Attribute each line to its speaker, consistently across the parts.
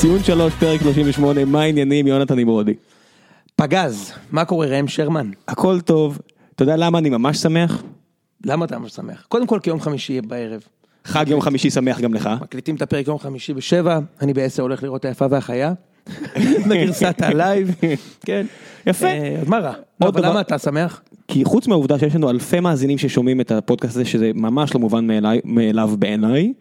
Speaker 1: ציון 3, פרק 38, מה העניינים, יונתן נמרודי?
Speaker 2: פגז, מה קורה ראם שרמן?
Speaker 1: הכל טוב, אתה יודע למה אני ממש שמח?
Speaker 2: למה אתה ממש שמח? קודם כל כי יום חמישי בערב.
Speaker 1: חג יום חמישי שמח גם לך.
Speaker 2: מקליטים את הפרק יום חמישי בשבע, אני בעשר הולך לראות היפה והחיה. בגרסת הלייב, כן.
Speaker 1: יפה.
Speaker 2: אה, אז מה רע? לא,
Speaker 1: עוד
Speaker 2: אבל
Speaker 1: דבר-
Speaker 2: למה אתה שמח?
Speaker 1: כי חוץ מהעובדה שיש לנו אלפי מאזינים ששומעים את הפודקאסט הזה, שזה ממש לא מובן מאלי- מאליו בעיניי,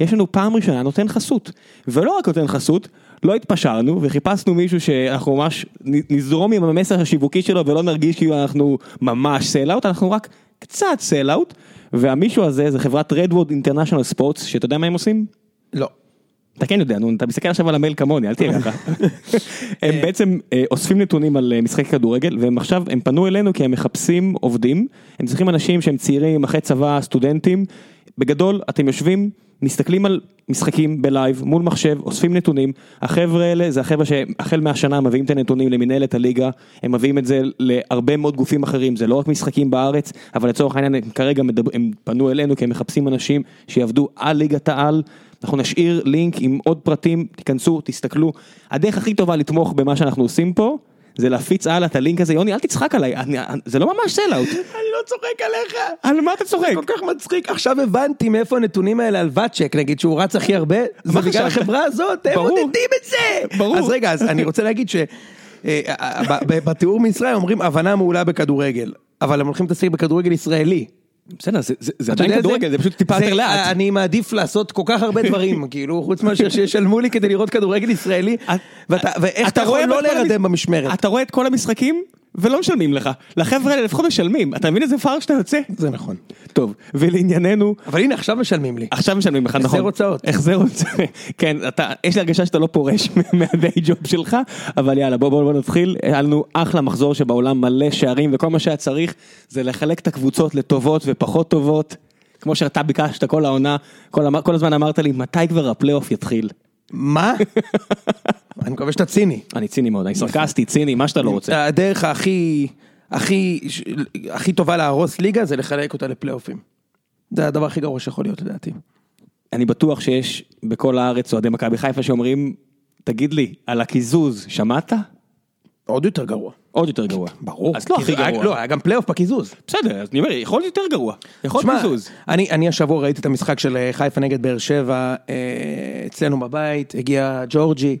Speaker 1: יש לנו פעם ראשונה נותן חסות. ולא רק נותן חסות, לא התפשרנו וחיפשנו מישהו שאנחנו ממש נ- נזרום עם המסר השיווקי שלו ולא נרגיש כאילו אנחנו ממש סייל אאוט, אנחנו רק קצת סייל אאוט, והמישהו הזה זה חברת רדווד אינטרנשיונל ספורטס, שאתה יודע מה הם עושים?
Speaker 2: לא.
Speaker 1: אתה כן יודע, נו, אתה מסתכל עכשיו על המייל כמוני, אל תהיה ככה. הם בעצם אה, אוספים נתונים על אה, משחקי כדורגל, והם עכשיו, הם פנו אלינו כי הם מחפשים עובדים, הם צריכים אנשים שהם צעירים, אחרי צבא, סטודנטים. בגדול, אתם יושבים, מסתכלים על משחקים בלייב, מול מחשב, אוספים נתונים. החבר'ה האלה זה החבר'ה שהחל מהשנה מביאים את הנתונים למנהלת הליגה, הם מביאים את זה להרבה מאוד גופים אחרים, זה לא רק משחקים בארץ, אבל לצורך העניין הם כרגע מדבר, הם פנו אלינו כי הם מחפשים אנשים שיעבדו על ליגת העל. אנחנו נשאיר לינק עם עוד פרטים, תיכנסו, תסתכלו. הדרך הכי טובה לתמוך במה שאנחנו עושים פה, זה להפיץ הלאה את הלינק הזה. יוני, אל תצחק עליי, אני, אני- זה לא ממש סלאוט.
Speaker 2: אני לא צוחק עליך!
Speaker 1: על מה אתה צוחק?
Speaker 2: כל כך מצחיק, עכשיו הבנתי מאיפה הנתונים האלה על ואצ'ק, נגיד שהוא רץ הכי הרבה, זה בגלל
Speaker 1: חשבת?
Speaker 2: החברה הזאת, הם
Speaker 1: ברור.
Speaker 2: מודדים את זה!
Speaker 1: ברור.
Speaker 2: אז רגע, אז אני רוצה להגיד ש... אה, אה, ב- ב- בתיאור מישראל אומרים הבנה מעולה בכדורגל, אבל הם הולכים להתעסק בכדורגל ישראלי.
Speaker 1: בסדר, זה, זה, זה
Speaker 2: אתה
Speaker 1: עדיין
Speaker 2: יודע, אה,
Speaker 1: כדורגל, זה אה, פשוט טיפה יותר לאט.
Speaker 2: אני מעדיף לעשות כל כך הרבה דברים, כאילו, חוץ מאשר שישלמו לי כדי לראות כדורגל ישראלי,
Speaker 1: את-
Speaker 2: ואתה- ואיך אתה יכול
Speaker 1: אה, רואה אה,
Speaker 2: לא
Speaker 1: את כל המש-
Speaker 2: להירדם במשמרת.
Speaker 1: אתה רואה את כל המשחקים ולא משלמים לך. לחבר'ה האלה לפחות משלמים, אתה מבין איזה פער שאתה יוצא?
Speaker 2: זה נכון.
Speaker 1: טוב, ולענייננו,
Speaker 2: אבל הנה, עכשיו משלמים לי.
Speaker 1: עכשיו משלמים לך, נכון?
Speaker 2: החזר הוצאות.
Speaker 1: החזר הוצאות. כן, אתה, יש לי הרגשה שאתה לא פורש מהדיי ג'וב שלך, אבל יאללה, בוא בוא בוא נתחיל. היה לנו אחלה מחזור שבעולם מלא שערים, וכל מה שהיה צריך זה לחלק את הקבוצות לטובות ופחות טובות. כמו שאתה ביקשת כל העונה, כל, המ- כל הזמן אמרת לי, מתי כבר הפלייאוף יתחיל?
Speaker 2: מה? אני מקווה שאתה ציני.
Speaker 1: אני ציני מאוד, אני סרקסטי, ציני, מה שאתה לא רוצה.
Speaker 2: הדרך הכי, הכי, ש- הכי טובה להרוס ליגה זה לחלק אותה לפלייאופים. זה הדבר הכי גרוע שיכול להיות לדעתי.
Speaker 1: אני בטוח שיש בכל הארץ אוהדי מכבי חיפה שאומרים, תגיד לי, על הקיזוז, שמעת?
Speaker 2: עוד יותר גרוע.
Speaker 1: עוד יותר גרוע.
Speaker 2: ברור.
Speaker 1: אז לא
Speaker 2: כי
Speaker 1: הכי
Speaker 2: זה היה-
Speaker 1: גרוע.
Speaker 2: לא, היה גם פלייאוף בקיזוז.
Speaker 1: בסדר, אז אני אומר, יכול להיות יותר גרוע. יכול
Speaker 2: תשמע,
Speaker 1: להיות קיזוז.
Speaker 2: אני, אני השבוע ראיתי את המשחק של אה, חיפה נגד באר שבע אה, אצלנו בבית, הגיע ג'ורג'י,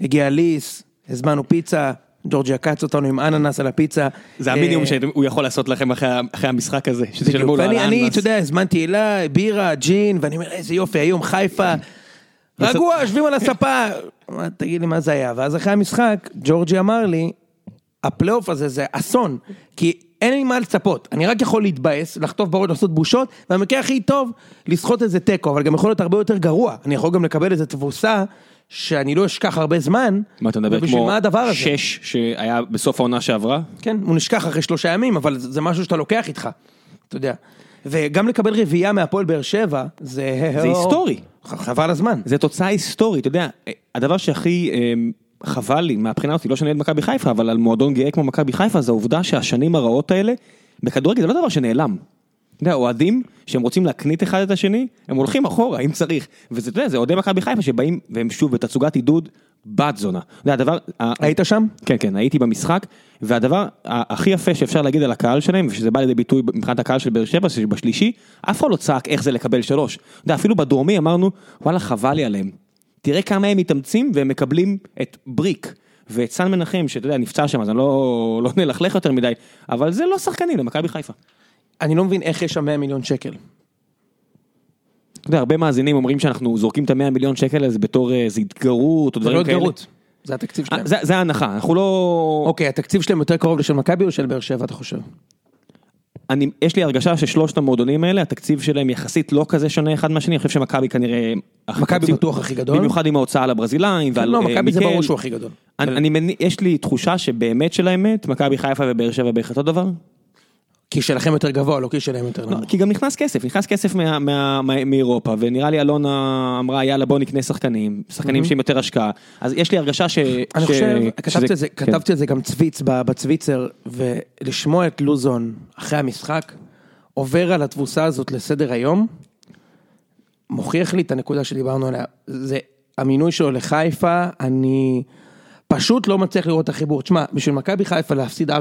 Speaker 2: הגיע ליס, הזמנו פיצה, ג'ורג'י עקץ אותנו עם אננס על הפיצה.
Speaker 1: זה המינימום
Speaker 2: אה,
Speaker 1: שהוא יכול לעשות לכם אחרי ה- אחרי המשחק הזה, שתשלמו
Speaker 2: בדיוק,
Speaker 1: לו על
Speaker 2: כאילו, ואני, אני,
Speaker 1: האננס.
Speaker 2: אתה יודע, הזמנתי אליי, בירה, ג'ין, ואני אומר, איזה יופי, היום חיפה. רגוע, יושבים על הספה. אמרתי, תגיד לי, מה זה היה? ואז אחרי המשחק, ג'ורג'י אמר לי, הפלייאוף הזה זה אסון, כי אין לי מה לצפות, אני רק יכול להתבאס, לחטוף בראש, לעשות בושות, והמקרה הכי טוב, לסחוט איזה תיקו, אבל גם יכול להיות הרבה יותר גרוע. אני יכול גם לקבל איזה תבוסה, שאני לא אשכח הרבה זמן.
Speaker 1: מה אתה מדבר,
Speaker 2: ובשביל
Speaker 1: כמו
Speaker 2: מה הדבר הזה?
Speaker 1: שש שהיה בסוף העונה שעברה?
Speaker 2: כן, הוא נשכח אחרי שלושה ימים, אבל זה זה משהו שאתה לוקח איתך, אתה יודע. וגם לקבל רביעייה מהפועל באר שבע, זה...
Speaker 1: זה היסטורי.
Speaker 2: ח- חבל הזמן.
Speaker 1: זה תוצאה היסטורית, אתה יודע, אה, הדבר שהכי אה, חבל לי מהבחינה הזאת, לא שאני אוהד מכבי חיפה, אבל על מועדון גאה כמו מכבי חיפה, זה העובדה שהשנים הרעות האלה, בכדורגל זה לא דבר שנעלם. אתה יודע, אוהדים שהם רוצים להקנית אחד את השני, הם הולכים אחורה אם צריך. וזה, אתה יודע, זה אוהדי מכבי חיפה שבאים, והם שוב בתצוגת עידוד, בת זונה. אתה יודע, הדבר... ה-
Speaker 2: היית שם?
Speaker 1: כן, כן, הייתי במשחק, והדבר ה- הכי יפה שאפשר להגיד על הקהל שלהם, ושזה בא לידי ביטוי מבחינת הקהל של באר שבע, שבשלישי, אף אחד לא צעק איך זה לקבל שלוש. אתה יודע, אפילו בדרומי אמרנו, וואלה, חבל לי עליהם. תראה כמה הם מתאמצים והם מקבלים את בריק. ואת סן מנחם, שאתה יודע, נפצע שם, אז אני לא, לא נלכלך יותר מדי, אבל זה לא שחקנים למכבי חיפה.
Speaker 2: אני לא מבין איך יש שם 100 מיליון שקל.
Speaker 1: אתה יודע, הרבה מאזינים אומרים שאנחנו זורקים את המאה מיליון שקל הזה בתור אה, איזו התגרות או
Speaker 2: זה
Speaker 1: דברים
Speaker 2: לא
Speaker 1: כאלה.
Speaker 2: התגרות, זה התקציב
Speaker 1: אה,
Speaker 2: שלהם.
Speaker 1: זה, זה ההנחה, אנחנו לא...
Speaker 2: אוקיי, התקציב שלהם יותר קרוב לשל מכבי או של באר שבע, אתה חושב?
Speaker 1: אני, יש לי הרגשה ששלושת המועדונים האלה, התקציב שלהם יחסית לא כזה שונה אחד מהשני, אני חושב שמכבי כנראה...
Speaker 2: מכבי
Speaker 1: התקציב-
Speaker 2: בטוח הכי גדול.
Speaker 1: במיוחד עם ההוצאה על הברזילאים ועל
Speaker 2: לא,
Speaker 1: אה,
Speaker 2: מכבי זה
Speaker 1: מיקל.
Speaker 2: ברור שהוא הכי גדול.
Speaker 1: אני, אני, מני- יש לי תחושה שבאמת של האמת, מכבי חיפה ובאר שבע בערך אותו דבר.
Speaker 2: כי שלכם יותר גבוה, לא כי שלהם יותר
Speaker 1: לא,
Speaker 2: נמוך.
Speaker 1: כי גם נכנס כסף, נכנס כסף מה, מה, מה, מאירופה, ונראה לי אלונה אמרה יאללה בוא נקנה שחקנים, שחקנים שעם יותר השקעה, אז יש לי הרגשה ש...
Speaker 2: אני
Speaker 1: ש-
Speaker 2: חושב, כתבתי
Speaker 1: שזה-
Speaker 2: את זה,
Speaker 1: כן.
Speaker 2: כתבתי את זה גם צוויץ ב- בצוויצר, ולשמוע את לוזון אחרי המשחק, עובר על התבוסה הזאת לסדר היום, מוכיח לי את הנקודה שדיברנו עליה. זה המינוי שלו לחיפה, אני פשוט לא מצליח לראות את החיבור. תשמע, בשביל מכבי חיפה להפסיד 4-0,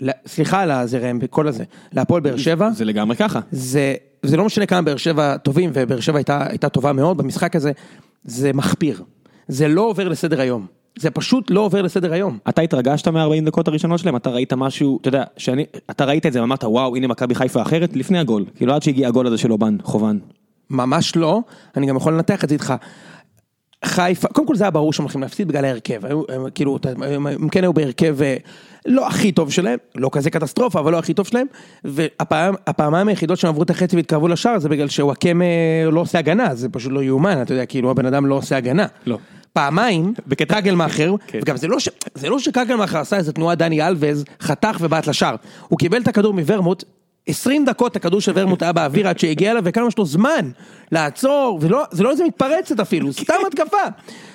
Speaker 2: ל- סליחה על הזה ראם, בכל הזה, להפועל באר שבע,
Speaker 1: זה לגמרי ככה.
Speaker 2: זה, זה לא משנה כמה באר שבע טובים, ובאר שבע הייתה, הייתה טובה מאוד במשחק הזה, זה מחפיר. זה לא עובר לסדר היום. זה פשוט לא עובר לסדר היום.
Speaker 1: אתה התרגשת מה-40 דקות הראשונות שלהם, אתה ראית משהו, אתה יודע, שאני, אתה ראית את זה ואמרת וואו הנה מכבי חיפה אחרת לפני הגול, כאילו עד שהגיע הגול הזה של אובן, חובן.
Speaker 2: ממש לא, אני גם יכול לנתח את זה איתך. חיפה, קודם כל זה היה ברור שהם הולכים להפסיד בגלל ההרכב, היו, הם, כאילו, אתה- הם, הם כן היו בהרכב אה, לא הכי טוב שלהם, לא כזה קטסטרופה, אבל לא הכי טוב שלהם, והפעמיים היחידות שהם עברו את החצי והתקרבו לשער זה בגלל שוואקמה לא עושה הגנה, זה פשוט לא יאומן, אתה יודע, כאילו הבן אדם לא עושה הגנה.
Speaker 1: לא.
Speaker 2: פעמיים,
Speaker 1: בקטע-
Speaker 2: קגלמאכר,
Speaker 1: כן.
Speaker 2: וגם זה לא, ש... זה לא שקגלמאכר עשה איזה תנועה דני אלווז, חתך ובעט לשער. הוא קיבל את הכדור מוורמוט, 20 דקות הכדור של ורמוט היה באוויר עד שהגיע אליו, וכמה יש לו זמן לעצור, ולא, זה לא איזה מתפרצת אפילו, סתם התקפה.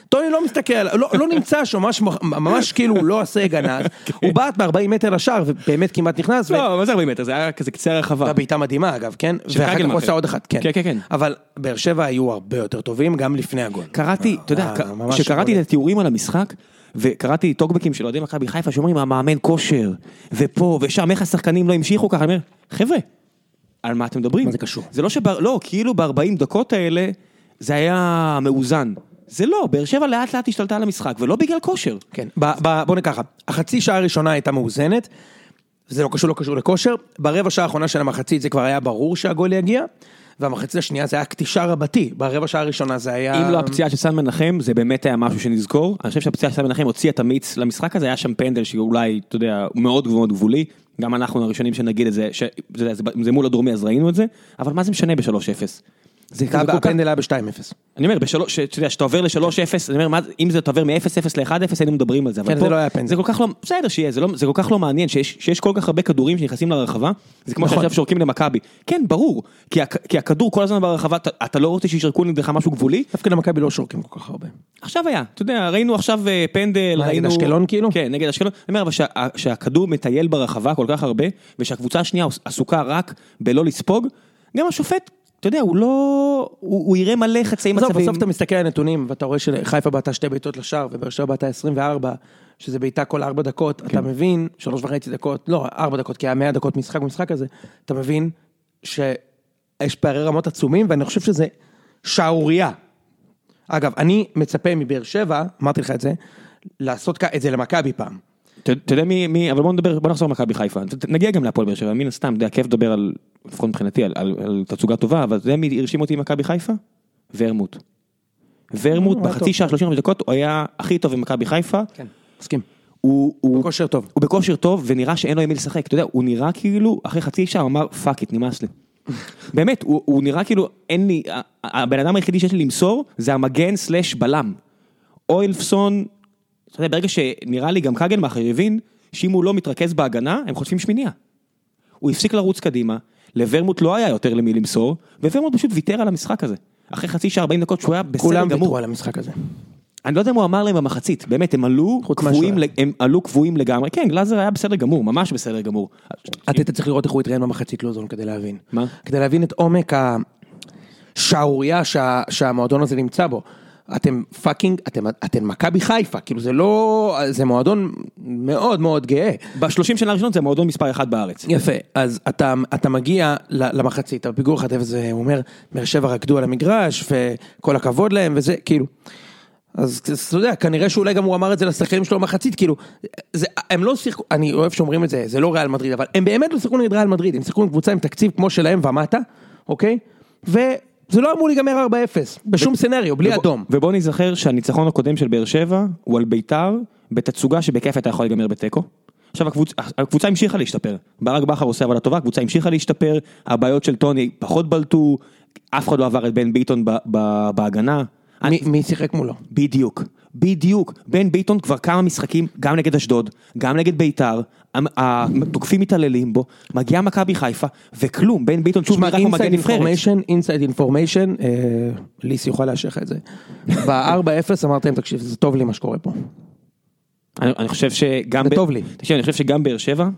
Speaker 2: טוני לא מסתכל, עליו, לא, לא נמצא שם, ממש, ממש כאילו הוא לא עושה הגנה, הוא בעט ב-40 מטר לשער, ובאמת כמעט נכנס, ו-
Speaker 1: כן. לא, מה זה 40 מטר, זה היה כזה קצה הרחבה.
Speaker 2: הייתה בעיטה מדהימה אגב, כן?
Speaker 1: של
Speaker 2: ואחר כך הוא
Speaker 1: קגלמאכר.
Speaker 2: עשה עוד אחת, כן.
Speaker 1: כן, כן, כן.
Speaker 2: אבל באר שבע היו הרבה יותר טובים גם לפני הגול.
Speaker 1: קראתי, אתה יודע,
Speaker 2: אה,
Speaker 1: ק-
Speaker 2: ממש
Speaker 1: כשקראתי
Speaker 2: מעולה.
Speaker 1: את התיאורים על המשחק, וקראתי טוקבקים של אוהדי מכבי חיפה שאומרים המאמן כושר, ופה ושם, איך השחקנים לא המשיכו ככה, אני אומר, חבר'ה, על מה אתם מדברים?
Speaker 2: מה זה קשור?
Speaker 1: זה לא שב... לא, כאילו ב-40 דקות האלה, זה היה מאוזן. זה לא, באר שבע לאט לאט השתלטה על המשחק, ולא בגלל כושר.
Speaker 2: כן, ב, ב, בוא נקרא ככה, החצי שעה הראשונה הייתה מאוזנת, זה לא קשור, לא קשור לכושר, ברבע שעה האחרונה של המחצית זה כבר היה ברור שהגול יגיע, והמחצית השנייה זה היה קטישה רבתי, ברבע שעה הראשונה זה היה...
Speaker 1: אם לא הפציעה של סן מנחם, זה באמת היה משהו שנזכור. אני חושב שהפציעה של סן מנחם הוציאה את המיץ למשחק הזה, היה שם פנדל שאולי, אתה יודע, הוא מאוד מאוד גבולי. גם אנחנו הראשונים שנגיד את זה, ש... אתה יודע, זה, זה מול הדרומי אז ראינו את זה, אבל מה זה משנה ב-3-0? זה
Speaker 2: זה
Speaker 1: כזה
Speaker 2: היה-
Speaker 1: כל כך...
Speaker 2: הפנדל היה ב-2-0.
Speaker 1: אני אומר, בשלוש- ש- אתה יודע, שאתה עובר ל-3-0, אני אומר, מה זה- אם זה אתה עובר מ-0-0 ל-1-0, היינו מדברים על זה. אבל
Speaker 2: כן, זה
Speaker 1: פה-
Speaker 2: לא היה פנדל.
Speaker 1: זה כל כך לא, בסדר שיהיה, זה, לא, זה כל כך לא מעניין, שיש, שיש כל כך הרבה כדורים שנכנסים לרחבה, זה כמו
Speaker 2: נכון.
Speaker 1: שעכשיו שורקים למכבי. כן, ברור, כי, הכ, כי הכדור כל הזמן ברחבה, אתה, אתה לא רוצה שישרקו נגדך משהו גבולי,
Speaker 2: דווקא למכבי לא שורקים כל כך הרבה.
Speaker 1: עכשיו היה, אתה יודע, ראינו עכשיו אה, פנדל,
Speaker 2: מה, נגד
Speaker 1: ראינו...
Speaker 2: אשקלון כאילו?
Speaker 1: כן, נגד אשקלון. אני אומר, אבל שה- שהכדור מטייל ברחבה כל כך הרבה, ושהקבוצה השנייה עסוקה רק בלא לספוג, גם השופט, אתה יודע, הוא לא... הוא, הוא יראה מלא חצאי
Speaker 2: עזוב,
Speaker 1: מצבים.
Speaker 2: בסוף אתה מסתכל על הנתונים, ואתה רואה שחיפה בעטה שתי בעיטות לשער, ובאר שבע בעטה 24, שזה בעיטה כל 4 דקות,
Speaker 1: כן.
Speaker 2: אתה מבין, שלוש וחצי דקות, לא, 4 דקות, כי היה 100 דקות משחק במשחק הזה, אתה מבין שיש פערי רמות עצומים, ואני חושב שזה שערורייה. אגב, אני מצפה מבאר שבע, אמרתי לך את זה, לעשות כ- את זה למכבי פעם.
Speaker 1: אתה אתה יודע מי, מי, אבל בוא נדבר, בוא נחזור למכבי חיפה, ת- ת- נגיע גם להפועל באר שבע, מן הסתם, אתה יודע, כיף לדבר על, לפחות מבחינתי, על, על, על תצוגה טובה, אבל אתה יודע מי הרשים אותי עם מכבי חיפה? ורמוט. ורמוט
Speaker 2: הוא היה אה, טוב.
Speaker 1: בחצי שעה 35 דקות, הוא היה הכי טוב במכבי חיפה,
Speaker 2: כן, מסכים.
Speaker 1: הוא, הוא,
Speaker 2: כושר טוב.
Speaker 1: הוא בכושר טוב ונראה שאין לו עם מי לשחק, אתה יודע, הוא נראה כאילו, אחרי חצי שעה הוא אמר פאק איט, נמאס לי. באמת, הוא, הוא נראה כאילו, אין לי, ה- ה- הבן אדם היחידי שיש לי למסור זה המגן סלאש בלם. אוילפסון, אתה יודע, ברגע שנראה לי גם קגנמאכר הבין שאם הוא לא מתרכז בהגנה, הם חוטפים שמיניה. הוא הפסיק לרוץ קדימה, לוורמוט לא היה יותר למי למסור, וורמוט פשוט ויתר על המשחק הזה. אחרי חצי שעה 40 דקות שהוא היה בסדר
Speaker 2: כולם
Speaker 1: גמור.
Speaker 2: ויתרו על המשחק הזה.
Speaker 1: אני לא יודע אם הוא אמר להם במחצית, באמת, הם עלו
Speaker 2: חוץ
Speaker 1: קבועים,
Speaker 2: מהשוער.
Speaker 1: לג- הם עלו קבועים לגמרי, כן, גלאזר היה בסדר גמור, ממש בסדר גמור.
Speaker 2: אתה היית צריך לראות איך הוא התראיין במחצית לוזון כדי להבין.
Speaker 1: מה?
Speaker 2: כדי להבין את עומק השערורייה שה, שהמועדון הזה נמצא בו. אתם פאקינג, אתם, אתם מכבי חיפה, כאילו זה לא, זה מועדון מאוד מאוד גאה.
Speaker 1: בשלושים שנה הראשונות זה המועדון מספר אחת בארץ.
Speaker 2: יפה, אז אתה, אתה מגיע ל- למחצית, אתה בפיגור 1-0, הוא אומר, באר שבע רקדו על המגרש, וכל הכבוד להם, וזה, כאילו. אז אתה יודע, כנראה שאולי גם הוא אמר את זה לשחקנים שלו במחצית, כאילו, זה, הם לא שיחקו, אני אוהב שאומרים את זה, זה לא ריאל מדריד, אבל הם באמת לא שיחקו נגד ריאל מדריד, הם שיחקו עם קבוצה עם תקציב כמו שלהם ומטה, אוקיי? וזה לא אמור להיגמר 4-0, בשום סצנריו, בלי
Speaker 1: ובוא-
Speaker 2: אדום.
Speaker 1: ובוא נזכר שהניצחון הקודם של באר שבע הוא על ביתר, בתצוגה שבכיף הייתה יכולה להיגמר בתיקו. עכשיו הקבוצ... הקבוצה המשיכה להשתפר, ברק בכר עושה עבודה טובה, הקבוצה המשיכה להשתפר, הבעיות של טוני פחות בלטו, אף אחד לא עבר את בן ביטון ב... ב... בהגנה. אני-
Speaker 2: מי, מי שיחק מולו?
Speaker 1: בדיוק, בדיוק. בן ביטון כבר כמה משחקים, גם נגד אשדוד, גם נגד ביתר, המ- התוקפים מתעללים בו, מגיע מכבי חיפה, וכלום, בן ביטון שוב
Speaker 2: תשמע,
Speaker 1: נראה כמו מגן
Speaker 2: אינסייד
Speaker 1: נבחרת.
Speaker 2: אינפורמיישן, אינסייד אינפורמיישן, אה, ליס יוכל לאשר לך את זה. ב-4-0 אמרתי להם, תקשיב, זה טוב לי מה שקורה פה.
Speaker 1: אני אני חושב שגם...
Speaker 2: זה
Speaker 1: ב-
Speaker 2: טוב לי.
Speaker 1: תקשיב, אני חושב שגם באר שבע,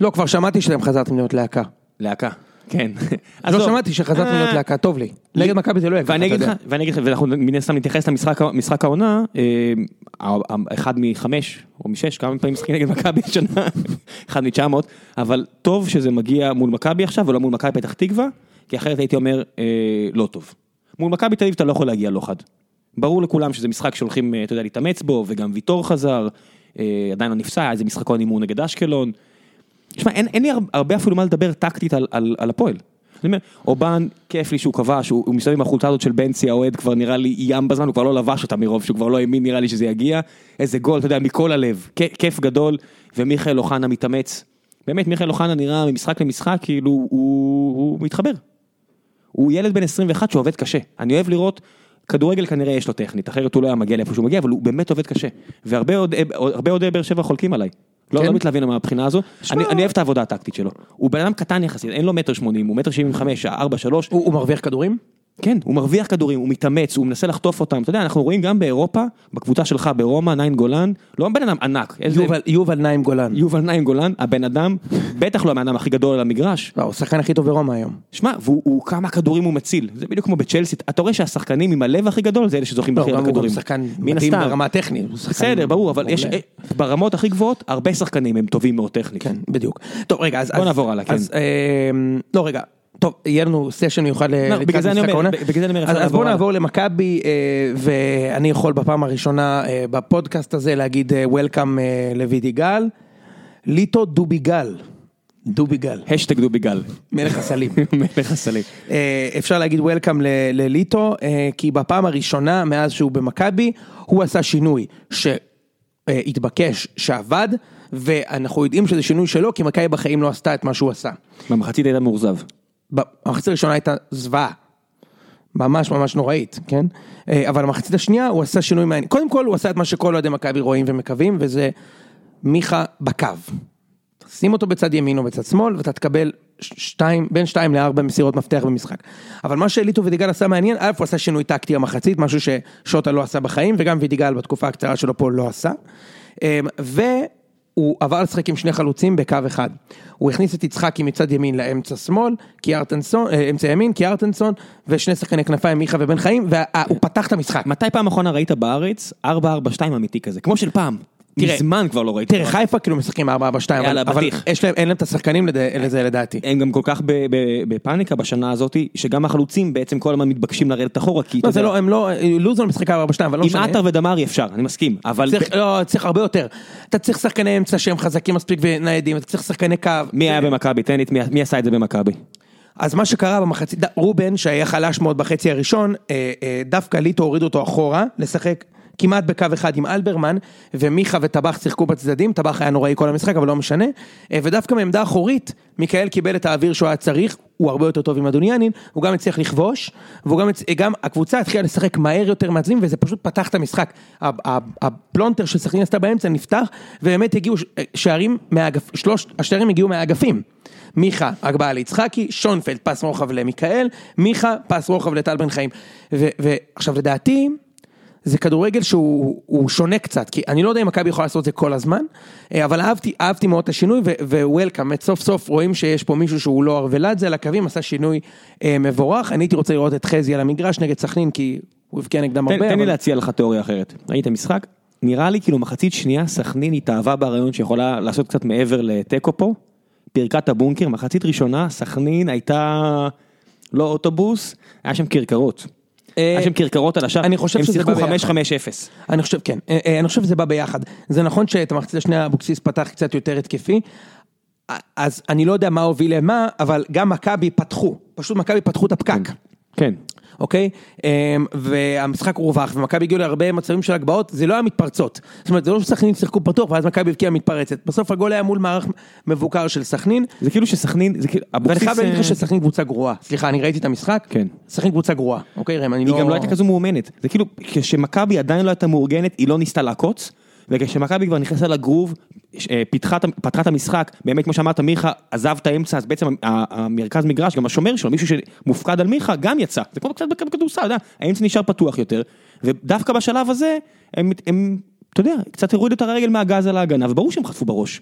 Speaker 2: לא, כבר שמעתי שאתם חזרתם להיות להקה.
Speaker 1: להקה. כן.
Speaker 2: לא
Speaker 1: עזוב.
Speaker 2: שמעתי שחזרנו
Speaker 1: אה,
Speaker 2: להיות להקה, טוב לי. נגד מכבי זה לא יהיה ככה,
Speaker 1: ואני
Speaker 2: אתה
Speaker 1: אגיד לך,
Speaker 2: יודע.
Speaker 1: ואני אגיד לך, ואנחנו מן הסתם נתייחס למשחק משחק העונה, אה, ה- ה- אחד מחמש או משש, כמה פעמים משחקים נגד מכבי השנה, אחד מתשע מאות, אבל טוב שזה מגיע מול מכבי עכשיו ולא מול מכבי פתח תקווה, כי אחרת הייתי אומר אה, לא טוב. מול מכבי תל אביב אתה לא יכול להגיע לא חד. ברור לכולם שזה משחק שהולכים, אה, אתה יודע, להתאמץ בו, וגם ויטור חזר, אה, עדיין לא נפסע, היה איזה משחקון אימון נגד אשקלון. תשמע, אין, אין לי הר- הרבה אפילו מה לדבר טקטית על, על, על הפועל. אני אומר, אובן, כיף לי שהוא כבש, הוא, הוא מסתובב עם החולצה הזאת של בנצי האוהד, כבר נראה לי ים בזמן, הוא כבר לא לבש אותה מרוב שהוא כבר לא האמין נראה לי שזה יגיע. איזה גול, אתה יודע, מכל הלב, כ- כיף גדול, ומיכאל אוחנה מתאמץ. באמת, מיכאל אוחנה נראה ממשחק למשחק, כאילו, הוא, הוא מתחבר. הוא ילד בן 21 שעובד קשה. אני אוהב לראות, כדורגל כנראה יש לו טכנית, אחרת הוא לא היה מגיע לאיפה שהוא מגיע, אבל הוא באמת עובד קשה. והרבה עוד- הרבה אוהדי באר שבע חולקים עליי. לא,
Speaker 2: כן?
Speaker 1: לא מתלהבים מהבחינה הזו, אני, אני אוהב את העבודה הטקטית שלו. הוא בן אדם קטן יחסית, אין לו מטר שמונים, הוא מטר שבעים וחמש, ארבע שלוש,
Speaker 2: הוא הוא מרוויח כדורים?
Speaker 1: כן, הוא מרוויח כדורים, הוא מתאמץ, הוא מנסה לחטוף אותם, אתה יודע, אנחנו רואים גם באירופה, בקבוצה שלך ברומא, ניין גולן, לא בן אדם ענק, איזה-
Speaker 2: יובל- יובל נעים גולן.
Speaker 1: יובל ניין גולן, הבן אדם, בטח לא הבן אדם הכי גדול על המגרש,
Speaker 2: לא, הוא השחקן הכי טוב ברומא היום.
Speaker 1: שמע, והוא הוא- כמה כדורים הוא מציל, זה בדיוק כמו בצ'לסי, אתה רואה שהשחקנים עם הלב הכי גדול זה אלה שזוכים
Speaker 2: לא,
Speaker 1: בכי
Speaker 2: גם
Speaker 1: הרבה
Speaker 2: הוא גם
Speaker 1: כדורים.
Speaker 2: שחקן
Speaker 1: מן
Speaker 2: מדהים
Speaker 1: הסתם.
Speaker 2: ברמה הטכנית. הוא שחקן
Speaker 1: בסדר, ברור, אבל יש,
Speaker 2: מעולה.
Speaker 1: אה, ברמות הכי גבוהות, הרבה שחקנים הם טובים מאוד טכנית.
Speaker 2: כן, בדיוק. טוב, רגע, אז...
Speaker 1: בוא
Speaker 2: אז-
Speaker 1: נעבור הלאה, כן. לא,
Speaker 2: אז, אמ, לא, רגע. טוב, יהיה לנו סשן מיוחד ל-
Speaker 1: בגלל
Speaker 2: לקראת
Speaker 1: זה אני
Speaker 2: משחק
Speaker 1: אומר,
Speaker 2: העונה.
Speaker 1: ב- בגלל זה אני אומר,
Speaker 2: אז
Speaker 1: אפשר
Speaker 2: אז
Speaker 1: לעבור
Speaker 2: בואו
Speaker 1: הלאה.
Speaker 2: נעבור למכבי, אה, ואני יכול בפעם הראשונה אה, בפודקאסט הזה להגיד אה, Welcome אה, לוידי גל. ליטו דוביגל. דוביגל.
Speaker 1: השטג דובי גל.
Speaker 2: מלך הסלים.
Speaker 1: מלך הסלים.
Speaker 2: אה, אפשר להגיד וולקאם ל- לליטו, אה, כי בפעם הראשונה מאז שהוא במכבי, הוא עשה שינוי שהתבקש, שעבד, ואנחנו יודעים שזה שינוי שלו, כי מכבי בחיים לא עשתה את מה שהוא עשה.
Speaker 1: במחצית הייתה מאוכזב.
Speaker 2: המחצית הראשונה הייתה זוועה. ממש ממש נוראית, כן? אה, אבל המחצית השנייה הוא עשה שינוי מעניין. קודם כל הוא עשה את מה שכל אוהדי מכבי רואים ומקווים, וזה מיכה בקו. שים אותו בצד ימין או בצד שמאל, ואתה תקבל ש- שתיים, בין שתיים לארבע מסירות מפתח במשחק. אבל מה שאליטו ודיגל עשה מעניין, א' הוא עשה שינוי טקטי המחצית, משהו ששוטה לא עשה בחיים, וגם וידיגל בתקופה הקצרה שלו פה לא עשה. אה, והוא עבר לשחק עם שני חלוצים בקו אחד. הוא הכניס את יצחקי מצד ימין לאמצע שמאל, קיארטנסון, אה, אמצע ימין, קיארטנסון, ושני שחקני כנפיים, מיכה ובן חיים, והוא פתח את המשחק.
Speaker 1: מתי פעם אחרונה ראית בארץ 4-4-2 אמיתי כזה? כמו של פעם.
Speaker 2: תראה,
Speaker 1: מזמן כבר לא ראיתי.
Speaker 2: תראה, חיפה כאילו משחקים 4-4-2, אבל,
Speaker 1: יאללה,
Speaker 2: אבל
Speaker 1: בטיח.
Speaker 2: יש להם, אין להם את השחקנים לד- לזה לדעתי.
Speaker 1: הם גם כל כך ב- ב- בפאניקה בשנה הזאת, שגם החלוצים בעצם כל הזמן מתבקשים לרדת אחורה, כי
Speaker 2: לא,
Speaker 1: אתה
Speaker 2: זה
Speaker 1: יודע,
Speaker 2: לא, הם לא, לוזון משחק 4-4-2, אבל לא
Speaker 1: עם
Speaker 2: משנה.
Speaker 1: עטר ודמרי אפשר, אני מסכים, אבל
Speaker 2: צריך, לא, צריך הרבה יותר. אתה צריך שחקני אמצע שהם חזקים מספיק וניידים, אתה צריך שחקני קו.
Speaker 1: מי היה במכבי? תן לי, את מי- מי עשה את זה במכבי?
Speaker 2: אז מה שקרה במחצית, ד- רובן, שהיה חלש מאוד בחצי הראשון, אה, אה, דווקא ליטו הוריד אותו אחורה, לשחק כמעט בקו אחד עם אלברמן, ומיכה וטבח שיחקו בצדדים, טבח היה נוראי כל המשחק, אבל לא משנה. אה, ודווקא מעמדה אחורית, מיקאל קיבל את האוויר שהוא היה צריך, הוא הרבה יותר טוב עם אדוניאנין, הוא גם הצליח לכבוש, והוא גם, הצ- גם הקבוצה התחילה לשחק מהר יותר מהצדדים, וזה פשוט פתח את המשחק. ה- ה- הפלונטר שסכנין עשתה באמצע נפתח, ובאמת הגיעו ש- שערים מהאגפ... שלושת השערים הגיעו מהאגפים. מיכה, הגבהה ליצחקי, שונפלד, פס רוחב למיכאל, מיכה, פס רוחב לטל בן חיים. ו- ועכשיו לדעתי, זה כדורגל שהוא הוא שונה קצת, כי אני לא יודע אם מכבי יכולה לעשות את זה כל הזמן, אה, אבל אהבתי, אהבתי מאוד את השינוי, ווולקאם, סוף סוף רואים שיש פה מישהו שהוא לא ארוולדזה על הקווים, עשה שינוי אה, מבורך. אני הייתי רוצה לראות את חזי על המגרש נגד סכנין, כי הוא הבקיע נגדם
Speaker 1: תן, תן
Speaker 2: הרבה.
Speaker 1: לי
Speaker 2: אבל-
Speaker 1: להציע לך תיאוריה אחרת. ראית משחק? נראה לי כאילו מחצית שנייה סכנין התאהבה ברעיון שיכולה לעשות קצת מעבר לתיקו פה. פירקה את הבונקר, מחצית ראשונה סכנין הייתה לא אוטובוס, היה שם כרכרות. היה שם כרכרות על השאר,
Speaker 2: אה, אני חושב
Speaker 1: הם
Speaker 2: שזה
Speaker 1: שיחקו
Speaker 2: בא ביחד.
Speaker 1: 5-5-0.
Speaker 2: אני חושב, כן, אה, אה, אני חושב שזה בא ביחד. זה נכון שאת המחצית השנייה אבוקסיס פתח קצת יותר התקפי, אה, אז אני לא יודע מה הוביל למה, אבל גם מכבי פתחו, פשוט מכבי פתחו את הפקק,
Speaker 1: כן.
Speaker 2: אוקיי? אה, והמשחק רווח, ומכבי הגיעו להרבה מצבים של הגבהות, זה לא היה מתפרצות. זאת אומרת, זה לא שסכנין שיחקו פתוח, ואז מכבי הבקיעה מתפרצת. בסוף הגול היה מול מערך מבוקר של סכנין,
Speaker 1: זה כאילו שסכנין, זה כאילו,
Speaker 2: ואני חייב להגיד לך
Speaker 1: אה,
Speaker 2: שסכנין קבוצה גרועה. סליחה, אני ראיתי את המשחק,
Speaker 1: כן.
Speaker 2: סכנין קבוצה גרועה, אוקיי ראם, אני לא...
Speaker 1: היא גם לא הייתה כזו מאומנת. זה כאילו, כשמכבי עדיין לא הייתה מאורגנת, היא לא ניסתה לעקוץ, וכשמכבי כבר נכנסה לגרוב, ש- אה, פיתחה את ה- פתחה את המשחק, באמת כמו שאמרת, מיכה עזב את האמצע, אז בעצם ה- ה- המרכז מגרש, גם השומר שלו, מישהו שמופקד על מיכה, גם יצא. זה כמו קצת בכ- בכדורסל, אתה יודע, האמצע נשאר פתוח יותר, ודווקא בשלב הזה, הם, הם, אתה יודע, קצת הורידו את הרגל מהגז על ההגנה, וברור שהם חטפו בראש.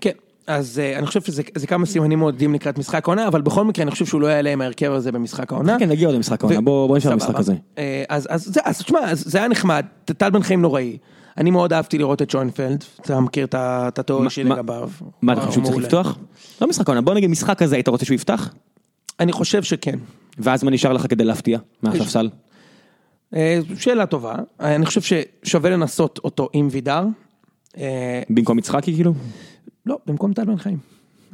Speaker 2: כן. אז אה, אני חושב שזה זה כמה סימנים מעודדים לקראת משחק העונה, אבל בכל מקרה אני חושב שהוא לא יעלה עם ההרכב הזה במשחק העונה.
Speaker 1: כן, נגיע עוד למשחק העונה,
Speaker 2: ו-
Speaker 1: בוא בוא נשאר במשחק
Speaker 2: סבבה.
Speaker 1: הזה.
Speaker 2: אה, אז, אז, זה- אז תשמע, אז זה היה נחמד, ט- טל בן חיים נוראי. אני מאוד אהבתי לראות את שוינפלד, אתה מכיר את ה- את התיאוריה
Speaker 1: מה-
Speaker 2: שלי
Speaker 1: מה-
Speaker 2: לגביו.
Speaker 1: מה אתה חושב שהוא צריך
Speaker 2: מעולה.
Speaker 1: לפתוח? לא משחק העונה, בוא נגיד משחק כזה היית רוצה שהוא יפתח?
Speaker 2: אני חושב שכן.
Speaker 1: ואז מה נשאר לך כדי להפתיע מהספסל?
Speaker 2: אה, שאלה טובה, אה, אני חושב ששווה לנסות אותו עם וידר. אה,
Speaker 1: במקום יצחקי כאילו?
Speaker 2: לא, במקום טל בן חיים,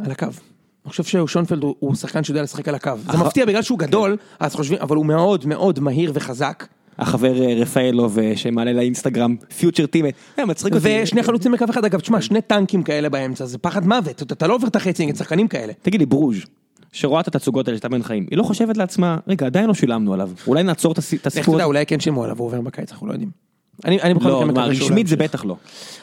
Speaker 2: על הקו. אני חושב ששונפלד הוא, הוא שחקן שיודע לשחק על הקו. זה
Speaker 1: אח-
Speaker 2: מפתיע בגלל שהוא גדול, אז חושבים, אבל הוא מאוד מאוד מהיר וחזק.
Speaker 1: החבר אה, רפאלוב אה, שמעלה לאינסטגרם, פיוטר טימה, אה, מצחיק אותי.
Speaker 2: ושני חלוצים בקו אחד, אגב, תשמע, שני טנקים כאלה באמצע, זה פחד מוות, אתה- אתה לא עובר את החצי נגד שחקנים כאלה.
Speaker 1: תגיד לי, ברוז' שרואה את התצוגות האלה של טל בן חיים, היא לא חושבת לעצמה, רגע, עדיין לא שילמנו עליו, אולי נעצור את הסי- את
Speaker 2: איך אתה
Speaker 1: הסיפור?
Speaker 2: יודע,
Speaker 1: הזה?"
Speaker 2: אולי כן שמעו עליו, הוא עובר בקיץ, אנחנו לא יודעים. אני, אני בכל
Speaker 1: לא,
Speaker 2: מקרה
Speaker 1: מה,
Speaker 2: מקווה שהוא לא
Speaker 1: רשמית זה
Speaker 2: ימשיך.
Speaker 1: בטח לא.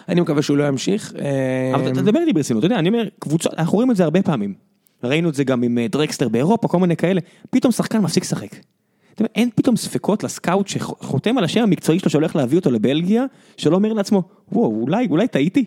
Speaker 2: אני מקווה שהוא לא ימשיך. אה,
Speaker 1: אבל אתה תדבר איתי ברצינות, אתה יודע, אני אומר, קבוצות, אנחנו רואים את זה הרבה פעמים. ראינו את זה גם עם אה, דרקסטר באירופה, כל מיני כאלה, פתאום שחקן מפסיק לשחק. אתה יודע, אין פתאום ספקות לסקאוט שחותם על השם המקצועי שלו שהולך להביא אותו לבלגיה, שלא אומר לעצמו, וואו, אולי, אולי טעיתי.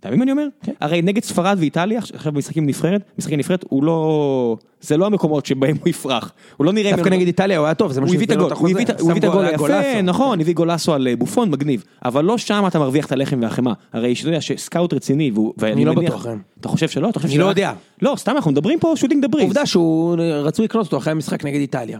Speaker 1: אתה מבין מה אני אומר?
Speaker 2: כן.
Speaker 1: הרי נגד ספרד ואיטליה, עכשיו במשחקים נבחרת, משחקים נבחרת, הוא לא... זה לא המקומות שבהם הוא יפרח. הוא לא נראה...
Speaker 2: דווקא
Speaker 1: ממנו-
Speaker 2: נגד איטליה הוא היה טוב, זה מה
Speaker 1: הוא הביא את
Speaker 2: שהסביר לו
Speaker 1: הגול, הוא
Speaker 2: החוזה.
Speaker 1: הביא את-
Speaker 2: שם
Speaker 1: הוא הביא את הגול
Speaker 2: גול, היה
Speaker 1: היפה,
Speaker 2: גולאסו.
Speaker 1: נכון, הביא גולאסו על אה, בופון, מגניב, אבל לא שם אתה מרוויח את הלחם והחמאה, הרי שאתה יודע שסקאוט רציני, והוא- ואני
Speaker 2: לא
Speaker 1: מניח-
Speaker 2: בטוח, כן.
Speaker 1: אתה חושב שלא? אתה חושב
Speaker 2: אני לא
Speaker 1: שרק-
Speaker 2: יודע.
Speaker 1: לא, סתם אנחנו מדברים פה שוטינג דה בריז,
Speaker 2: עובדה שהוא, רצו לקנות אותו אחרי המשחק נגד איטליה.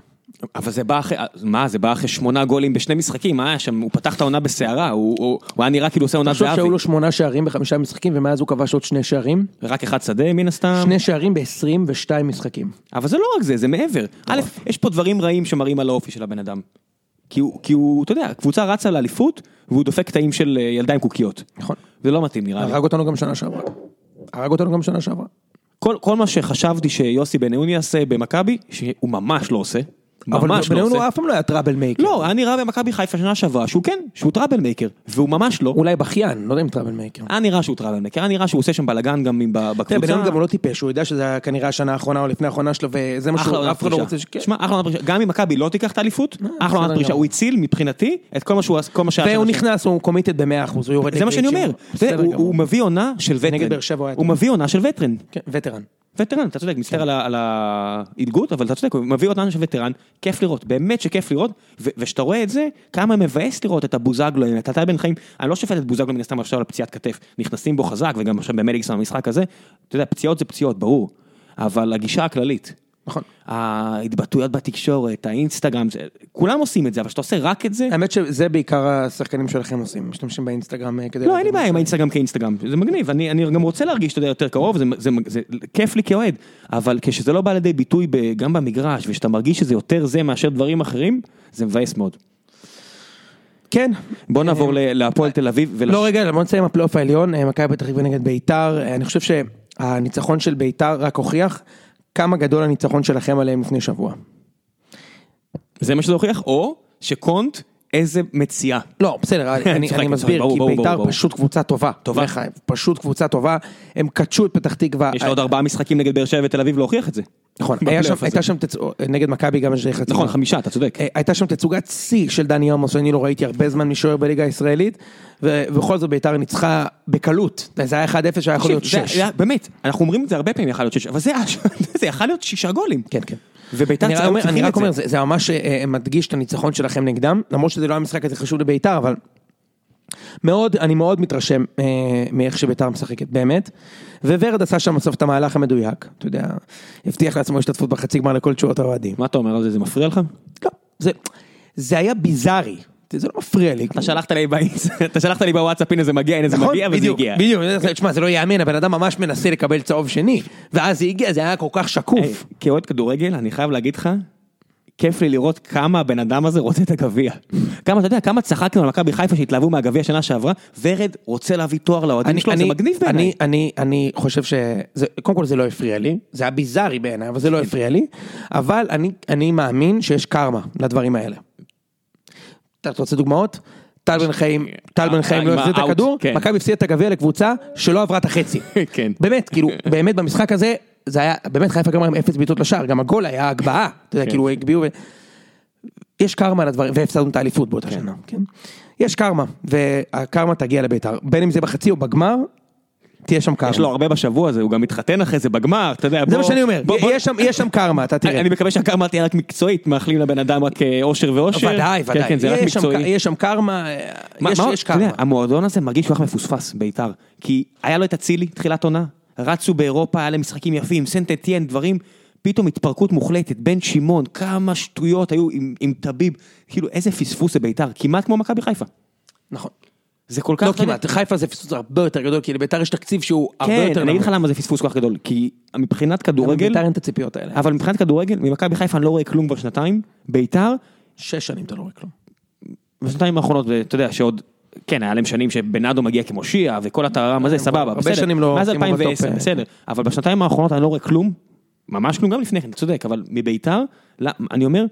Speaker 1: אבל זה בא אחרי, מה זה בא אחרי שמונה גולים בשני משחקים, מה היה שם, הוא פתח את העונה בסערה, הוא הוא- הוא היה נראה כאילו עושה עונת
Speaker 2: תחשוב
Speaker 1: זהבי,
Speaker 2: שהיו לו שמונה שערים בחמישה משחקים, ומאז הוא כבש עוד שני שערים.
Speaker 1: רק אחד שדה מן הסתם,
Speaker 2: שני שערים ב-22 משחקים.
Speaker 1: אבל זה לא רק זה, זה מעבר. א', יש פה דברים רעים שמראים על האופי של הבן אדם. כי הוא, כי הוא, אתה יודע, הקבוצה רצה לאליפות, והוא דופק קטעים של אה, ילדה עם קוקיות.
Speaker 2: נכון.
Speaker 1: זה לא מתאים נראה לי.
Speaker 2: הרג אותנו גם שנה שעברה. הרג אותנו גם שנה שעברה.
Speaker 1: כל, כל מה שחשבתי שיוסי בניון יעשה במכבי, שהוא ממש לא עושה.
Speaker 2: אבל
Speaker 1: ממש לא
Speaker 2: בניון
Speaker 1: עושה.
Speaker 2: הוא אף פעם לא היה טראבל מייקר.
Speaker 1: לא, היה נראה במכבי חיפה שנה שעברה שהוא כן, שהוא טראבל מייקר, והוא ממש לא.
Speaker 2: אולי בכיין, לא יודע אם טראבל מייקר.
Speaker 1: היה נראה שהוא טראבל מייקר, היה נראה שהוא עושה שם בלאגן גם עם ב-
Speaker 2: תראה,
Speaker 1: בקבוצה.
Speaker 2: בניון גם לא טיפש, הוא יודע שזה היה כנראה השנה האחרונה או לפני האחרונה שלו, וזה מה
Speaker 1: אחלה
Speaker 2: שהוא,
Speaker 1: עונת
Speaker 2: אף אחד לא
Speaker 1: פרישה.
Speaker 2: רוצה ש... כן. אה,
Speaker 1: תשמע, אחלה עונת פרישה. גם אם מכבי לא תיקח את האליפות, אחלה
Speaker 2: בסדר
Speaker 1: עונת פרישה.
Speaker 2: גמור.
Speaker 1: הוא הציל מבחינתי את כל מה שהוא כל מה שהיה.
Speaker 2: והוא
Speaker 1: שם.
Speaker 2: נכנס, הוא קומיטד ב-100%, הוא יורד
Speaker 1: זה מה שאני אומר.
Speaker 2: לגריצ'ים.
Speaker 1: אתה יודע,
Speaker 2: בסדר
Speaker 1: הוא-
Speaker 2: גמור.
Speaker 1: הוא מביא עונה של וטרן.
Speaker 2: באר שבע הוא היה
Speaker 1: הוא
Speaker 2: טוב.
Speaker 1: מביא עונה של וטרן.
Speaker 2: כן, וטרן.
Speaker 1: וטרן, אתה צודק, מצטער על ה- על העילגות, אבל אתה צודק, הוא מביא אותנו של וטרן, כיף לראות, באמת שכיף לראות, ו- וכשאתה רואה את זה, כמה מבאס לראות את הבוזגלו, את הטל בן חיים, אני לא שופט את בוזגלו מן הסתם עכשיו על פציעת כתף, נכנסים בו חזק, וגם עכשיו במליקסון במשחק הזה, אתה יודע, פציעות זה פציעות, ברור, אבל הגישה הכללית,
Speaker 2: נכון.
Speaker 1: ההתבטאויות בתקשורת, האינסטגרם, זה- כולם עושים את זה, אבל כשאתה עושה רק את זה,
Speaker 2: האמת שזה בעיקר השחקנים שלכם עושים, משתמשים באינסטגרם אה, כדי...
Speaker 1: לא, אין לי
Speaker 2: לדבר.
Speaker 1: בעיה עם האינסטגרם כאינסטגרם, זה מגניב, אני, אני גם רוצה להרגיש, אתה יודע, יותר קרוב, זה, זה, זה כיף לי כאוהד, אבל כשזה לא בא לידי ביטוי ב, גם במגרש, ושאתה מרגיש שזה יותר זה מאשר דברים אחרים, זה מבאס מאוד.
Speaker 2: כן.
Speaker 1: בוא נעבור ל- להפועל תל אביב, ולש...
Speaker 2: לא, רגע, בוא נסיים עם הפלייאוף העליון, אה, מכבי פתח תקווה נגד ביתר, אה, אני חושב שהניצחון של ביתר רק הוכיח כמה גדול הניצחון שלכם עליהם לפני שבוע.
Speaker 1: זה מה שזה הוכיח, או שקונט, איזה מציאה.
Speaker 2: לא, בסדר, אני, אני,
Speaker 1: צוחק,
Speaker 2: אני
Speaker 1: צוחק,
Speaker 2: מסביר,
Speaker 1: ברור,
Speaker 2: כי
Speaker 1: ברור,
Speaker 2: ביתר
Speaker 1: ברור, ברור.
Speaker 2: פשוט קבוצה טובה.
Speaker 1: טובה.
Speaker 2: לחיים, פשוט קבוצה טובה, הם קדשו את פתח תקווה.
Speaker 1: יש לה עוד ארבעה משחקים נגד באר שבע ותל אביב להוכיח את זה.
Speaker 2: נכון, היה
Speaker 1: בפלייאוף
Speaker 2: שם,
Speaker 1: הזה.
Speaker 2: הייתה שם תצוג... נגד מכבי גם יש חצי.
Speaker 1: נכון,
Speaker 2: גמר.
Speaker 1: חמישה, אתה צודק.
Speaker 2: אה, הייתה שם תצוגת שיא של דני עמוס, אני לא ראיתי הרבה זמן משוער בליגה הישראלית, ובכל זאת ביתר ניצחה בקלות. זה היה 1-0 שהיה יכול להיות
Speaker 1: תקשיב, זה
Speaker 2: 6.
Speaker 1: היה- באמת, אנחנו אומרים את זה הרבה פעמים, יכול להיות שש, אבל זה היה- זה יכול להיות שישה גולים.
Speaker 2: כן, כן.
Speaker 1: וביתר
Speaker 2: אני רק
Speaker 1: צריכה
Speaker 2: אומר,
Speaker 1: צריכים את
Speaker 2: אני רק
Speaker 1: זה.
Speaker 2: אומר, זה זה ממש אה, מדגיש את הניצחון שלכם נגדם, למרות שזה לא המשחק הזה חשוב לביתר, אבל מאוד, אני מאוד מתרשם אה, מאיך שביתר משחקת, באמת. וורד עשה שם בסוף את המהלך המדויק, אתה יודע, הבטיח לעצמו השתתפות בחצי גמר לכל תשואות האוהדים.
Speaker 1: מה אתה אומר על זה, זה מפריע לך?
Speaker 2: לא, זה- זה היה ביזארי, זה לא מפריע לי.
Speaker 1: אתה שלחת לי באינס- אתה שלחת לי בוואטסאפ, הנה זה מגיע, הנה זה מגיע וזה
Speaker 2: נכון, בדיוק,
Speaker 1: הגיע.
Speaker 2: בדיוק, זה- תשמע, זה לא ייאמן, הבן אדם ממש מנסה לקבל צהוב שני, ואז זה הגיע, זה היה כל כך
Speaker 1: היי,
Speaker 2: שקוף.
Speaker 1: כאוהד כדורגל, אני חייב להגיד לך, כיף לי לראות כמה הבן אדם הזה רוצה את הגביע. כמה, אתה יודע, כמה צחקנו על מכבי חיפה שהתלהבו מהגביע שנה שעברה, ורד רוצה להביא תואר לאוהדים שלו, זה מגניב בעיניי.
Speaker 2: אני, אני, אני חושב שזה, קודם כל זה לא הפריע לי, זה היה ביזארי בעיניי, אבל זה
Speaker 1: כן.
Speaker 2: לא הפריע לי, אבל אני, אני מאמין שיש קרמה לדברים האלה. אתה אתה רוצה דוגמאות? טל בן חיים,
Speaker 1: אה,
Speaker 2: טל בן חיים לא
Speaker 1: עם
Speaker 2: החזיר את
Speaker 1: האאוט,
Speaker 2: הכדור,
Speaker 1: כן.
Speaker 2: מכבי הפסיד את הגביע לקבוצה שלא עברה את החצי.
Speaker 1: כן.
Speaker 2: באמת, כאילו, באמת במשחק הזה, זה היה, באמת חיפה גמר עם אפס בעיטות לשער, גם הגול היה הגבהה, אתה יודע,
Speaker 1: כן.
Speaker 2: כאילו הגביהו, ו- יש קרמה לדברים, והפסדנו את האליפות באותה כן? שנה, כן? יש קרמה, והקרמה תגיע לבית"ר, בין אם זה בחצי או בגמר, תהיה שם קרמה.
Speaker 1: יש לו הרבה בשבוע הזה, הוא גם מתחתן אחרי זה בגמר, אתה יודע, בוא...
Speaker 2: זה מה שאני אומר,
Speaker 1: בוא- בוא-
Speaker 2: יש שם- יש שם קרמה, אתה תראה.
Speaker 1: אני מקווה שהקרמה תהיה רק מקצועית, מאחלים לבן אדם רק אה, אושר ואושר.
Speaker 2: ודאי,
Speaker 1: כן, כן,
Speaker 2: ודאי.
Speaker 1: זה רק
Speaker 2: יש שם-
Speaker 1: מקצועי.
Speaker 2: יש שם קרמה,
Speaker 1: מה-
Speaker 2: יש-
Speaker 1: מה-
Speaker 2: יש
Speaker 1: אתה יודע,
Speaker 2: קרמה.
Speaker 1: המועדון הזה מרגיש שהוא הולך מפוספס, בית"ר. כי היה לו את אצילי, תחילת עונה, רצו באירופה, היה להם משחקים יפים, סנטטיאן, דברים, פתאום התפרקות מוחלטת, בן שמעון, כמה שטויות היו עם- עם טביב, כאילו איזה פספוס זה בית"ר, כמעט כמו מכבי חיפה.
Speaker 2: נכון.
Speaker 1: זה כל כך...
Speaker 2: לא
Speaker 1: אתה יודע,
Speaker 2: כמעט, חיפה זה פספוס הרבה יותר גדול, כי לביתר יש תקציב שהוא הרבה יותר
Speaker 1: כן,
Speaker 2: נמוך.
Speaker 1: אני אגיד לך למה זה פספוס כל כך גדול, כי מבחינת כדורגל,
Speaker 2: לביתר אין את הציפיות האלה.
Speaker 1: אבל מבחינת כדורגל, ממכבי חיפה אני לא רואה כלום כבר שנתיים, בית"ר,
Speaker 2: שש שנים אתה לא רואה כלום.
Speaker 1: בשנתיים האחרונות, אתה יודע, שעוד, כן, היה להם שנים שבנאדו מגיע כמושיע, וכל הטררם הזה, סבבה,
Speaker 2: הרבה
Speaker 1: בסדר.
Speaker 2: שנים לא
Speaker 1: מאז
Speaker 2: שימו בטופ,
Speaker 1: 2010,
Speaker 2: אה.
Speaker 1: בסדר. אבל בשנתיים האחרונות אני לא רואה כלום, ממש כלום, גם לפני כן, אתה צודק, אבל מביתר, לא, אני אומר,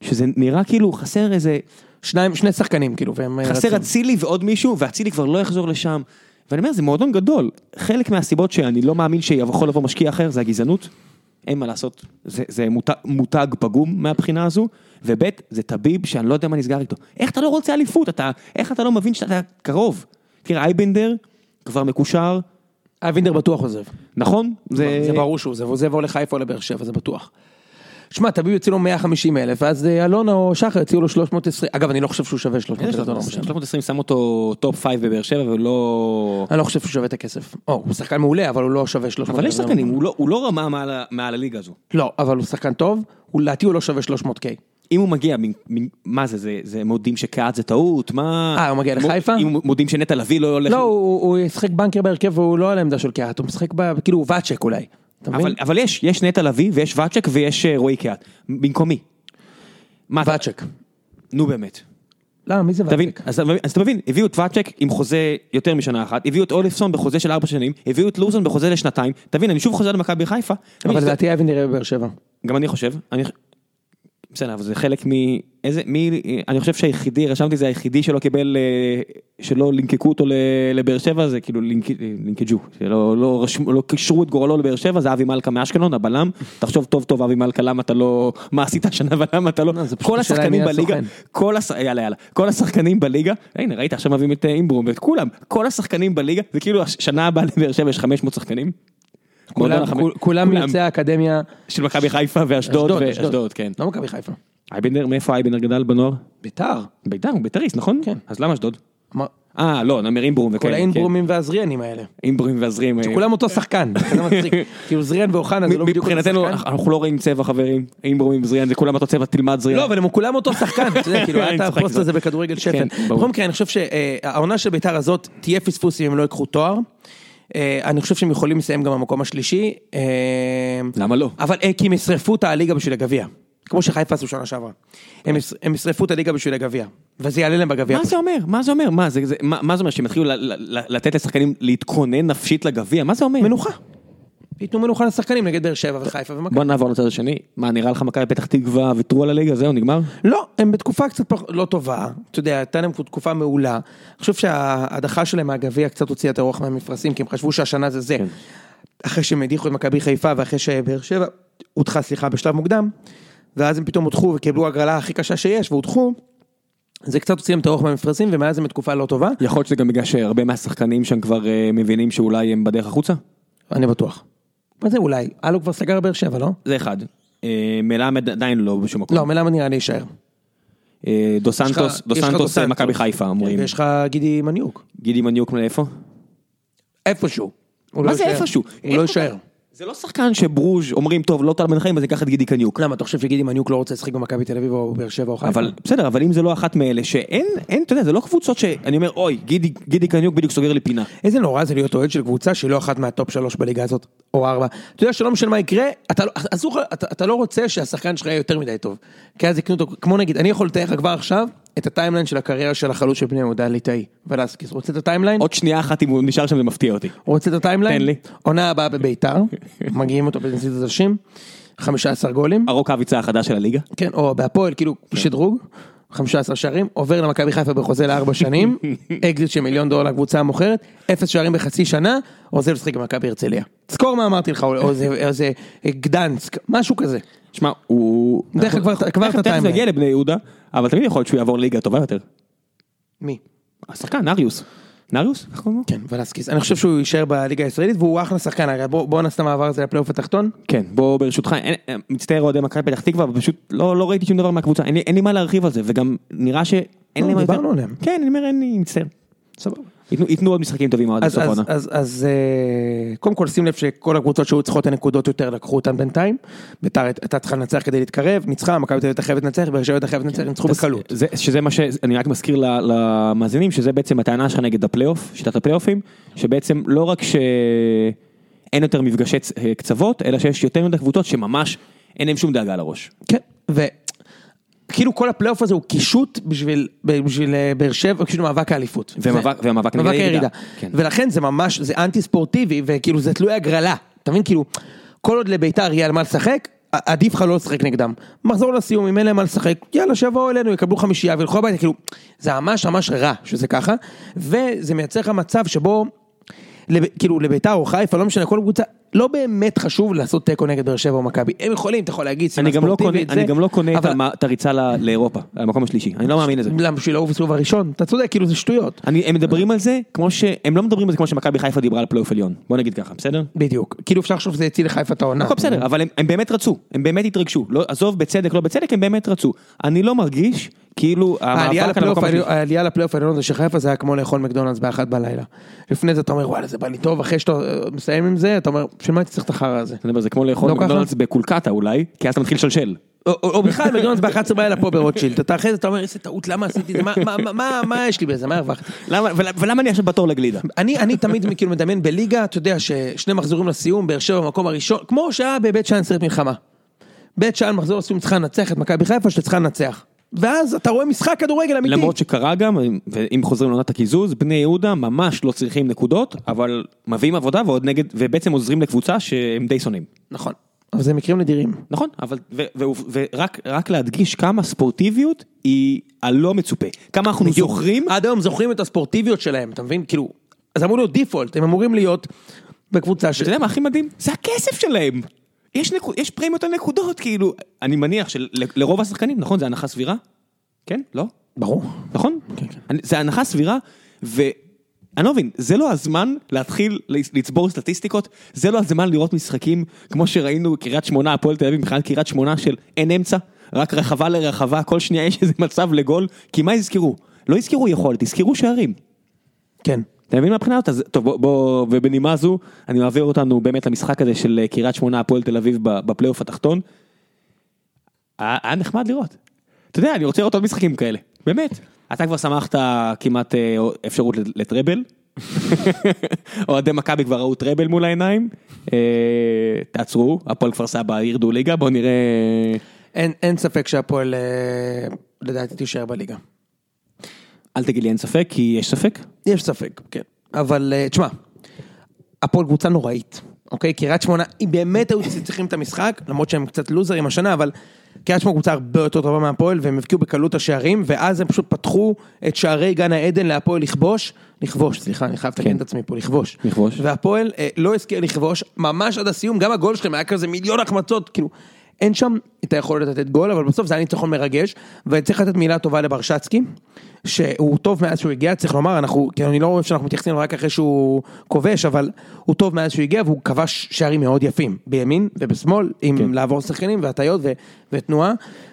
Speaker 1: שזה נראה כאילו חסר איזה,
Speaker 2: שניים, שני שחקנים כאילו, והם
Speaker 1: חסר
Speaker 2: רצים.
Speaker 1: אצילי ועוד מישהו, ואצילי כבר לא יחזור לשם. ואני אומר, זה מועדון גדול. חלק מהסיבות שאני לא מאמין שיכול לבוא משקיע אחר זה הגזענות. אין מה לעשות, זה, זה מותג, מותג פגום מהבחינה הזו, וב' זה טביב שאני לא יודע מה נסגר איתו. איך אתה לא רוצה אליפות? אתה, איך אתה לא מבין שאתה קרוב? תראה, אייבנדר כבר מקושר,
Speaker 2: אבינדר בטוח עוזב.
Speaker 1: נכון? זה,
Speaker 2: זה ברור שהוא עוזב, הוא עוזב או לחיפה או לבאר שבע, זה בטוח. שמע, תביאו יוצאו לו 150 אלף, ואז אה, אלונה או שחר יוציאו לו 320, אגב, אני לא חושב שהוא שווה 300
Speaker 1: אין
Speaker 2: אלף דולר.
Speaker 1: 320, 320 שם אותו טופ פייב בבאר שבע ולא...
Speaker 2: אני לא חושב שהוא שווה את הכסף. או, הוא שחקן מעולה, אבל הוא לא שווה 300
Speaker 1: אבל יש
Speaker 2: דולר.
Speaker 1: שחקנים, הוא לא, הוא לא רמה מעל, ה- מעל הליגה הזו.
Speaker 2: לא, אבל הוא שחקן טוב, הוא לדעתי הוא לא שווה 300 קיי.
Speaker 1: אם הוא מגיע, מ- מ- מה זה, זה, זה מודים שקהת זה טעות, מה...
Speaker 2: אה, הוא מגיע לחיפה?
Speaker 1: אם הוא- מודים שנטע לביא לא הולך...
Speaker 2: לא, הוא הוא ישחק בנקר בהרכב והוא לא על העמדה של קהת, הוא משחק ב... כאילו הוא ואצ'ק אולי. אתה מבין?
Speaker 1: אבל, אבל יש, יש נטע לביא ויש ואצ'ק ויש אה, רועי קהת. במקומי. מה אתה...
Speaker 2: ואצ'ק.
Speaker 1: נו באמת.
Speaker 2: למה, מי זה
Speaker 1: אתה מבין?
Speaker 2: ואצ'ק?
Speaker 1: אז, אתה מבין- אז אתה מבין, הביאו את ואצ'ק עם חוזה יותר משנה אחת, הביאו את אולפסון בחוזה של ארבע שנים, הביאו את לוזון בחוזה לשנתיים, תבין, אני שוב חוזר למכבי חיפה. תבין,
Speaker 2: אבל
Speaker 1: שזה-
Speaker 2: לדעתי אבן נראה בבאר שבע.
Speaker 1: גם אני חושב, אני... ח- בסדר, אבל זה חלק מ... איזה... מי... אני חושב שהיחידי, רשמתי זה היחידי שלא קיבל... אה, שלא לינקקו אותו ל- לבאר שבע, זה כאילו לינק... לינקג'ו, שלא לא רשמו, לא קישרו את גורלו לבאר שבע, זה אבי מלכה מאשקלון, הבלם. תחשוב טוב טוב אבי מלכה, למה אתה לא... מה עשית השנה ולמה אתה לא...
Speaker 2: לא, זה פשוט
Speaker 1: כל
Speaker 2: השאלה
Speaker 1: השחקנים
Speaker 2: מי
Speaker 1: בליגה,
Speaker 2: הסוכן.
Speaker 1: כל הש... יאללה יאללה, כל השחקנים בליגה, הנה ראית עכשיו מביאים את אה, אינברום ואת כולם, כל השחקנים בליגה, זה כאילו הש- שנה הבאה לבאר שבע יש 500 שחקנים.
Speaker 2: כולם-
Speaker 1: מועדון החמש-
Speaker 2: כול- כולם יוצאי האקדמיה.
Speaker 1: של מכבי חיפה ואשדוד ואשדוד, כן.
Speaker 2: לא מכבי חיפה.
Speaker 1: אייבנדר, מאיפה אייבנדר גדל בנוער?
Speaker 2: ביתר.
Speaker 1: ביתר, הוא ביתריסט, נכון?
Speaker 2: כן.
Speaker 1: אז למה אשדוד?
Speaker 2: מה-
Speaker 1: אה, לא, אני אומר אינברום וכאלה.
Speaker 2: כל
Speaker 1: כן.
Speaker 2: האינברומים והזריאנים האלה.
Speaker 1: אינברומים והזרים. אה,
Speaker 2: כולם אותו שחקן. זה מצחיק. כאילו זריאן ואוחנה זה לא
Speaker 1: מ-
Speaker 2: בדיוק אותו
Speaker 1: מבחינתנו,
Speaker 2: שחקן.
Speaker 1: אנחנו לא רואים צבע חברים, אינברומים וזריאן, זה כולם אותו צבע, תלמד
Speaker 2: לא,
Speaker 1: זריאן.
Speaker 2: אבל הם כולם אותו שחקן, אתה יודע, כאילו, היה
Speaker 1: אה, אני
Speaker 2: את
Speaker 1: צוחק,
Speaker 2: הפוסט
Speaker 1: זה-
Speaker 2: הזה בכדורגל שפל.
Speaker 1: כן, ברור.
Speaker 2: בכל מקרה, אני חושב שהעונה של ביתר הזאת תהיה פספוס אם הם לא ייקחו תואר. אה, אני חושב שהם יכולים לסיים גם במקום השלישי. אה,
Speaker 1: למה לא?
Speaker 2: אבל אה, כי הם ישרפו את הליגה בשביל הגביע. כמו שחיפה עשו שנה שעברה. הם יש- הם ישרפו את הליגה בשביל הגביע. וזה יעלה להם בגביע.
Speaker 1: מה זה אומר? מה זה אומר? מה זה- זה- מה מה זה אומר שהם יתחילו ל- ל- ל- לתת לשחקנים להתכונן נפשית לגביע? מה זה אומר?
Speaker 2: מנוחה. ייתנו מנוחה לשחקנים נגד באר שבע וחיפה ומכבי.
Speaker 1: בוא נעבור לצד השני. מה, נראה לך מכבי פתח תקווה ויתרו על הליגה? זהו, נגמר?
Speaker 2: לא, הם בתקופה קצת פח... לא טובה, אתה יודע, הייתה להם תקופה מעולה. אני חושב שההדחה שלהם מהגביע קצת הוציאה את הרוח מהמפרשים, כי הם חשבו שהשנה זה זה.
Speaker 1: כן.
Speaker 2: אחרי שהם הדיחו את מכבי חיפה ואחרי שבאר שבע הודחה, סליחה, בשלב מוקדם, ואז הם פתאום הודחו וקיבלו הגרלה הכי קשה שיש והודחו. זה קצת הוציא להם את הרוח מהמפרשים, ומאז הם בתקופה לא טובה,
Speaker 1: יכול להיות שזה גם בגלל שהרבה מהשחקנים שם כבר אה, מבינים שאולי הם בדרך החוצה?
Speaker 2: אני בטוח. מה זה אולי? אלו כבר סגר באר שבע, לא?
Speaker 1: זה אחד. אה, מלמד עדיין לא בשום מקום.
Speaker 2: לא, מלמה נראה לי יישאר.
Speaker 1: אה, דו סנטוס,
Speaker 2: יש לך-
Speaker 1: דו
Speaker 2: יש לך
Speaker 1: סנטוס
Speaker 2: דו
Speaker 1: אה, מכבי
Speaker 2: סנטוס. כן,
Speaker 1: חיפה אמורים.
Speaker 2: ויש לך גידי מניוק.
Speaker 1: גידי מניוק מאיפה?
Speaker 2: איפשהו. הוא
Speaker 1: מה
Speaker 2: לא
Speaker 1: זה
Speaker 2: יישאר.
Speaker 1: איפשהו?
Speaker 2: הוא לא
Speaker 1: איך אתה-
Speaker 2: יישאר.
Speaker 1: זה לא שחקן שברוז' אומרים טוב לא טל בן חיים אז ניקח את גידי קניוק.
Speaker 2: למה אתה חושב שגידי מניוק לא רוצה לשחק במכבי תל אביב או באר שבע או חיפה?
Speaker 1: אבל בסדר אבל אם זה לא אחת מאלה שאין אין אתה יודע זה לא קבוצות שאני אומר אוי גידי גידי קניוק בדיוק סוגר לי פינה.
Speaker 2: איזה נורא זה להיות אוהד של קבוצה שהיא לא אחת מהטופ שלוש בליגה הזאת או ארבע. אתה יודע שלא משנה מה יקרה, אתה, לא- אסור, לך- אתה, אתה לא רוצה שהשחקן שלך יהיה יותר מדי טוב. כי אז יקנו אותו, כמו נגיד, אני יכול לתאר לך כבר עכשיו את הטיימליין של הקריירה של החלוץ של בני יהודה הליטאי. ולסקיס, רוצה את הטיימליין?
Speaker 1: עוד שנייה אחת אם הוא נשאר שם זה מפתיע אותי.
Speaker 2: רוצה את הטיימליין?
Speaker 1: תן לי.
Speaker 2: עונה הבאה בביתר, מגיעים אותו בנזיד עדשים, 15 גולים.
Speaker 1: הרוקאביצה החדש של הליגה.
Speaker 2: כן, או בהפועל, כאילו, שדרוג, 15 שערים, עובר למכבי חיפה בחוזה לארבע שנים, אקזיט של מיליון דולר לקבוצה המוכרת, אפס שערים בחצי שנה, עוזב לשחק במכבי הרצליה. זכור מה אמרתי לך, או או איזה- או איזה גדנסק, משהו כזה.
Speaker 1: שמע הוא.
Speaker 2: דרך אגב, כבר-
Speaker 1: נכון.
Speaker 2: כבר
Speaker 1: תכף- תכף
Speaker 2: את
Speaker 1: זה
Speaker 2: הטיימליין.
Speaker 1: יגיע לבני יהודה אבל תמיד יכול להיות שהוא יעבור ליגה טובה יותר.
Speaker 2: מי?
Speaker 1: השחקן אריוס. נריוס? איך קוראים לו?
Speaker 2: כן, ולסקיס. אני חושב שהוא יישאר בליגה הישראלית והוא אחלה שחקן, הרי בוא בוא נעשה את המעבר הזה לפלייאוף התחתון.
Speaker 1: כן, בוא ברשותך, אין- אה, מצטער אוהדי מכבי פתח תקווה, אבל פשוט לא, לא ראיתי שום דבר מהקבוצה, אין לי, אין לי מה להרחיב על זה, וגם נראה שאין
Speaker 2: לא,
Speaker 1: לי מה יותר.
Speaker 2: דיברנו עליהם.
Speaker 1: כן, אני אומר, אין לי, מצטער.
Speaker 2: סבבה.
Speaker 1: ייתנו, ייתנו עוד משחקים טובים עד
Speaker 2: אז,
Speaker 1: סוף
Speaker 2: אז,
Speaker 1: העונה.
Speaker 2: אז, אז אה, קודם כל שים לב שכל הקבוצות שהיו צריכות את הנקודות יותר לקחו אותן בינתיים. ביתר הייתה צריכה לנצח כדי להתקרב, ניצחה, מכבי תל אביב הייתה חייבת לנצח, באר שבע הייתה חייבת לנצח, ניצחו בקלות.
Speaker 1: זה, שזה מה ש... אני רק מזכיר ל- למאזינים, שזה בעצם הטענה שלך נגד הפלייאוף, שיטת הפלייאופים, שבעצם לא רק שאין יותר מפגשי צ- אה, קצוות, אלא שיש יותר מדי קבוצות שממש אין להם שום דאגה על הראש.
Speaker 2: כן, וכאילו כל הפלייאוף הזה הוא קישוט בשביל, בשביל אה, באר שבע, בשביל מאבק האליפות.
Speaker 1: ומאבק-
Speaker 2: זה-
Speaker 1: ומאבק נגד
Speaker 2: מאבק
Speaker 1: הירידה.
Speaker 2: הירידה.
Speaker 1: כן.
Speaker 2: ולכן זה ממש, זה אנטי ספורטיבי, וכאילו זה תלוי הגרלה. אתה מבין? כאילו, כל עוד לביתר יהיה על מה לשחק, ע- עדיף לך לא לשחק נגדם. מחזור לסיום, אם אין להם מה לשחק, יאללה, שיבואו אלינו, יקבלו חמישייה וילכו הביתה, כאילו, זה ממש ממש רע שזה ככה, וזה מייצר לך מצב שבו, לב, כאילו לביתר או חיפה, לא משנה, כל קבוצה, לא באמת חשוב לעשות תיקו נגד באר שבע או מכבי. הם יכולים, אתה יכול להגיד,
Speaker 1: אני גם לא קונה,
Speaker 2: ספורטיבית,
Speaker 1: אני
Speaker 2: זה,
Speaker 1: גם לא קונה את
Speaker 2: אבל-
Speaker 1: המ- את הריצה ל- לאירופה, למקום השלישי, אני לא מאמין לזה.
Speaker 2: למה בשביל לעוף בסיבוב הראשון? אתה צודק, כאילו זה שטויות.
Speaker 1: אני, הם מדברים על זה כמו ש... הם לא מדברים על זה כמו שמכבי חיפה דיברה על פלייאוף עליון. בוא נגיד ככה, בסדר?
Speaker 2: בדיוק. כאילו אפשר לחשוב שזה יציל לחיפה את העונה.
Speaker 1: הכל בסדר, אבל הם, הם באמת רצו, הם באמת התרגשו. לא, עזוב בצדק, לא בצדק, הם באמת רצו. אני לא מרגיש כאילו
Speaker 2: אה, העלייה
Speaker 1: המאבק על
Speaker 2: לפלייאוף
Speaker 1: המקום השלישי.
Speaker 2: העליון- העלייה לפלייאוף העליון הזה של חיפה זה היה כמו לאכול מקדונלדס באחת בלילה. לפני זה אתה אומר וואלה זה בא לי טוב, אחרי שאתה אה, מסיים עם זה אתה אומר בשביל מה הייתי צריך את החרא הזה.
Speaker 1: אתה יודע, זה כמו לאכול
Speaker 2: לא ככה?
Speaker 1: מקדונלדס בקולקטה אולי, כי אז אתה מתחיל לשלשל.
Speaker 2: או- או או בכלל מקדונלדס ב-11 בלילה פה ברוטשילד, אתה אחרי זה אתה אומר איזה טעות למה עשיתי את זה, מה- מה- מה- מה- מה יש לי בזה, מה הרווחתי.
Speaker 1: למה, ול- ולמה אני עכשיו בתור לגלידה?
Speaker 2: אני, אני תמיד כאילו מדמיין בליגה, אתה יודע ששני מחזורים לסיום, באר שבע במקום הראשון, כמו שהיה בבית שאן סרט מלחמה. בית שאן מחזור לסיום צריכה לנצח את מכבי חיפה שצריכה לנצח. ואז אתה רואה משחק כדורגל אמיתי.
Speaker 1: למרות שקרה גם, ואם חוזרים לעונת הקיזוז, בני יהודה ממש לא צריכים נקודות, אבל מביאים עבודה ועוד נגד, ובעצם עוזרים לקבוצה שהם די שונאים.
Speaker 2: נכון. אבל זה מקרים נדירים.
Speaker 1: נכון, אבל ו- ו- ורק רק להדגיש כמה ספורטיביות היא הלא מצופה. כמה אנחנו זוכרים,
Speaker 2: עד היום זוכרים את הספורטיביות שלהם, אתה מבין? כאילו, זה אמור להיות דיפולט, הם אמורים להיות בקבוצה ש...
Speaker 1: אתה יודע מה הכי מדהים? זה הכסף שלהם. יש, נקו, יש פרמיות על נקודות, כאילו, אני מניח שלרוב השחקנים, נכון? זה הנחה סבירה? כן? לא?
Speaker 2: ברור.
Speaker 1: נכון?
Speaker 2: כן, כן.
Speaker 1: אני- זה הנחה סבירה, ואני לא מבין, זה לא הזמן להתחיל ל- לצבור סטטיסטיקות, זה לא הזמן לראות משחקים כמו שראינו קריית שמונה, הפועל תל אביב, מבחינת קריית שמונה של אין אמצע, רק רחבה לרחבה, כל שנייה יש איזה מצב לגול, כי מה יזכרו? לא יזכרו יכולת, יזכרו שערים.
Speaker 2: כן.
Speaker 1: אתה מבין מהבחינה הזאת? אז טוב, בוא, בוא, ובנימה זו, אני מעביר אותנו באמת למשחק הזה של אה, קריית שמונה, הפועל תל אביב ב- בפלייאוף התחתון. היה היה נחמד לראות. אתה יודע, אני רוצה לראות עוד משחקים כאלה, באמת. אתה כבר שמחת כמעט אה, אפשרות לט- לטראבל. אוהדי מכבי כבר ראו טראבל מול העיניים. אה, תעצרו, הפועל כפר סבא ירדו ליגה, בואו נראה...
Speaker 2: אין, אין ספק שהפועל, אה, לדעתי, תישאר בליגה.
Speaker 1: אל תגיד לי אין ספק, כי יש ספק.
Speaker 2: יש ספק, כן. אבל אה, תשמע, הפועל קבוצה נוראית, אוקיי? קריית שמונה, היא באמת היו צריכים את המשחק, למרות שהם קצת לוזרים השנה, אבל קריית שמונה קבוצה הרבה יותר טובה מהפועל, והם הבקיעו בקלות השערים, ואז הם פשוט פתחו את שערי גן העדן להפועל לכבוש, לכבוש, סליחה, אני חייב לתקן
Speaker 1: כן.
Speaker 2: את עצמי פה, לכבוש.
Speaker 1: לכבוש.
Speaker 2: והפועל אה, לא הזכיר לכבוש, ממש עד הסיום, גם הגול שלהם היה כזה מיליון החמצות, כאילו, אין שם את היכולת לתת גול, אבל בסוף זה היה ניצחון מרגש, וצריך לתת מילה טובה לברשצקי, שהוא טוב מאז שהוא הגיע, צריך לומר, אנחנו, כאילו, אני לא אוהב שאנחנו מתייחסים אליו רק אחרי שהוא כובש, אבל הוא טוב מאז שהוא הגיע, והוא כבש שערים מאוד יפים, בימין ובשמאל, עם
Speaker 1: כן.
Speaker 2: כן. לעבור שחקנים והטיות ו- ותנועה,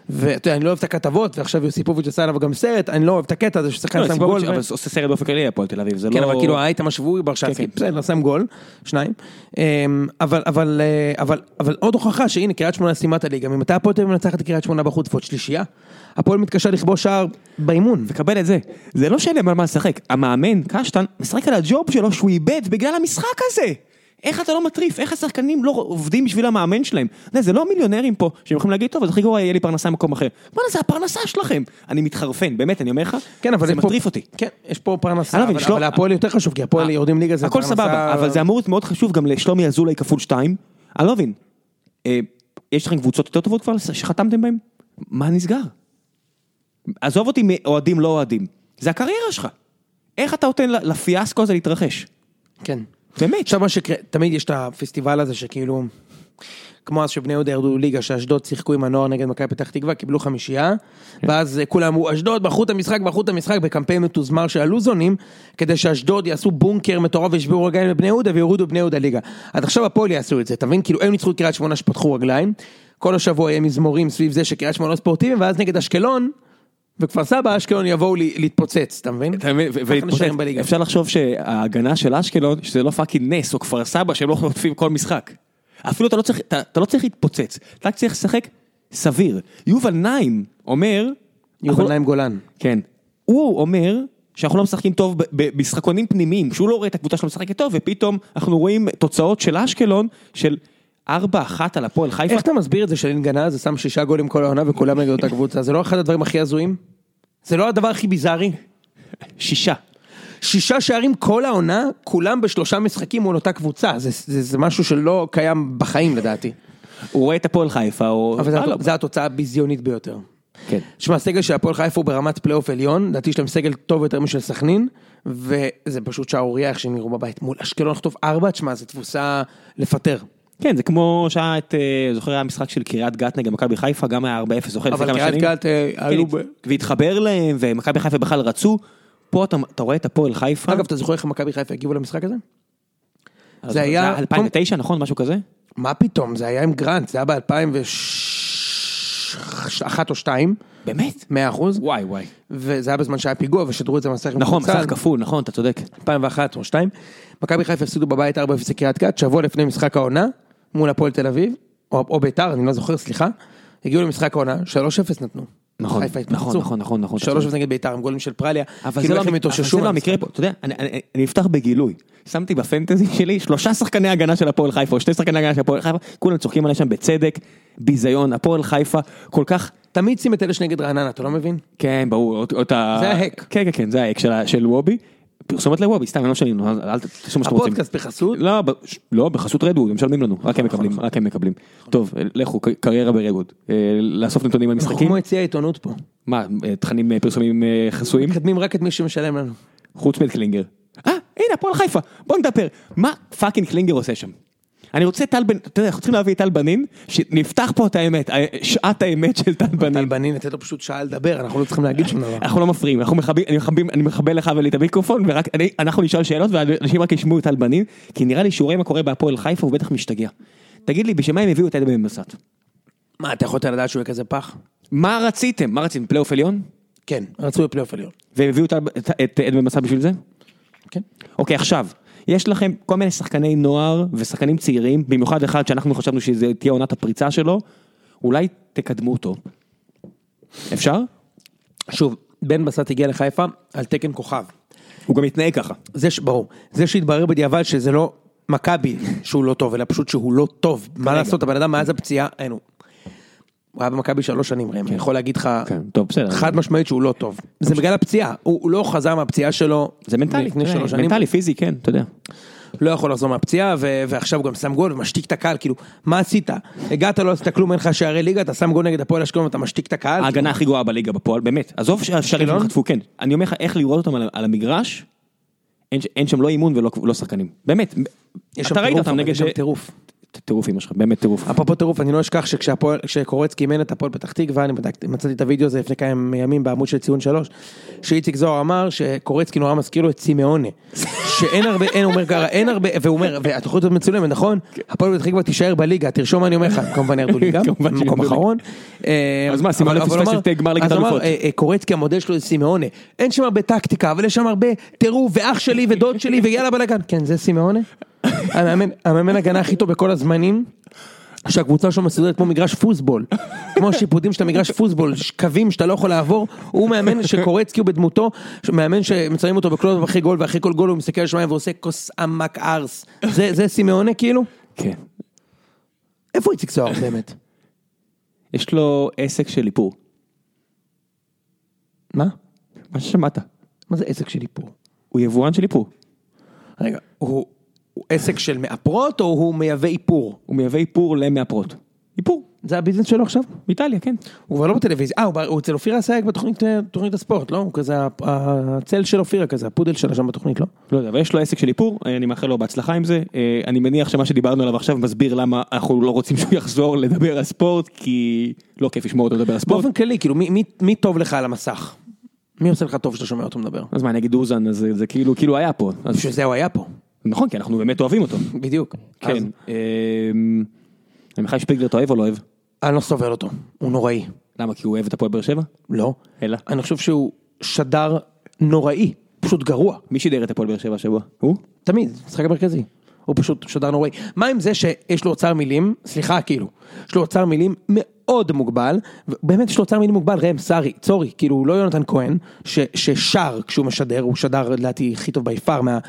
Speaker 2: ואתה יודע, אני לא אוהב את הכתבות, ועכשיו יוסיפוביץ' עשה עליו גם סרט, אני לא אוהב את הקטע הזה ששחקן
Speaker 1: לא,
Speaker 2: שם גול.
Speaker 1: סיבוביץ',
Speaker 2: ו-
Speaker 1: אבל עושה סרט באופן כללי הפועל תל אביב, זה לא...
Speaker 2: כן, אבל כאילו הייתם השבועי
Speaker 1: כן,
Speaker 2: ברשצקי,
Speaker 1: כן.
Speaker 2: בסדר, שם גול, שניים. אמ, אבל, אבל, אה, אבל, אבל עוד הוכחה שהנה, קריית שמונה סיימה את הליגה, ממתי הפועל תל אביב מנצחת את קריית שמונה בחוץ ועוד שלישייה? הפועל מתקשה לכבוש שער באימון.
Speaker 1: תקבל את זה. זה לא שאין להם על מה לשחק. המאמן, קשטן, משחק על הג'וב שלו שהוא איבד בגלל המשחק הזה. איך אתה לא מטריף? איך השחקנים לא עובדים בשביל המאמן שלהם? אתה יודע, זה לא המיליונרים פה, שהם יכולים להגיד, טוב, אז הכי גרוע יהיה לי פרנסה במקום אחר. בואנה, זה הפרנסה שלכם. אני מתחרפן, באמת, אני אומר לך,
Speaker 2: כן, אבל
Speaker 1: זה
Speaker 2: יש פה-
Speaker 1: מטריף אותי.
Speaker 2: כן, יש פה
Speaker 1: אני
Speaker 2: פרנסה,
Speaker 1: לא מבין,
Speaker 2: אבל
Speaker 1: שלא- אה,
Speaker 2: אבל הפועל יותר חשוב, כי הפועל יורדים ליגה זה
Speaker 1: הכל
Speaker 2: פרנסה-
Speaker 1: סבבה, אבל זה אמור להיות מאוד חשוב גם לשלומי אזולאי כפול שתיים. אני לא מבין. אה, יש לכם קבוצות יותר טובות כבר שחתמתם בהן? מה נסגר? עזוב אותי מאוהדים לא אוהדים. זה הקריירה שלך. איך אתה נותן ל- לפיאסקו הזה להתרחש?
Speaker 2: כן.
Speaker 1: באמת.
Speaker 2: עכשיו מה שקרה, תמיד יש את הפסטיבל הזה שכאילו, כמו אז שבני יהודה ירדו ליגה, שאשדוד שיחקו עם הנוער נגד מכבי פתח תקווה, קיבלו חמישייה,
Speaker 1: כן.
Speaker 2: ואז אה, כולם אמרו, אשדוד, בחרו את המשחק, בחרו את המשחק, בקמפיין מתוזמר של הלוזונים, כדי שאשדוד יעשו בונקר מטורף וישברו רגליים לבני יהודה ויורידו את בני יהודה ליגה. אז עכשיו הפועל יעשו את זה, אתה מבין? כאילו הם ניצחו את קריית שמונה שפתחו רגליים, כל השבוע יהיה מזמורים סביב זה שקריית שמונה לא ספורטיביים, ואז נגד אשקלון, וכפר סבא, אשקלון יבואו לי- להתפוצץ, אתה מבין?
Speaker 1: אתה מבין? ו-
Speaker 2: ככה
Speaker 1: ולהתפוצץ.
Speaker 2: נשארים בליגה.
Speaker 1: אפשר לחשוב שההגנה של אשקלון, שזה לא פאקינג נס או כפר סבא, שהם לא חוטפים כל משחק. אפילו אתה לא צריך, אתה, אתה לא צריך להתפוצץ, אתה רק צריך לשחק סביר. יובל נעים אומר...
Speaker 2: יובל
Speaker 1: אנחנו- לא-
Speaker 2: נעים גולן.
Speaker 1: כן. הוא אומר שאנחנו לא משחקים טוב במשחקונים פנימיים, שהוא לא רואה את הקבוצה שלו משחקת טוב, ופתאום אנחנו רואים תוצאות של אשקלון של 4-1 על הפועל חיפה.
Speaker 2: איך אתה מסביר את זה שלין גנז שם שישה גולים כל העונה וכולם נגד אותה קבוצה? זה לא אחד הדברים הכי הזויים? זה לא הדבר הכי ביזארי?
Speaker 1: שישה.
Speaker 2: שישה שערים כל העונה, כולם בשלושה משחקים מול אותה קבוצה, זה, זה, זה משהו שלא קיים בחיים לדעתי.
Speaker 1: הוא רואה את הפועל חיפה, או...
Speaker 2: אבל
Speaker 1: אה, לא.
Speaker 2: זו- זו התוצאה הביזיונית ביותר.
Speaker 1: כן.
Speaker 2: שמע, הסגל של הפועל חיפה הוא ברמת פלייאוף עליון, לדעתי יש להם סגל טוב יותר משל סכנין, וזה פשוט שערורייה איך שהם נראו בבית. מול אשקלון לחטוף ארבע, תשמע, זו תבוסה לפטר.
Speaker 1: כן, זה כמו שהיה את, אה, זוכר היה משחק של קריית גת נגד מכבי חיפה, גם היה 4-0, זוכר
Speaker 2: אבל קריית גת אה,
Speaker 1: כן,
Speaker 2: עלו... ב-
Speaker 1: והתחבר להם, ומכבי חיפה בכלל רצו. פה אתה, אתה רואה את הפועל חיפה.
Speaker 2: אגב, אתה זוכר איך מכבי חיפה הגיבו למשחק הזה?
Speaker 1: אז
Speaker 2: זה היה-
Speaker 1: 2009, נכון? משהו כזה?
Speaker 2: מה פתאום, זה היה עם גרנט, זה היה ב-2001 או 2,
Speaker 1: באמת?
Speaker 2: 100 אחוז,
Speaker 1: וואי וואי.
Speaker 2: וזה היה בזמן שהיה פיגוע ושידרו את זה במסך עם
Speaker 1: נכון,
Speaker 2: קבוצה,
Speaker 1: משחק כפול, נכון, אתה צודק.
Speaker 2: 2001 או 2. מכבי חיפה הפסידו בבית 4-0 לקריית גת, שבוע לפני משחק העונה, מול הפועל תל אביב, או, או ביתר, אני לא זוכר, סליחה, הגיעו למשחק העונה, 3-0 נתנו.
Speaker 1: נכון,
Speaker 2: חיפה
Speaker 1: נכון,
Speaker 2: התפרצו.
Speaker 1: נכון, נכון, נכון, אתה
Speaker 2: 3-0
Speaker 1: צודק.
Speaker 2: נגד ביתר עם גולים של פרליה,
Speaker 1: אבל זה
Speaker 2: כאילו
Speaker 1: לא,
Speaker 2: איך הם
Speaker 1: המק-
Speaker 2: התאוששו.
Speaker 1: אבל זה לא
Speaker 2: מהמשחק.
Speaker 1: המקרה פה, אתה יודע, אני, אני, אני אפתח בגילוי, שמתי בפנטזי שלי שלושה שחקני הגנה של הפועל חיפה, או שתי שחקני הגנה של הפועל חיפה, כולם צוחקים עליי שם בצדק, ביזיון, הפועל חיפה, כל כך,
Speaker 2: תמיד שים את אלה שנגד רעננה, אתה לא מבין?
Speaker 1: כן ברור, או- או את ה...
Speaker 2: זה ההק.
Speaker 1: כן, כן, כן, זה ההק של, ה- של וובי, פרסומת לוובי, סתם, הם לא משלמים, לנו, אל אל תעשו מה שאתם רוצים.
Speaker 2: הפודקאסט נכון, בחסות,
Speaker 1: לא, ב- ש- לא, בחסות רדווד, הם משלמים לנו, רק הם מקבלים, רק הם מקבלים. טוב, לכו, ק- קריירה ברדווד, אה, לאסוף נתונים על
Speaker 2: אנחנו
Speaker 1: משחקים,
Speaker 2: כמו יציע העיתונות פה.
Speaker 1: מה, אה, תכנים אה, פרסומים אה, חסויים?
Speaker 2: מקדמים רק את מי שמשלם לנו.
Speaker 1: חוץ מקלינגר. אה, הנה, הפועל חיפה, בוא נדבר. מה פאקינג קלינגר עושה שם? אני רוצה טל בן, אתה יודע, אנחנו צריכים להביא את טל בנין, שנפתח פה את האמת, ה- שעת האמת של טל
Speaker 2: טל
Speaker 1: בנין.
Speaker 2: בנין, לתת לו פשוט שעה לדבר, אנחנו לא צריכים להגיד שום דבר.
Speaker 1: אנחנו לא מפריעים, אנחנו מכבים, אני מכבים, אני מכבה לך ולי את המיקרופון, ורק, אני, אנחנו נשאל שאלות, ואנשים רק ישמעו את טל בנין, כי נראה לי שהוא רואה מה קורה בהפועל חיפה, הוא בטח משתגע. תגיד לי, בשביל מה הם הביאו את אלה במסעת?
Speaker 2: מה, אתה יכולת לדעת שהוא יהיה כזה פח?
Speaker 1: מה רציתם? מה רציתם? פלייאוף עליון?
Speaker 2: כן, רצו בפלייאוף עליון.
Speaker 1: והם הביאו את את- את אלה במסעת בשביל זה?
Speaker 2: כן.
Speaker 1: אוקיי, עכשיו, יש לכם כל מיני שחקני נוער ושחקנים צעירים, במיוחד אחד שאנחנו חשבנו שזה תהיה עונת הפריצה שלו, אולי תקדמו אותו. אפשר?
Speaker 2: שוב, בן בסט הגיע לחיפה על תקן כוכב.
Speaker 1: הוא גם מתנהג ככה.
Speaker 2: זה ש... ברור. זה שהתברר בדיעבד שזה לא מכבי שהוא לא טוב, אלא פשוט שהוא לא טוב. מה לעשות, הבן אדם מאז הפציעה, אין הוא. הוא היה במכבי שלוש שנים, ראם, אני יכול להגיד לך,
Speaker 1: כן, טוב, בסדר.
Speaker 2: חד משמעית שהוא לא טוב. זה בגלל הפציעה, הוא הוא לא חזר מהפציעה שלו.
Speaker 1: זה מנטלי,
Speaker 2: לפני
Speaker 1: אתה יודע,
Speaker 2: שלוש שנים.
Speaker 1: מנטלי, פיזי, כן, אתה יודע.
Speaker 2: לא יכול לחזור מהפציעה, ו- ועכשיו הוא גם שם גול ומשתיק את הקהל, כאילו, מה עשית? הגעת, לא עשית כלום, אין לך שערי ליגה, אתה שם גול נגד הפועל אשקלון ואתה משתיק את הקהל?
Speaker 1: ההגנה הכי גרועה בליגה בפועל, באמת. עזוב שהשערים שהם
Speaker 2: אשקלון?
Speaker 1: חטפו, כן. אני אומר לך, איך לראות אותם על- על המגרש, אין ש- אין שם לא אימון ולא לא שחקנים. באמת.
Speaker 2: יש שם
Speaker 1: אתה ראית
Speaker 2: טירוף,
Speaker 1: אותם
Speaker 2: אבל
Speaker 1: נגד...
Speaker 2: יש שם טירוף.
Speaker 1: ט- טירוף אמא שלך, באמת טירוף.
Speaker 2: אפרופו טירוף, אני לא אשכח שכשהפועל- כשקורצקי אימן את הפועל פתח תקווה, אני בדקתי, מצאתי את הוידאו הזה לפני כמה ימים בעמוד של ציון שלוש, שאיציק זוהר אמר שקורצקי נורא מזכיר לו את סימאונה. שאין הרבה, אין, הוא אומר ככה, אין הרבה, והוא אומר, והתוכנית הזאת מצולמת, נכון? הפועל פתח תקווה תישאר בליגה, תרשום מה אני אומר לך, כמובן ירדו ליגה,
Speaker 1: כמובן שירדו
Speaker 2: במקום
Speaker 1: ליגה.
Speaker 2: אחרון. אה,
Speaker 1: אז מה, סימאונה
Speaker 2: אבל- אבל
Speaker 1: פספס
Speaker 2: הוא
Speaker 1: את גמר ליגת
Speaker 2: אז הוא אמר,
Speaker 1: האלופות.
Speaker 2: אה, אה, קורצקי המודל שלו זה סימאונה. אין שם הרבה טקטיקה, אבל יש שם הרבה טירוף, ואח שלי ודוד שלי, ויאללה בלאגן. כן, זה סימאונה? המאמן, המאמן הגנה הכי טוב בכל הזמנים, שהקבוצה שלו מסודרת כמו מגרש פוסבול. כמו שיפודים של המגרש פוסבול, ש- קווים שאתה לא יכול לעבור, הוא מאמן שקורצקי הוא בדמותו, ש- מאמן שמצלמים אותו בקלוב אחרי גול, ואחרי כל גול הוא מסתכל לשמיים ועושה כוס עמק ארס. זה, זה סימאונה כאילו?
Speaker 1: כן.
Speaker 2: איפה איציק זוהר באמת?
Speaker 1: יש לו עסק של איפור.
Speaker 2: מה?
Speaker 1: מה ששמעת.
Speaker 2: מה זה עסק של איפור?
Speaker 1: הוא יבואן של איפור.
Speaker 2: רגע, הוא, הוא עסק של מאפרות או הוא מייבא איפור?
Speaker 1: הוא מייבא איפור למאפרות. איפור.
Speaker 2: זה הביזנס שלו עכשיו?
Speaker 1: באיטליה, כן.
Speaker 2: הוא כבר לא בטלוויזיה. אה, הוא ב- הוא אצל אופירה אסייג בתוכנית אה, תוכנית הספורט, לא? הוא כזה, ה- הצל של אופירה כזה, הפודל שלה שם בתוכנית, לא?
Speaker 1: לא יודע, אבל יש לו עסק של איפור, אה, אני מאחל לו בהצלחה עם זה. אה, אני מניח שמה שדיברנו עליו עכשיו מסביר למה אנחנו לא רוצים שהוא יחזור לדבר על ספורט, כי לא כיף לשמוע אותו לדבר על ספורט.
Speaker 2: באופן כללי, כאילו, מי- מי- מי טוב לך על המסך? מי עושה לך טוב שאתה שומע אותו מדבר?
Speaker 1: אז מה, נגיד אוזן, אז זה- זה כאילו, כאילו היה פה. אז-
Speaker 2: בשביל זה הוא היה פה.
Speaker 1: נכון, כי אנחנו באמת אוהבים אותו.
Speaker 2: בדיוק.
Speaker 1: כן.
Speaker 2: אז
Speaker 1: עמיחי שפיגלר אתה אוהב או לא אוהב?
Speaker 2: אני לא סובל אותו, הוא נוראי.
Speaker 1: למה? כי הוא אוהב את הפועל באר שבע?
Speaker 2: לא.
Speaker 1: אלא?
Speaker 2: אני חושב שהוא שדר נוראי, פשוט גרוע.
Speaker 1: מי שידר את הפועל באר שבע השבוע? הוא?
Speaker 2: תמיד, משחק המרכזי. הוא פשוט שדר נוראי. מה עם זה שיש לו אוצר מילים, סליחה כאילו, יש לו אוצר מילים מאוד מוגבל, באמת יש לו אוצר מילים מוגבל, ראם סארי, צורי, כאילו הוא לא יונתן כהן, ש, ששר כשהוא משדר, הוא שדר לדעתי הכי טוב בי פאר מה,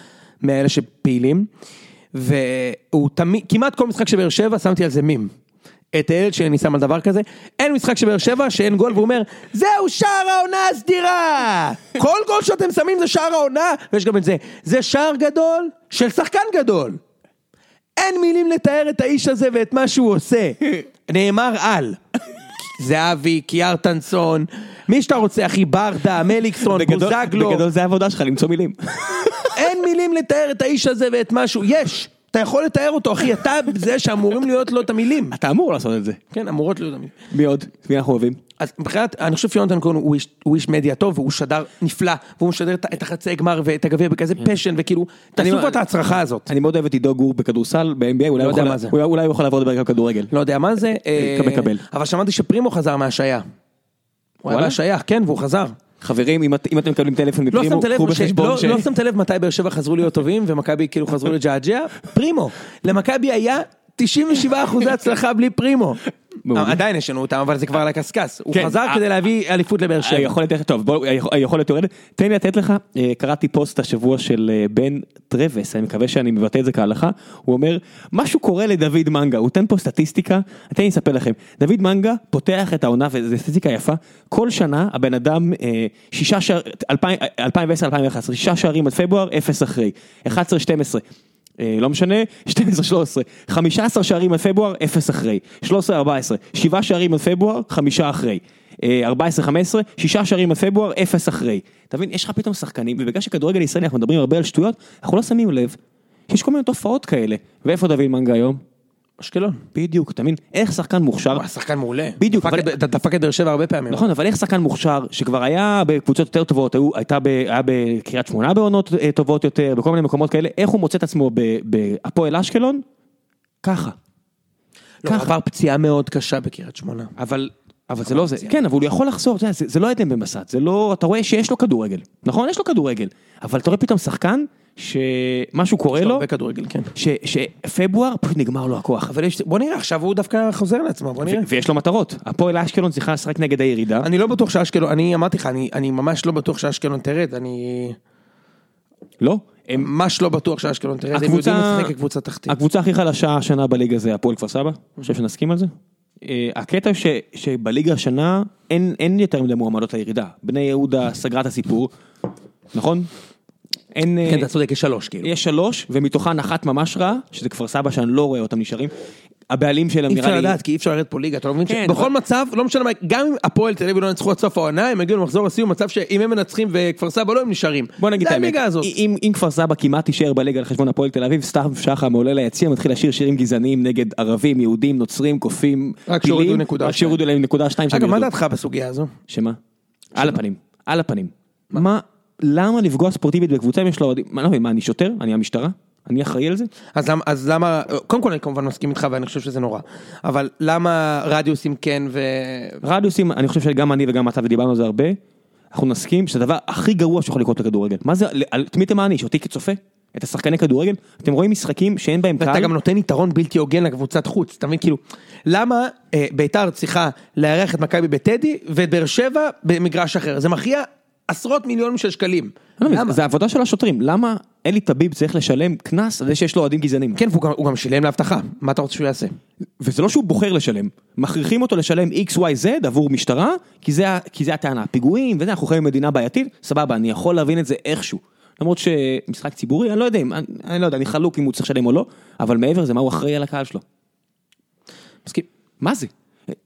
Speaker 2: מאלה שפעילים, והוא תמיד, כמעט כל משחק של באר שבע שמתי על זה מים. את הילד שלי אני שם על דבר כזה, אין משחק של באר שבע שאין גול והוא אומר, זהו שער העונה הסדירה! כל גול שאתם שמים זה שער העונה, ויש גם את זה, זה שער גדול של שחקן גדול. אין מילים לתאר את האיש הזה ואת מה שהוא עושה. נאמר על. זהבי, קיארטנסון, מי שאתה רוצה, אחי, ברדה, מליקסון,
Speaker 1: בגדול-
Speaker 2: בוזגלו,
Speaker 1: בגדול זה העבודה שלך, למצוא מילים.
Speaker 2: אין מילים לתאר את האיש הזה ואת מה שהוא, יש! אתה יכול לתאר אותו, אחי, אתה זה שאמורים להיות לו את המילים.
Speaker 1: אתה אמור לעשות את זה.
Speaker 2: כן, אמורות להיות המילים.
Speaker 1: מי עוד? מי אנחנו אוהבים?
Speaker 2: אז מבחינת, אני חושב שיונתן כהן הוא איש- הוא איש מדיה טוב, והוא שדר נפלא, והוא משדר את- את החצי גמר ואת הגביע בכזה פשן, וכאילו, תעשו
Speaker 1: כן. אני-
Speaker 2: כבר את ההצרחה הזאת.
Speaker 1: אני מאוד אוהב את עידו גור בכדורסל, ב-NBA, אולי הוא
Speaker 2: יודע
Speaker 1: יכול-
Speaker 2: מה זה.
Speaker 1: אולי- אולי הוא יכול לעבור לדבר גם כדורגל.
Speaker 2: לא יודע מה זה. אה,
Speaker 1: מקבל.
Speaker 2: אבל שמעתי שפרימו חזר מהשעיה. הוא היה
Speaker 1: וואלה?
Speaker 2: בהשעיה, כן, והוא חזר.
Speaker 1: חברים, אם את- אם אתם מקבלים טלפון
Speaker 2: לא
Speaker 1: מפרימו,
Speaker 2: שמת לב
Speaker 1: קחו
Speaker 2: מש-
Speaker 1: בחשבון
Speaker 2: לא-
Speaker 1: ש...
Speaker 2: לא שמת לב מתי באר שבע חזרו להיות טובים, ומכבי כאילו חזרו לג'עג'ע? פרימו. למכבי היה 97 אחוזי הצלחה בלי פרימו. אה,
Speaker 1: מעולה.
Speaker 2: עדיין יש לנו אותם, אבל זה כבר על הקשקש. הוא
Speaker 1: כן, אה,
Speaker 2: חזר
Speaker 1: ה-
Speaker 2: כדי להביא אליפות לבאר שבע.
Speaker 1: היכולת, טוב, בוא, היכול- היכולת יורדת. תן לי לתת לך, אה, קראתי פוסט השבוע של אה, בן טרבס, אני מקווה שאני מבטא את זה כהלכה, הוא אומר, משהו קורה לדוד מנגה, הוא נותן פה סטטיסטיקה, תן לי לספר לכם, דוד מנגה פותח את העונה, וזו סטטיסטיקה יפה, כל שנה הבן אדם, אה, שישה שער, 2010-2011, שישה שערים עד פברואר, אפס אחרי, 11-12. אה, לא משנה, 12-13, 15 שערים עד פברואר, 0 אחרי, 13-14, 7 שערים עד פברואר, 5 אחרי, אה, 14-15, שישה שערים בפברואר, אפס אחרי. אתה מבין, יש לך פתאום שחקנים, ובגלל שכדורגל ישראלי אנחנו מדברים הרבה על שטויות, אנחנו לא שמים לב שיש כל מיני תופעות כאלה. ואיפה דוד מנגה היום?
Speaker 2: אשקלון.
Speaker 1: בדיוק, אתה מבין? איך שחקן מוכשר,
Speaker 2: הוא היה שחקן מעולה.
Speaker 1: בדיוק,
Speaker 2: דפק
Speaker 1: אבל-
Speaker 2: את- דפק את באר שבע הרבה פעמים.
Speaker 1: נכון, אבל איך שחקן מוכשר, שכבר היה בקבוצות יותר טובות, היו- הייתה ב- היה בקריית שמונה בעונות אה, טובות יותר, בכל מיני מקומות כאלה, איך הוא מוצא את עצמו ב- בהפועל אשקלון? ככה.
Speaker 2: לא, הוא עבר פציעה מאוד קשה בקריית שמונה.
Speaker 1: אבל, אבל זה לא זה, כן, אבל הוא יכול לחזור, אתה יודע, זה, זה לא עדן בן בסט, זה לא, אתה רואה שיש לו כדורגל, נכון? יש לו כדורגל, אבל אתה רואה פתאום שחקן שמשהו קורה לו,
Speaker 2: הרבה כדורגל, כן.
Speaker 1: ש, שפברואר פשוט נגמר לו הכוח,
Speaker 2: אבל יש, בוא נראה, עכשיו הוא דווקא חוזר לעצמו, בוא נראה.
Speaker 1: ו- ויש לו מטרות, הפועל אשקלון צריכה לשחק נגד הירידה,
Speaker 2: אני לא בטוח שאשקלון, אני אמרתי לך, אני, אני ממש לא בטוח שאשקלון תרד, אני
Speaker 1: לא, הם,
Speaker 2: ממש לא בטוח שאשקלון תרד, הם יודעים לשחק כקבוצה תחתית.
Speaker 1: הקבוצה הכי חלשה השנה בליגה זה הפועל כפר סבא, אני חושב שנסכים על זה. אה, הקטע ש, שבליגה השנה אין, אין יותר מדי מועמדות לירידה, בני יהודה סגרה את הסיפור, נכון? אין... אה,
Speaker 2: כן, אתה צודק, יש שלוש, כאילו.
Speaker 1: יש שלוש, ומתוכן אחת ממש רעה, שזה כפר סבא שאני לא רואה אותם נשארים. הבעלים שלהם
Speaker 2: אי
Speaker 1: נראה לי...
Speaker 2: אפשר לדעת, כי אי אפשר לרדת פה ליגה, אתה לא מבין?
Speaker 1: כן,
Speaker 2: ש- בכל
Speaker 1: אבל-
Speaker 2: מצב, לא משנה מה, גם אם הפועל תל אביב לא ינצחו עד סוף העונה, הם יגיעו למחזור הסיום, מצב שאם הם מנצחים וכפר סבא לא, הם נשארים.
Speaker 1: בוא נגיד את
Speaker 2: זה
Speaker 1: האמת,
Speaker 2: הליגה הזאת.
Speaker 1: אם, אם כפר סבא כמעט תישאר בליגה על חשבון הפועל תל אביב, סתם שחם עולה ליציע, מתחיל לשיר שירים גזעניים נגד ערבים, יהודים, נוצרים, קופים,
Speaker 2: רק שהורידו
Speaker 1: פילים,
Speaker 2: נקודה
Speaker 1: רק
Speaker 2: שתיים.
Speaker 1: שהורידו להם נקודה שתיים שהם
Speaker 2: אגב, מה
Speaker 1: ירדו.
Speaker 2: דעתך בסוגיה הזו?
Speaker 1: שמה? על הפנים, על הפנים. מה, למה לפגוע ספורטיבית בקבוצה אם יש לה אוהדים? מה, לא מבין, מה, אני שוטר? אני המשטרה? אני אחראי על זה?
Speaker 2: אז למה, אז למה, קודם כל אני כמובן מסכים איתך ואני חושב שזה נורא, אבל למה רדיוסים כן ו...
Speaker 1: רדיוסים, אני חושב שגם אני וגם אתה, ודיברנו על זה הרבה, אנחנו נסכים שזה הדבר הכי גרוע שיכול לקרות לכדורגל. מה זה, על- את מי אתה מעניש? אותי כצופה? את השחקני כדורגל? אתם רואים משחקים שאין בהם
Speaker 2: ואתה
Speaker 1: קהל?
Speaker 2: גם לא- נותן יתרון בלתי הוגן לקבוצת חוץ, אתה מבין? כאילו, למה אה, ביתר צריכה לארח את מכבי בטדי ואת באר שבע במגרש אחר? זה מכריע עשרות מיליונים של שקלים.
Speaker 1: אני לא מבין,
Speaker 2: למה?
Speaker 1: זה עבודה של השוטרים, למה אלי טביב צריך לשלם קנס על זה שיש לו אוהדים גזענים?
Speaker 2: כן, והוא גם, הוא גם שילם לאבטחה, מה אתה רוצה שהוא יעשה?
Speaker 1: וזה לא שהוא בוחר לשלם, מכריחים אותו לשלם XYZ עבור משטרה, כי זה, ה- כי זה הטענה, פיגועים וזה, אנחנו חיים במדינה בעייתית, סבבה, אני יכול להבין את זה איכשהו. למרות שמשחק ציבורי, אני לא יודע, אם- אני, אני לא יודע, אני חלוק אם הוא צריך לשלם או לא, אבל מעבר לזה, מה הוא אחראי על הקהל שלו?
Speaker 2: מסכים.
Speaker 1: מה זה?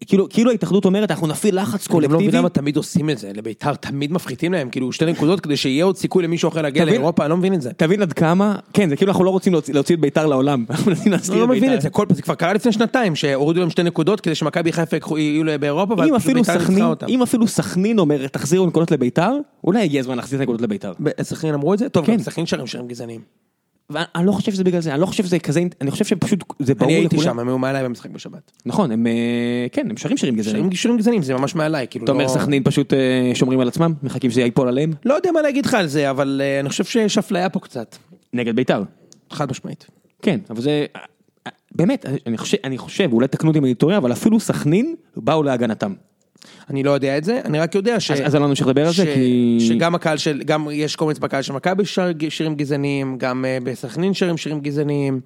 Speaker 1: כאילו, כאילו ההתאחדות אומרת, אנחנו נפעיל לחץ
Speaker 2: אני גם לא מבין
Speaker 1: קולקטיבי.
Speaker 2: למה תמיד עושים את זה, לביתר תמיד מפחיתים להם, כאילו שתי נקודות כדי שיהיה עוד סיכוי למישהו אחר להגיע
Speaker 1: תבין-
Speaker 2: לאירופה, אני לא מבין את זה.
Speaker 1: תבין עד כמה, כן, זה כאילו אנחנו לא רוצים להוציא, להוציא את ביתר לעולם. אנחנו מנסים
Speaker 2: אני
Speaker 1: להסתיר
Speaker 2: לא
Speaker 1: את ביתר.
Speaker 2: מבין את זה, כל פעם, זה כבר קרה לפני שנתיים, שהורידו להם שתי נקודות כדי שמכבי חיפה יקחו- יהיו לה באירופה,
Speaker 1: אם
Speaker 2: אבל פשוט
Speaker 1: אפילו
Speaker 2: ביתר
Speaker 1: סכנין,
Speaker 2: ניצחה אותם.
Speaker 1: אם אפילו סכנין אומרת, תחזירו נקודות לביתר, אולי הגיע הזמן להחזיר את הנקודות לביתר.
Speaker 2: ב- סכנין אמרו את זה? טוב,
Speaker 1: כן.
Speaker 2: גם סכנין שרים שירים גזעניים.
Speaker 1: ואני אני לא חושב שזה בגלל זה, אני לא חושב שזה כזה, אינט- אני חושב שפשוט זה ברור
Speaker 2: אני
Speaker 1: לכולם.
Speaker 2: הייתי שם, הם היו מעליי במשחק בשבת.
Speaker 1: נכון, הם, אה, כן, הם שרים שירים גזענים.
Speaker 2: שרים שירים גזעניים, זה ממש מעליי, כאילו
Speaker 1: אתה אומר
Speaker 2: לא-
Speaker 1: סכנין פשוט אה, שומרים על עצמם, מחכים שזה ייפול עליהם,
Speaker 2: לא יודע מה להגיד לך על זה, אבל אה, אני חושב שיש אפליה פה קצת,
Speaker 1: נגד ביתר.
Speaker 2: חד משמעית.
Speaker 1: כן, אבל זה... אה, אה, באמת, אני חושב, אני חושב, אולי תקנו אותי אם אני טועה, אבל אפילו סכנין באו להגנתם.
Speaker 2: אני לא יודע את זה, אני רק יודע ש...
Speaker 1: אז אז אני לא נמשיך לדבר על
Speaker 2: ש...
Speaker 1: זה, כי...
Speaker 2: שגם הקהל של, גם יש קומץ בקהל של מכבי שר... שירים גזעניים, גם אה, בסכנין שרים שירים גזעניים,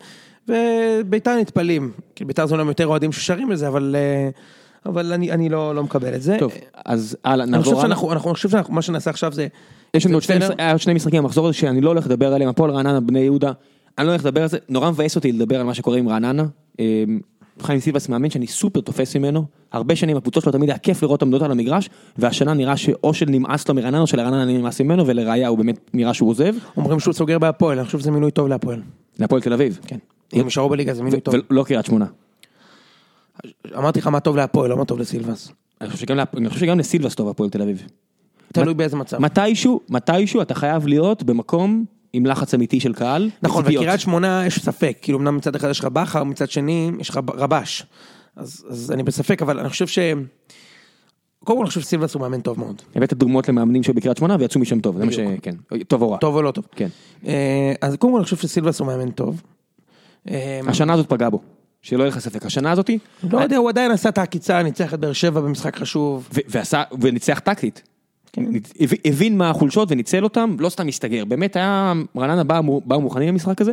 Speaker 2: וביתר נטפלים. כי ביתר זה אומנם יותר אוהדים ששרים לזה, אבל, אה, אבל אני, אני לא, לא מקבל את זה.
Speaker 1: טוב, אז הלאה,
Speaker 2: אני חושב
Speaker 1: נעבור הלאה.
Speaker 2: שאנחנו, אנחנו, אני חושב שאנחנו, מה שנעשה עכשיו זה...
Speaker 1: יש לנו
Speaker 2: זה
Speaker 1: עוד שני,
Speaker 2: בסדר?
Speaker 1: משחק- היה עוד שני משחקים במחזור הזה שאני לא הולך לדבר עליהם, הפועל רעננה, בני יהודה, אני לא הולך לדבר על זה, נורא מבאס אותי לדבר על מה שקורה עם רעננה. אמ, חיים סילבס מאמן שאני סופר תופס ממנו, הרבה שנים הקבוצות שלו תמיד היה כיף לראות עמדות על המגרש, והשנה נראה שאו שנמאס לו מרעננה או שלרעננה נמאס ממנו, ולראיה הוא באמת נראה שהוא עוזב,
Speaker 2: אומרים שהוא סוגר בהפועל, אני חושב שזה מינוי טוב להפועל.
Speaker 1: להפועל תל אביב.
Speaker 2: כן. הם נשארו בליגה, זה מינוי טוב.
Speaker 1: ולא לא קריית שמונה.
Speaker 2: אמרתי לך מה טוב להפועל, לא מה טוב לסילבס.
Speaker 1: אני חושב שגם להפ- אני חושב שגם לסילבס טוב הפועל תל אביב.
Speaker 2: תלוי באיזה מצב.
Speaker 1: מתישהו, מתישהו אתה חייב להיות במקום עם לחץ אמיתי של קהל.
Speaker 2: נכון,
Speaker 1: וציפיות.
Speaker 2: בקריית שמונה יש ספק, כאילו אמנם מצד אחד יש לך בכר, מצד שני יש לך רבש. אז, אז אני בספק, אבל אני חושב ש... קודם כל אני חושב שסילבס הוא מאמן טוב מאוד.
Speaker 1: הבאת דוגמאות למאמנים שהיו בקריית שמונה ויצאו משם טוב, זה מה ש...
Speaker 2: בדיוק.
Speaker 1: כן. טוב או רע.
Speaker 2: טוב או לא טוב.
Speaker 1: כן.
Speaker 2: אה, אז קודם כל אני חושב שסילבס הוא מאמן טוב. אה,
Speaker 1: השנה הזאת פגעה בו, שלא יהיה לך ספק. השנה הזאתי,
Speaker 2: לא יודע, הוא עדיין עשה את העקיצה, ניצח את באר שבע במשחק חשוב.
Speaker 1: ו- ועשה, וניצח טקטית.
Speaker 2: כן.
Speaker 1: הב- הבין מה החולשות וניצל אותם, לא סתם הסתגר. באמת היה, רעננה באו מו- באו מוכנים למשחק הזה.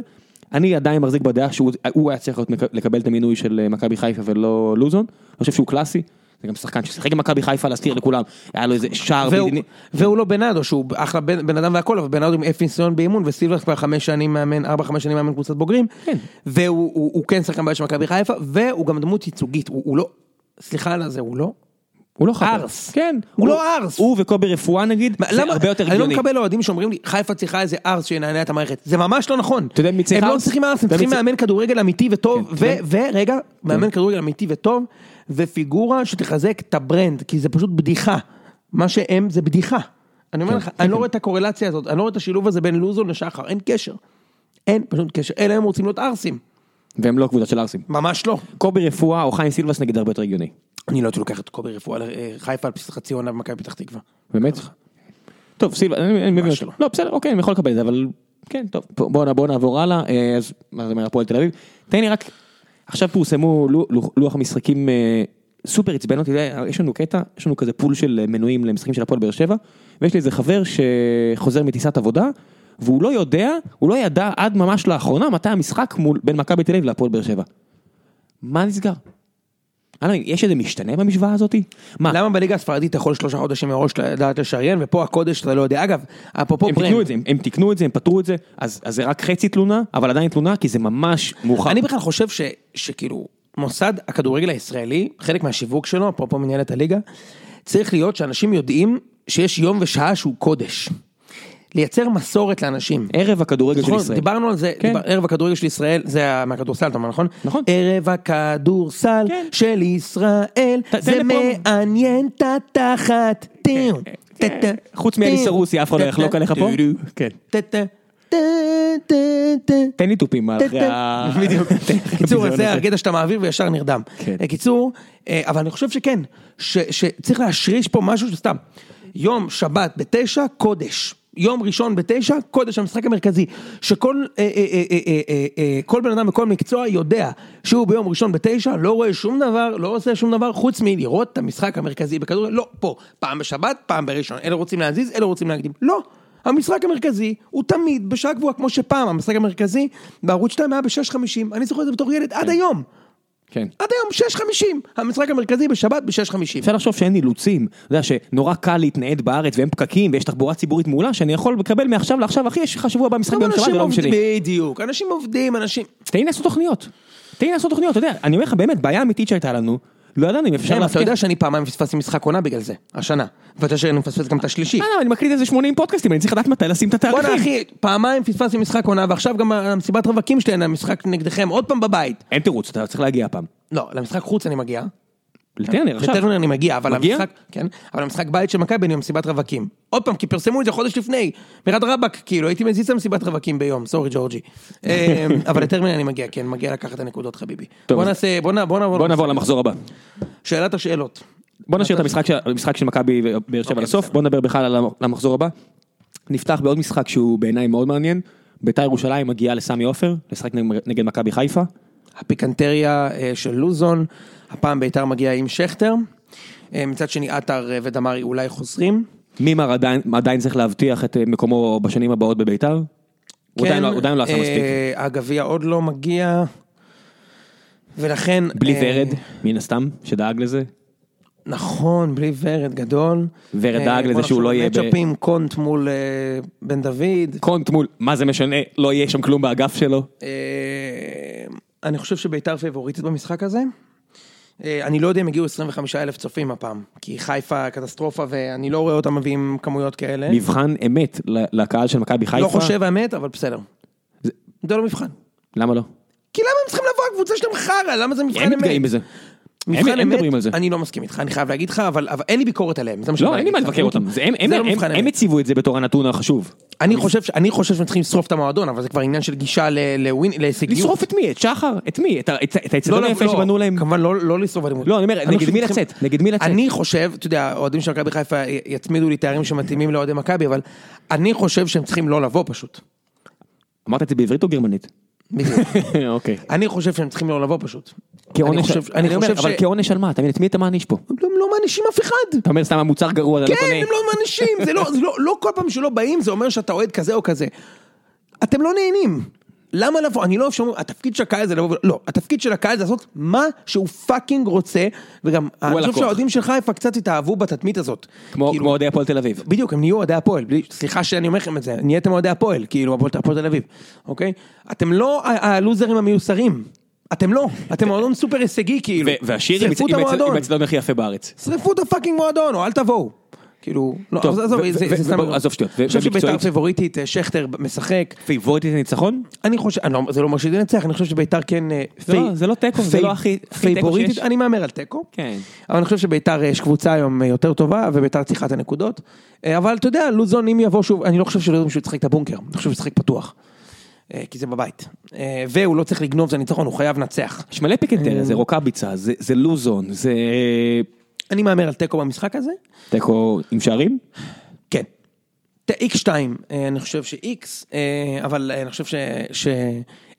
Speaker 1: אני עדיין מחזיק בדעה שהוא הוא היה צריך להיות מק- לקבל את המינוי של אה, מכבי חיפה ולא לוזון. אני חושב שהוא קלאסי. זה גם שחקן ששיחק עם מכבי חיפה להסתיר לכולם. היה לו איזה שער
Speaker 2: והוא-
Speaker 1: בלתי-
Speaker 2: והוא לא בנאדו, שהוא אחלה בן בן אדם והכל, אבל בנאדו עם אפס ניסיון באימון, וסילבס כבר חמש שנים מאמן, ארבע חמש שנים מאמן קבוצת בוגרים,
Speaker 1: כן.
Speaker 2: והוא הוא- הוא כן שחקן בעיה של מכבי חיפה, והוא גם דמות ייצוגית, הוא הוא לא, סליחה על הזה, הוא לא.
Speaker 1: הוא לא חבר.
Speaker 2: ארס.
Speaker 1: כן.
Speaker 2: הוא לא ארס.
Speaker 1: הוא וקובי רפואה נגיד,
Speaker 2: מה,
Speaker 1: זה הרבה יותר
Speaker 2: אני
Speaker 1: הגיוני.
Speaker 2: לא מקבל אוהדים שאומרים לי, חיפה צריכה איזה ארס שינענע את המערכת, זה ממש לא נכון.
Speaker 1: אתה יודע מי צריך
Speaker 2: הם לא
Speaker 1: ארס?
Speaker 2: צריכים ארס, הם
Speaker 1: אתה יודע מי
Speaker 2: צריכים
Speaker 1: צריך-
Speaker 2: מאמן כדורגל אמיתי וטוב,
Speaker 1: כן,
Speaker 2: ו-
Speaker 1: אתה יודע- כן.
Speaker 2: ו- רגע, מאמן כדורגל אמיתי וטוב, ופיגורה שתחזק את הברנד, כי זה פשוט בדיחה. מה שהם זה בדיחה. אני
Speaker 1: כן,
Speaker 2: אומר לך, אני לא רואה את הקורלציה הזאת, אני לא רואה את השילוב הזה בין לוזון לשחר, אין קשר. אין פשוט קשר, אלא הם רוצים להיות ארסים.
Speaker 1: והם לא קבוצה של ארסים.
Speaker 2: ממש לא.
Speaker 1: קובי רפואה או חיים סילבס נגיד הרבה יותר הגיוני.
Speaker 2: אני לא הייתי לוקח את קובי רפואה
Speaker 1: אה,
Speaker 2: לחיפה על בסיס חצי עונה במכבי פתח תקווה.
Speaker 1: באמת? טוב, סילבס, אני אני מבין
Speaker 2: ממש
Speaker 1: אותך. לא, בסדר, אוקיי, אני יכול לקבל את זה, אבל כן, טוב, בואו בוא נעבור הלאה. אה, אז מה זה אומר, הפועל תל אביב? תן לי רק, עכשיו פורסמו לו- לו- לוח המשחקים אה, סופר עצבן אותי, אתה יודע, יש לנו קטע, יש לנו כזה פול של אה, מנויים למשחקים של הפועל באר שבע, ויש לי איזה חבר שחוזר מטיסת עבודה, והוא לא יודע, הוא לא ידע עד ממש לאחרונה מתי המשחק מול, בין מכבי תל אביב להפועל באר שבע. מה נסגר? אני לא מבין, יש איזה משתנה במשוואה הזאתי? מה,
Speaker 2: למה בליגה הספרדית אתה יכול שלושה חודשים מראש לדעת לשריין, ופה הקודש אתה לא יודע. אגב, אפרופו
Speaker 1: הם
Speaker 2: ברנד,
Speaker 1: תיקנו את זה, הם- הם תיקנו את זה, הם פתרו את זה, אז אז זה רק חצי תלונה, אבל עדיין תלונה, כי זה ממש מאוחר.
Speaker 2: אני בכלל חושב ש, שכאילו, מוסד הכדורגל הישראלי, חלק מהשיווק שלו, אפרופו מנהלת הליגה, צריך להיות שאנשים יודעים שיש יום ושעה שהוא קודש. לייצר מסורת לאנשים.
Speaker 1: ערב הכדורגל של
Speaker 2: נכון,
Speaker 1: ישראל.
Speaker 2: דיברנו על זה,
Speaker 1: כן.
Speaker 2: דיבר, ערב הכדורגל של ישראל, זה היה מהכדורסל, אתה אומר, נכון?
Speaker 1: נכון.
Speaker 2: ערב הכדורסל
Speaker 1: כן.
Speaker 2: של ישראל,
Speaker 1: ת-
Speaker 2: זה
Speaker 1: תן לי פה-
Speaker 2: מעניין את התחת. טאו, טאו, טאו,
Speaker 1: כן. חוץ מאלי
Speaker 2: טאו,
Speaker 1: סרוסי, אף אחד לא
Speaker 2: טאו,
Speaker 1: יחלוק עליך פה?
Speaker 2: טאו,
Speaker 1: כן.
Speaker 2: טאו, טאו, טאו, טאו, טאו.
Speaker 1: תן לי תופים אחרי ה...
Speaker 2: בדיוק. קיצור,
Speaker 1: הביזיון
Speaker 2: זה
Speaker 1: הזה.
Speaker 2: הקטע שאתה מעביר וישר נרדם.
Speaker 1: כן.
Speaker 2: קיצור, אה, אבל אני חושב שכן, ש- שצריך להשריש פה משהו שסתם, יום שבת בתשע, קודש. יום ראשון בתשע, קודש המשחק המרכזי. שכל אה, אה, אה, אה, אה, אה, אה, כל בן אדם בכל מקצוע יודע שהוא ביום ראשון בתשע, לא רואה שום דבר, לא עושה שום דבר, חוץ מלראות את המשחק המרכזי בכדורגל, לא, פה, פעם בשבת, פעם בראשון. אלה רוצים להזיז, אלה רוצים להקדים. לא. המשחק המרכזי הוא תמיד בשעה קבועה, כמו שפעם, המשחק המרכזי בערוץ 2 היה ב-6.50, אני זוכר את זה בתור ילד עד היום.
Speaker 1: כן.
Speaker 2: עד היום 6.50, המשחק המרכזי בשבת ב-6.50.
Speaker 1: אפשר לחשוב שאין אילוצים, אתה יודע שנורא קל להתנייד בארץ ואין פקקים ויש תחבורה ציבורית מעולה שאני יכול לקבל מעכשיו לעכשיו, אחי, יש לך שבוע הבא משחק ביום שבת לא
Speaker 2: אנשים
Speaker 1: וביום
Speaker 2: עובדים,
Speaker 1: שני.
Speaker 2: בדיוק, אנשים עובדים, אנשים...
Speaker 1: תן לי לעשות תוכניות. תן לי לעשות תוכניות, אתה יודע, אני אומר לך באמת, בעיה אמיתית שהייתה לנו, לא ידענו אם אפשר
Speaker 2: שם, כן, אתה
Speaker 1: להבטיח.
Speaker 2: יודע שאני פעמיים פספסתי משחק עונה בגלל זה, השנה. ואתה יודע שאני מפספס גם את השלישי.
Speaker 1: אה, לא, אני מקליט איזה 80 פודקאסטים, אני צריך לדעת מתי לשים את התאריכים.
Speaker 2: בואנה אחי, פעמיים פספסתי משחק עונה, ועכשיו גם המסיבת רווקים שלי, אני המשחק נגדכם, עוד פעם בבית.
Speaker 1: אין תירוץ, אתה צריך להגיע הפעם.
Speaker 2: לא, למשחק חוץ אני מגיע.
Speaker 1: לטרנר עכשיו.
Speaker 2: לטרנר אני מגיע, אבל
Speaker 1: מגיע?
Speaker 2: המשחק, כן, אבל המשחק בית של מכבי אני במסיבת רווקים. עוד פעם, כי פרסמו את זה חודש לפני, מירד רבאק, כאילו, הייתי מזיז את המסיבת רווקים ביום, סורי ג'ורג'י. אה, אבל לטרמינל אני מגיע, כן, מגיע לקחת את הנקודות חביבי.
Speaker 1: טוב,
Speaker 2: בוא
Speaker 1: אז-
Speaker 2: נעשה, בוא נע- בוא נעבור,
Speaker 1: בוא נעבור למשחק. למחזור הבא.
Speaker 2: שאלת השאלות.
Speaker 1: בוא נשאיר את המשחק של- המשחק של מכבי ובאר שבע
Speaker 2: אוקיי,
Speaker 1: לסוף,
Speaker 2: בסדר.
Speaker 1: בוא נדבר בכלל על המ- המחזור הבא. נפתח בעוד משחק שהוא בעיניי מאוד מעניין. ביתר ירושלים מגיעה לסמי עופר, לשחק נג- נגד מכבי חיפה.
Speaker 2: הפיקנטריה אה, של לוזון, הפעם ביתר מגיע עם שכטר. אה, מצד שני, עטר אה, ודמרי אולי חוזרים.
Speaker 1: מימר עדיין, עדיין צריך להבטיח את אה, מקומו בשנים הבאות בביתר? הוא עדיין לא- הוא עדיין לא עשה
Speaker 2: אה,
Speaker 1: מספיק.
Speaker 2: הגביע עוד לא מגיע, ולכן...
Speaker 1: בלי
Speaker 2: אה,
Speaker 1: ורד, מן הסתם, שדאג לזה.
Speaker 2: נכון, בלי ורד גדול.
Speaker 1: ורד
Speaker 2: אה,
Speaker 1: דאג
Speaker 2: בוא
Speaker 1: לזה שהוא
Speaker 2: נחשוב
Speaker 1: לא יהיה ב-
Speaker 2: מצ'אפים, קונט מול אה, בן דוד.
Speaker 1: קונט מול, מה זה משנה, לא יהיה שם כלום באגף שלו.
Speaker 2: כן. אה, אני חושב שביתר פייבוריטית במשחק הזה. אה, אני לא יודע אם הגיעו 25 אלף צופים הפעם, כי חיפה קטסטרופה ואני לא רואה אותם מביאים כמויות כאלה.
Speaker 1: מבחן אמת ל- לקהל של מכבי חיפה.
Speaker 2: לא חושב האמת, אבל בסדר. זה לא מבחן.
Speaker 1: למה לא?
Speaker 2: כי למה הם צריכים לבוא הקבוצה שלהם חרא? למה זה מבחן
Speaker 1: הם
Speaker 2: אמת?
Speaker 1: מתגאים בזה. הם-
Speaker 2: מבחן
Speaker 1: הם
Speaker 2: אמת,
Speaker 1: מדברים על זה.
Speaker 2: אני לא מסכים איתך, אני חייב להגיד לך, אבל, אבל אין לי ביקורת עליהם, זה מה
Speaker 1: לא, אין לי מה
Speaker 2: להגיד לך.
Speaker 1: לבקר אותם. זה הם- הם-
Speaker 2: זה לא
Speaker 1: הם-
Speaker 2: מבחן
Speaker 1: הם
Speaker 2: אמת.
Speaker 1: הציבו את זה בתור הנתון החשוב.
Speaker 2: אני חושב, ש- אני חושב שהם צריכים לשרוף את המועדון, אבל זה כבר עניין של גישה ל- לווין- להישגיות.
Speaker 1: לשרוף את מי? את שחר? את מי? את ה- את ה- את האצטדיון
Speaker 2: לא,
Speaker 1: היפה
Speaker 2: לא,
Speaker 1: שבנו להם?
Speaker 2: כמובן לא, לא לשרוף אלימות.
Speaker 1: לא, אני אומר, נגד
Speaker 2: חושב
Speaker 1: מי
Speaker 2: שצריכים-
Speaker 1: לצאת? נגד מי לצאת?
Speaker 2: אני חושב, אתה יודע, האוהדים של מכבי חיפה י- יצמידו לי תארים שמתאימים לאוהדי מכבי, אבל אני חושב שהם צריכים לא לבוא פשוט.
Speaker 1: אמרת את זה בעברית או גרמנית?
Speaker 2: בדיוק.
Speaker 1: אוקיי.
Speaker 2: אני חושב שהם צריכים לא לבוא פשוט. אני
Speaker 1: כעונש-
Speaker 2: חושב, אני
Speaker 1: אני אומר,
Speaker 2: חושב ש...
Speaker 1: אבל כעונש על מה? אתה מבין, את מי אתה מעניש פה?
Speaker 2: הם לא מענישים אף אחד.
Speaker 1: אתה אומר סתם המוצר גרוע, אתה לא
Speaker 2: כן,
Speaker 1: קונה.
Speaker 2: הם לא מענישים, זה לא, זה לא, לא כל פעם שלא באים זה אומר שאתה אוהד כזה או כזה. אתם לא נהנים. למה לבוא? אני לא אוהב שאומרים, התפקיד של הקהל זה לבוא, ו- לא, התפקיד של הקהל זה לעשות מה שהוא פאקינג רוצה, וגם, אני חושב
Speaker 1: הלקוח.
Speaker 2: שהאוהדים של חיפה קצת התאהבו בתתמית הזאת.
Speaker 1: כמו
Speaker 2: כאילו,
Speaker 1: כמו אוהדי הפועל תל אביב.
Speaker 2: בדיוק, הם נהיו אוהדי הפועל, בלי, סליחה שאני אומר לכם את זה, נהייתם אוהדי הפועל, כאילו הפועל הפועל תל אביב, אוקיי? אתם לא ה- הלוזרים המיוסרים, אתם לא, אתם מועדון סופר הישגי כאילו,
Speaker 1: ו- והשיר עם
Speaker 2: שרפו את
Speaker 1: הצ- עם הצ- עם
Speaker 2: המועדון.
Speaker 1: הצדדים הכי יפה בארץ.
Speaker 2: שרפו את הפאקינג מועדון, או אל תבואו. כאילו, לא,
Speaker 1: טוב,
Speaker 2: אז עזוב,
Speaker 1: ו-
Speaker 2: זה
Speaker 1: ו-
Speaker 2: זה סתם...
Speaker 1: ובוא, עזוב שטויות. ו-
Speaker 2: אני חושב שביתר
Speaker 1: ומקצועית?
Speaker 2: פייבוריטית, אה, שכטר משחק.
Speaker 1: פייבורטית לניצחון?
Speaker 2: אני חושב, אני לא- זה לא אומר שהיא תנצח, אני חושב שביתר כן... אה,
Speaker 1: לא,
Speaker 2: פי-
Speaker 1: זה לא תיקו, זה
Speaker 2: פי-
Speaker 1: לא הכי- הכי תיקו
Speaker 2: פייבוריטית,
Speaker 1: שיש.
Speaker 2: אני מהמר על תיקו.
Speaker 1: כן.
Speaker 2: אבל אני חושב שביתר אה, יש קבוצה היום אה, יותר טובה, וביתר צריכה את הנקודות. אה, אבל אתה יודע, לוזון, אם יבוא שוב, אני לא חושב שלוזון שהוא ישחק את הבונקר, אני חושב שהוא ישחק פתוח. אה, כי זה בבית. אה, והוא לא צריך לגנוב, זה ניצחון, הוא חייב לנצח.
Speaker 1: יש מלא פיקנטריה, זה רוקאביצה, זה זה לוזון, זה
Speaker 2: אני מהמר על תיקו במשחק הזה.
Speaker 1: תיקו עם שערים?
Speaker 2: כן. X2, אה, אני חושב ש-X, אה, אבל אה, אני חושב ש... ש...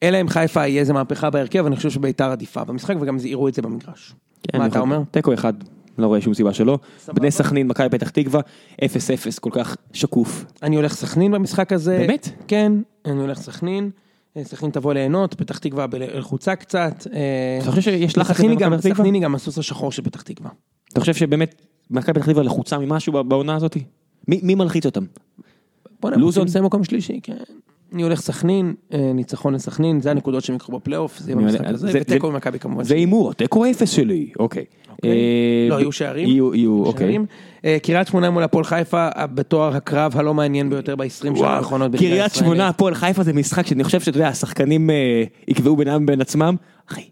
Speaker 2: אלא אם חיפה יהיה איזה מהפכה בהרכב, אני חושב שביתר עדיפה במשחק, וגם זה- יראו את זה במגרש. מה
Speaker 1: כן, אני
Speaker 2: אתה
Speaker 1: יכול-
Speaker 2: אומר?
Speaker 1: תיקו אחד, לא רואה שום סיבה שלא. בני סכנין, מכבי פתח תקווה, 0-0, כל כך שקוף.
Speaker 2: אני הולך סכנין במשחק הזה.
Speaker 1: באמת?
Speaker 2: כן, אני הולך סכנין. אה, סכנין תבוא ליהנות, פתח תקווה בלחוצה קצת. אה,
Speaker 1: אתה חושב שיש לחץ
Speaker 2: סכנין היא
Speaker 1: במכבי
Speaker 2: גם-
Speaker 1: פתח תקווה?
Speaker 2: סכנין היא גם הסוס השחור של פתח תקווה.
Speaker 1: אתה חושב שבאמת מכבי פתח תקווה לחוצה ממשהו ב- בעונה הזאת? מי מי מלחיץ אותם?
Speaker 2: בוא'נה,
Speaker 1: לוזון?
Speaker 2: לוזון מסיים מקום שלישי, כן. אני הולך סכנין, אה, ניצחון לסכנין, זה הנקודות שהם יקחו בפלייאוף, זה יהיה
Speaker 1: אני-
Speaker 2: במשחק הזה,
Speaker 1: זה-
Speaker 2: ותיקו
Speaker 1: זה-
Speaker 2: במכבי כמובן.
Speaker 1: זה הימור, תיקו 0 שלי, אוקיי. אה,
Speaker 2: לא,
Speaker 1: ב-
Speaker 2: יהיו שערים.
Speaker 1: יהיו, יהיו, אוקיי.
Speaker 2: שערים. אה, קריית שמונה מול הפועל חיפה אה, בתואר הקרב הלא מעניין ביותר ב-20 שנה האחרונות. בליגה
Speaker 1: קריית
Speaker 2: הישראלית.
Speaker 1: שמונה, הפועל חיפה זה משחק שאני חושב שאתה יודע, השחקנים אה, יקבעו בינם ובין עצמם. אחי,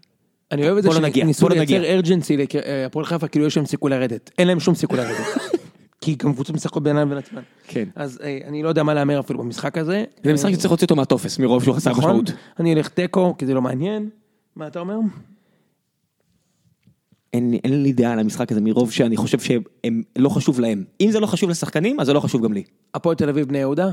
Speaker 2: אני אוהב את זה
Speaker 1: בוא לא נגיע,
Speaker 2: שניסו
Speaker 1: בוא לא
Speaker 2: לייצר
Speaker 1: נגיע.
Speaker 2: ארג'נסי להפועל חיפה כאילו יש להם סיכוי לרדת. אין להם שום סיכוי לרדת. כי גם קבוצות משחקות בינן לבין עצמן.
Speaker 1: כן.
Speaker 2: אז אה, אני לא יודע מה להמר אפילו במשחק הזה. אה,
Speaker 1: זה משחק שצריך להוציא אותו מהטופס מרוב שהוא חסר
Speaker 2: נכון?
Speaker 1: משמעות.
Speaker 2: אני אלך תיקו כי זה לא מעניין. מה אתה אומר?
Speaker 1: אין, לי- אין לי דעה על המשחק הזה מרוב שאני חושב שהם לא חשוב להם. אם זה לא חשוב לשחקנים, אז זה לא חשוב גם לי.
Speaker 2: הפועל תל אביב בני יהודה?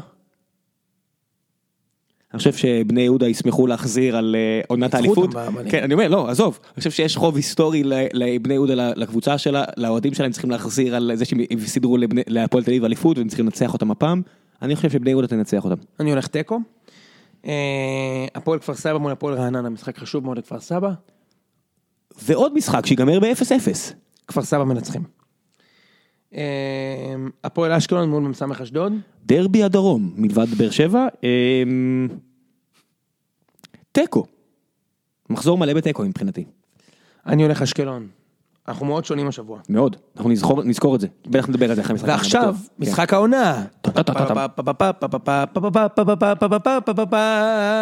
Speaker 1: אני חושב שבני יהודה ישמחו להחזיר על אה, עונת
Speaker 2: ניצחו
Speaker 1: האליפות.
Speaker 2: אותם באמנים.
Speaker 1: כן, אני אומר, לא, עזוב. אני חושב שיש חוב היסטורי ל- לבני יהודה, ל- לקבוצה שלה, לאוהדים שלהם צריכים להחזיר על זה שהם סידרו לבני- להפועל תל אביב אליפות והם צריכים לנצח אותם הפעם. אני חושב שבני יהודה תנצח אותם.
Speaker 2: אני הולך תיקו. אה, הפועל כפר סבא מול הפועל רעננה, משחק חשוב מאוד לכפר סבא.
Speaker 1: ועוד משחק שיגמר ב-0-0.
Speaker 2: כפר סבא מנצחים. אה, הפועל אשקלון מול מ"ס אשדוד.
Speaker 1: דרבי הדרום, מלבד באר שבע. אמ, תיקו. מחזור מלא בתיקו מבחינתי.
Speaker 2: אני הולך אשקלון. אנחנו מאוד שונים השבוע.
Speaker 1: מאוד, אנחנו נזכור, נזכור את זה, בטח נדבר על זה אחרי המשחק. כן.
Speaker 2: ועכשיו, משחק העונה.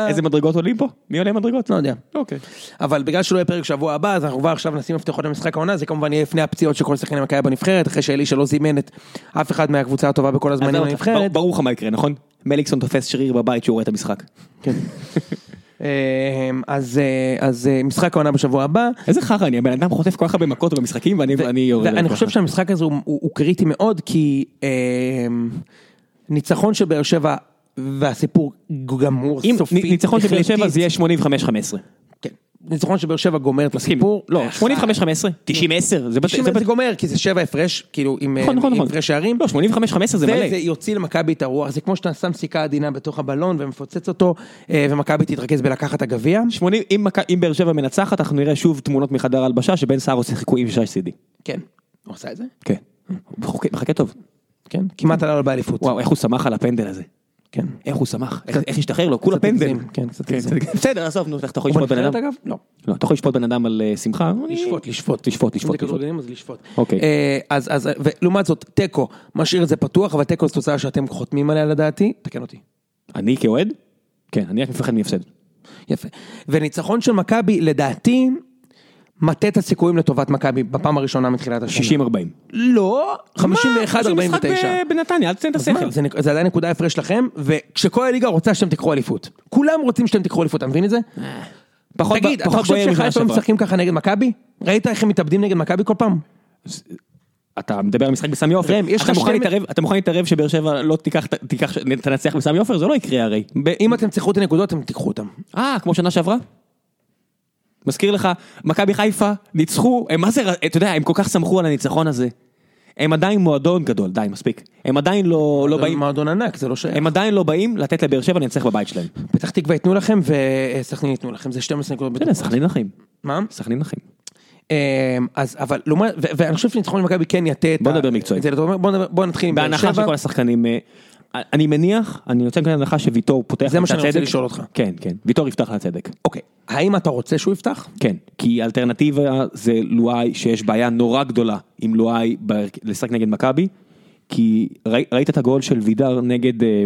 Speaker 1: איזה מדרגות עולים פה? מי עולה מדרגות?
Speaker 2: לא יודע.
Speaker 1: אוקיי.
Speaker 2: אבל בגלל שלא יהיה פרק שבוע הבא, אז אנחנו כבר עכשיו נשים מפתחות למשחק העונה, זה כמובן יהיה לפני הפציעות של כל שחקני מכבי בנבחרת, אחרי שאלישע לא זימן את אף אחד מהקבוצה הטובה בכל הזמנים
Speaker 1: בר-
Speaker 2: בנבחרת.
Speaker 1: ברור לך מה יקרה, נכון? מליקסון תופס שריר בבית שהוא רואה את המשחק.
Speaker 2: אה, כן. אז אה, אז, אה, משחק העונה בשבוע הבא.
Speaker 1: איזה חרא אני, הבן אדם חוטף כל כך הרבה מכות במשחקים ואני ואני יורד.
Speaker 2: ואני
Speaker 1: עליו
Speaker 2: חושב
Speaker 1: ככה.
Speaker 2: שהמשחק הזה הוא, הוא, הוא קריטי מאוד, כי אה, ניצחון של באר שבע, והסיפור גמור
Speaker 1: אם
Speaker 2: סופית,
Speaker 1: נ- ניצחון של באר שבע זה יהיה 85-15.
Speaker 2: כן. ניצחון של באר שבע גומר את הסיפור.
Speaker 1: לא,
Speaker 2: אה,
Speaker 1: 85-15, 90-10, זה בטח.
Speaker 2: 90 זה גומר, כי זה שבע הפרש, כאילו, עם
Speaker 1: נכון, נכון,
Speaker 2: עם
Speaker 1: נכון.
Speaker 2: הפרש שערים.
Speaker 1: לא, 85-15 זה מלא.
Speaker 2: וזה יוציא למכבי את הרוח, זה כמו שאתה שם סיכה עדינה בתוך הבלון ומפוצץ אותו, אה, ומכבי תתרכז בלקחת הגביע.
Speaker 1: 80, אם, מכ- אם באר שבע מנצחת, אנחנו נראה שוב תמונות מחדר הלבשה שבן סער עושה חיקויים של שי סידי.
Speaker 2: כן. הוא עשה את זה?
Speaker 1: כן. מחכה, מחכה טוב.
Speaker 2: כן. כמעט עלה לו באליפות.
Speaker 1: וואו, איך הוא שמח על הפנדל הזה.
Speaker 2: כן.
Speaker 1: איך הוא שמח, איך- איך השתחרר לו, כולה פנדל.
Speaker 2: הגזים, כן, קצת הגזים.
Speaker 1: בסדר, עזוב, נו, אתה יכול
Speaker 2: הוא
Speaker 1: לשפוט בן
Speaker 2: בנבחרת,
Speaker 1: אדם?
Speaker 2: אגב? לא.
Speaker 1: לא, אתה יכול לשפוט בן אדם על אה, שמחה? אני-
Speaker 2: לשפוט, לשפוט.
Speaker 1: לשפוט,
Speaker 2: אם זה
Speaker 1: לשפוט. לשפוט.
Speaker 2: כדורגלנים אז לשפוט.
Speaker 1: אוקיי.
Speaker 2: אה, אז, אז, ולעומת זאת, תיקו משאיר את זה פתוח, אבל תיקו זו תוצאה שאתם חותמים עליה לדעתי, תקן אותי.
Speaker 1: אני כאוהד? כן, אני רק מפחד מהפסד.
Speaker 2: יפה. וניצחון של מכבי, לדעתי, מטה את הסיכויים לטובת מכבי בפעם הראשונה מתחילת השנה.
Speaker 1: 60-40.
Speaker 2: לא, 51-49.
Speaker 1: מה? זה משחק ב- בנתניה, אל תתן את
Speaker 2: אז מה,
Speaker 1: השכל.
Speaker 2: זה, נק- זה עדיין נקודה הפרש לכם, וכשכל הליגה רוצה שאתם תיקחו אליפות. כולם רוצים שאתם תיקחו אליפות, אתה מבין את זה?
Speaker 1: פחות
Speaker 2: אה. תגיד,
Speaker 1: ב-
Speaker 2: אתה
Speaker 1: פחות בוער
Speaker 2: חושב
Speaker 1: משנה
Speaker 2: שחיפה
Speaker 1: שעברה.
Speaker 2: משחקים ככה נגד מכבי? ראית איך הם מתאבדים נגד מכבי כל פעם?
Speaker 1: אתה מדבר על משחק בסמי עופר,
Speaker 2: ראם, יש לך
Speaker 1: אתה מוכן
Speaker 2: שתי-
Speaker 1: להתערב- אתה מוכן להתערב שבאר שבע לא תיקח, תיקח, תנצח בסמי עופר? זה לא יקרה הרי. ב-
Speaker 2: אם אתם צריכו את הנקודות, אתם תיקחו אותם.
Speaker 1: אה, כמו שנה שעברה? מזכיר לך, מכבי חיפה ניצחו, הם מה זה, ר- אתה יודע, הם כל כך שמחו על הניצחון הזה. הם עדיין מועדון גדול, די, מספיק. הם עדיין לא, לא
Speaker 2: זה
Speaker 1: באים,
Speaker 2: מועדון ענק, זה לא שייך.
Speaker 1: הם עדיין לא באים לתת לבאר שבע לנצח בבית שלהם. אתה
Speaker 2: פתח תקווה ייתנו לכם וסכנין ייתנו לכם, זה 12 נקודות.
Speaker 1: יודע,
Speaker 2: בטוח.
Speaker 1: סכנין אחים.
Speaker 2: מה?
Speaker 1: סכנין אחים.
Speaker 2: אמ, אז אבל לעומת, ו- ואני חושב שניצחון למכבי כן יטה את
Speaker 1: בוא
Speaker 2: ה-
Speaker 1: נדבר מקצועית.
Speaker 2: את זה לטובה. בוא נדבר- בוא נתחיל עם באר
Speaker 1: בהנחה
Speaker 2: שבע.
Speaker 1: שכל השחקנים, אה, אני מניח, אני יוצא מנקודת הנחה שוויטור פותח
Speaker 2: זה מה
Speaker 1: את
Speaker 2: שאני רוצה
Speaker 1: הצדק.
Speaker 2: לשאול אותך.
Speaker 1: כן, כן, ויטור יפתח לצדק.
Speaker 2: אוקיי, האם אתה רוצה שהוא יפתח?
Speaker 1: כן, כי האלטרנטיבה זה לואי שיש בעיה נורא גדולה עם לואי בהרכ- לשחק נגד מכבי, כי ראי, ראית את הגול של וידר נגד, אה,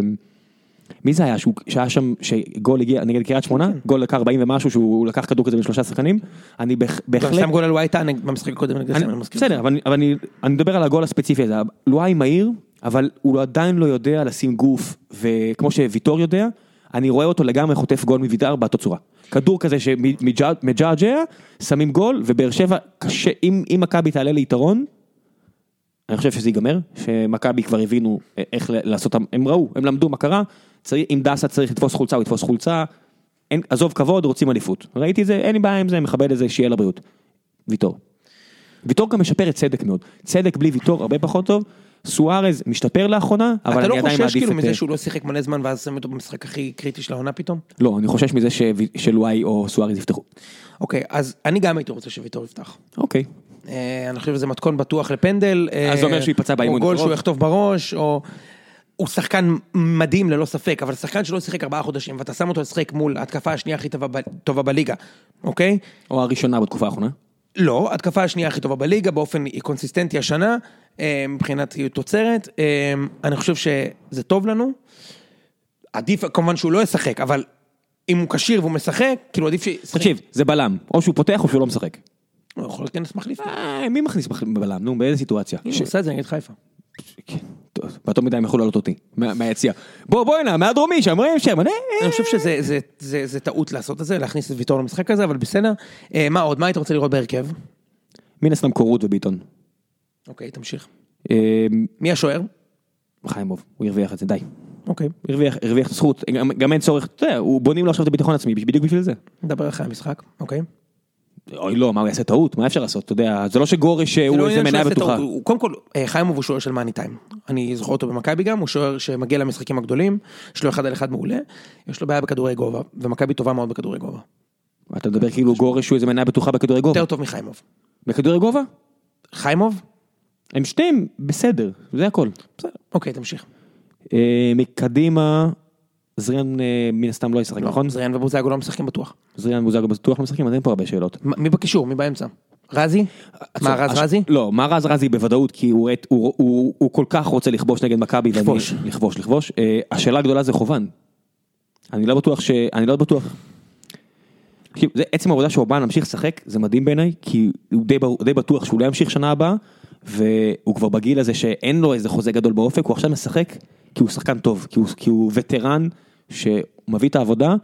Speaker 1: מי זה היה, שהוא, שהיה שם, שגול הגיע נגד קריית
Speaker 2: כן.
Speaker 1: שמונה, גול לקח 40 ומשהו שהוא לקח כדור כזה משלושה שחקנים, אני בהח-
Speaker 2: גם
Speaker 1: בהחלט,
Speaker 2: שם גול על וייטה נגד- במשחק הקודם נגד
Speaker 1: אני,
Speaker 2: סמל, אני לא מזכיר.
Speaker 1: בסדר, אבל, אני- אבל אני, אני מדבר על הגול הספציפי הזה, לואי מהיר, אבל הוא עדיין לא יודע לשים גוף, וכמו שוויטור יודע, אני רואה אותו לגמרי חוטף גול מוידר באותה צורה. כדור כזה שמג'עג'ע, שמים גול, ובאר שבע קשה, אם אם מכבי תעלה ליתרון, אני חושב שזה ייגמר, שמכבי כבר הבינו אה, איך ל- לעשות, הם ראו, הם למדו מה קרה, צריך, אם דסה צריך לתפוס חולצה, הוא יתפוס חולצה, אין, עזוב כבוד, רוצים אליפות. ראיתי את זה, אין לי בעיה עם זה, מכבד את זה, שיהיה לבריאות. ויטור. ויטור גם משפר את צדק מאוד, צדק בלי ויטור הרבה פחות טוב, סוארז משתפר לאחרונה, אבל
Speaker 2: אתה
Speaker 1: אני
Speaker 2: לא
Speaker 1: עדיין
Speaker 2: חושש
Speaker 1: מעדיף
Speaker 2: כאילו
Speaker 1: את... אה,
Speaker 2: מזה שהוא לא שיחק מלא זמן ואז שמים אותו במשחק הכי קריטי של העונה פתאום?
Speaker 1: לא, אני חושש מזה ש... שלואי או סוארז יפתחו.
Speaker 2: אוקיי, אז אני גם הייתי רוצה שוויטור יפתח.
Speaker 1: אוקיי.
Speaker 2: אה, אני חושב שזה מתכון בטוח לפנדל. אה,
Speaker 1: אז זה אומר שהוא ייפצע באימון
Speaker 2: או גול
Speaker 1: הקרוב.
Speaker 2: שהוא יחטוף בראש, או... הוא שחקן מדהים ללא ספק, אבל שחקן שלא שיחק ארבעה חודשים, ואתה שם אותו לשחק מול ההתקפה השנייה הכי טובה, ב- טובה בליגה, אוקיי?
Speaker 1: או הראשונה בתקופה האחרונה.
Speaker 2: לא, התקפה השנייה הכי טובה בליגה, באופן קונסיסטנטי השנה, אה, מבחינת תוצרת. אה, אני חושב שזה טוב לנו. עדיף כמובן שהוא לא ישחק, אבל אם הוא כשיר והוא משחק, כאילו עדיף שישחק.
Speaker 1: תקשיב, זה בלם, או שהוא פותח או שהוא לא משחק.
Speaker 2: הוא יכול להיכנס מחליף.
Speaker 1: אה, מי מכניס בח- בלם? נו, באיזה סיטואציה?
Speaker 2: הנה,
Speaker 1: ש-
Speaker 2: הוא עשה את זה נגד חיפה.
Speaker 1: כן, טוב, באותו מידה הם יכלו לעלות אותי, מה- מהיציע. בוא, בוא הנה, מהדרומי שם, ראם שם, אה, אני...
Speaker 2: אני חושב שזה זה, זה, זה טעות לעשות את זה, להכניס את ויטור למשחק הזה, אבל בסדר. אה, מה עוד, מה היית רוצה לראות בהרכב?
Speaker 1: מן הסתם קורות וביטון.
Speaker 2: אוקיי, תמשיך.
Speaker 1: אה,
Speaker 2: מי השוער?
Speaker 1: חיימוב, הוא הרוויח את זה, די.
Speaker 2: אוקיי,
Speaker 1: הרוויח, הרוויח את הזכות, גם- גם אין צורך, אתה יודע, הוא בונים לו עכשיו את הביטחון העצמי, בדיוק בשביל זה.
Speaker 2: נדבר אחרי המשחק, אוקיי.
Speaker 1: אוי לא, מה הוא יעשה טעות? מה אפשר לעשות? אתה יודע, זה לא שגורש
Speaker 2: זה לא
Speaker 1: הוא איזה
Speaker 2: עניין של
Speaker 1: מניה
Speaker 2: לעשות
Speaker 1: בטוחה.
Speaker 2: טעות, הוא- הוא- קודם כל, אה, חיימוב הוא שוער של מאני טיים. אני זוכר אותו במכבי גם, הוא שוער שמגיע למשחקים הגדולים, יש לו אחד על אחד מעולה, יש לו בעיה בכדורי גובה, ומכבי טובה מאוד בכדורי גובה.
Speaker 1: אתה מדבר כאילו גורש הוא איזה מניה בטוחה בכדורי גובה.
Speaker 2: יותר טוב מחיימוב.
Speaker 1: בכדורי גובה?
Speaker 2: חיימוב?
Speaker 1: הם שניהם בסדר, זה הכל.
Speaker 2: בסדר. אוקיי, תמשיך.
Speaker 1: אה, מקדימה, זריאן אה, מן הסתם לא ישחק, נכון?
Speaker 2: זריאן ובוזגו לא משחקים בטוח.
Speaker 1: זריאן בוזגלו בטוח לא משחקים, אז אין פה הרבה שאלות.
Speaker 2: מ- מי בקישור? מי באמצע? רזי?
Speaker 1: אה,
Speaker 2: מה, רז
Speaker 1: הש-
Speaker 2: רזי?
Speaker 1: לא, מה רז רזי בוודאות, כי הוא, את- הוא, הוא, הוא כל כך רוצה לכבוש נגד מכבי. ואני-
Speaker 2: לכבוש.
Speaker 1: לכבוש, לכבוש. אה, השאלה הגדולה זה חובן. אני לא בטוח ש... אני לא בטוח. תקשיב, כאילו, זה עצם העובדה שאובן ממשיך לשחק, זה מדהים בעיניי, כי הוא די, ברור- די בטוח שהוא לא ימשיך שנה הבאה, והוא כבר בגיל הזה שאין לו איזה חוזה גדול באופק, הוא עכשיו משחק כי הוא שחקן טוב, כי הוא, כי הוא וטרן שמביא את העבודה.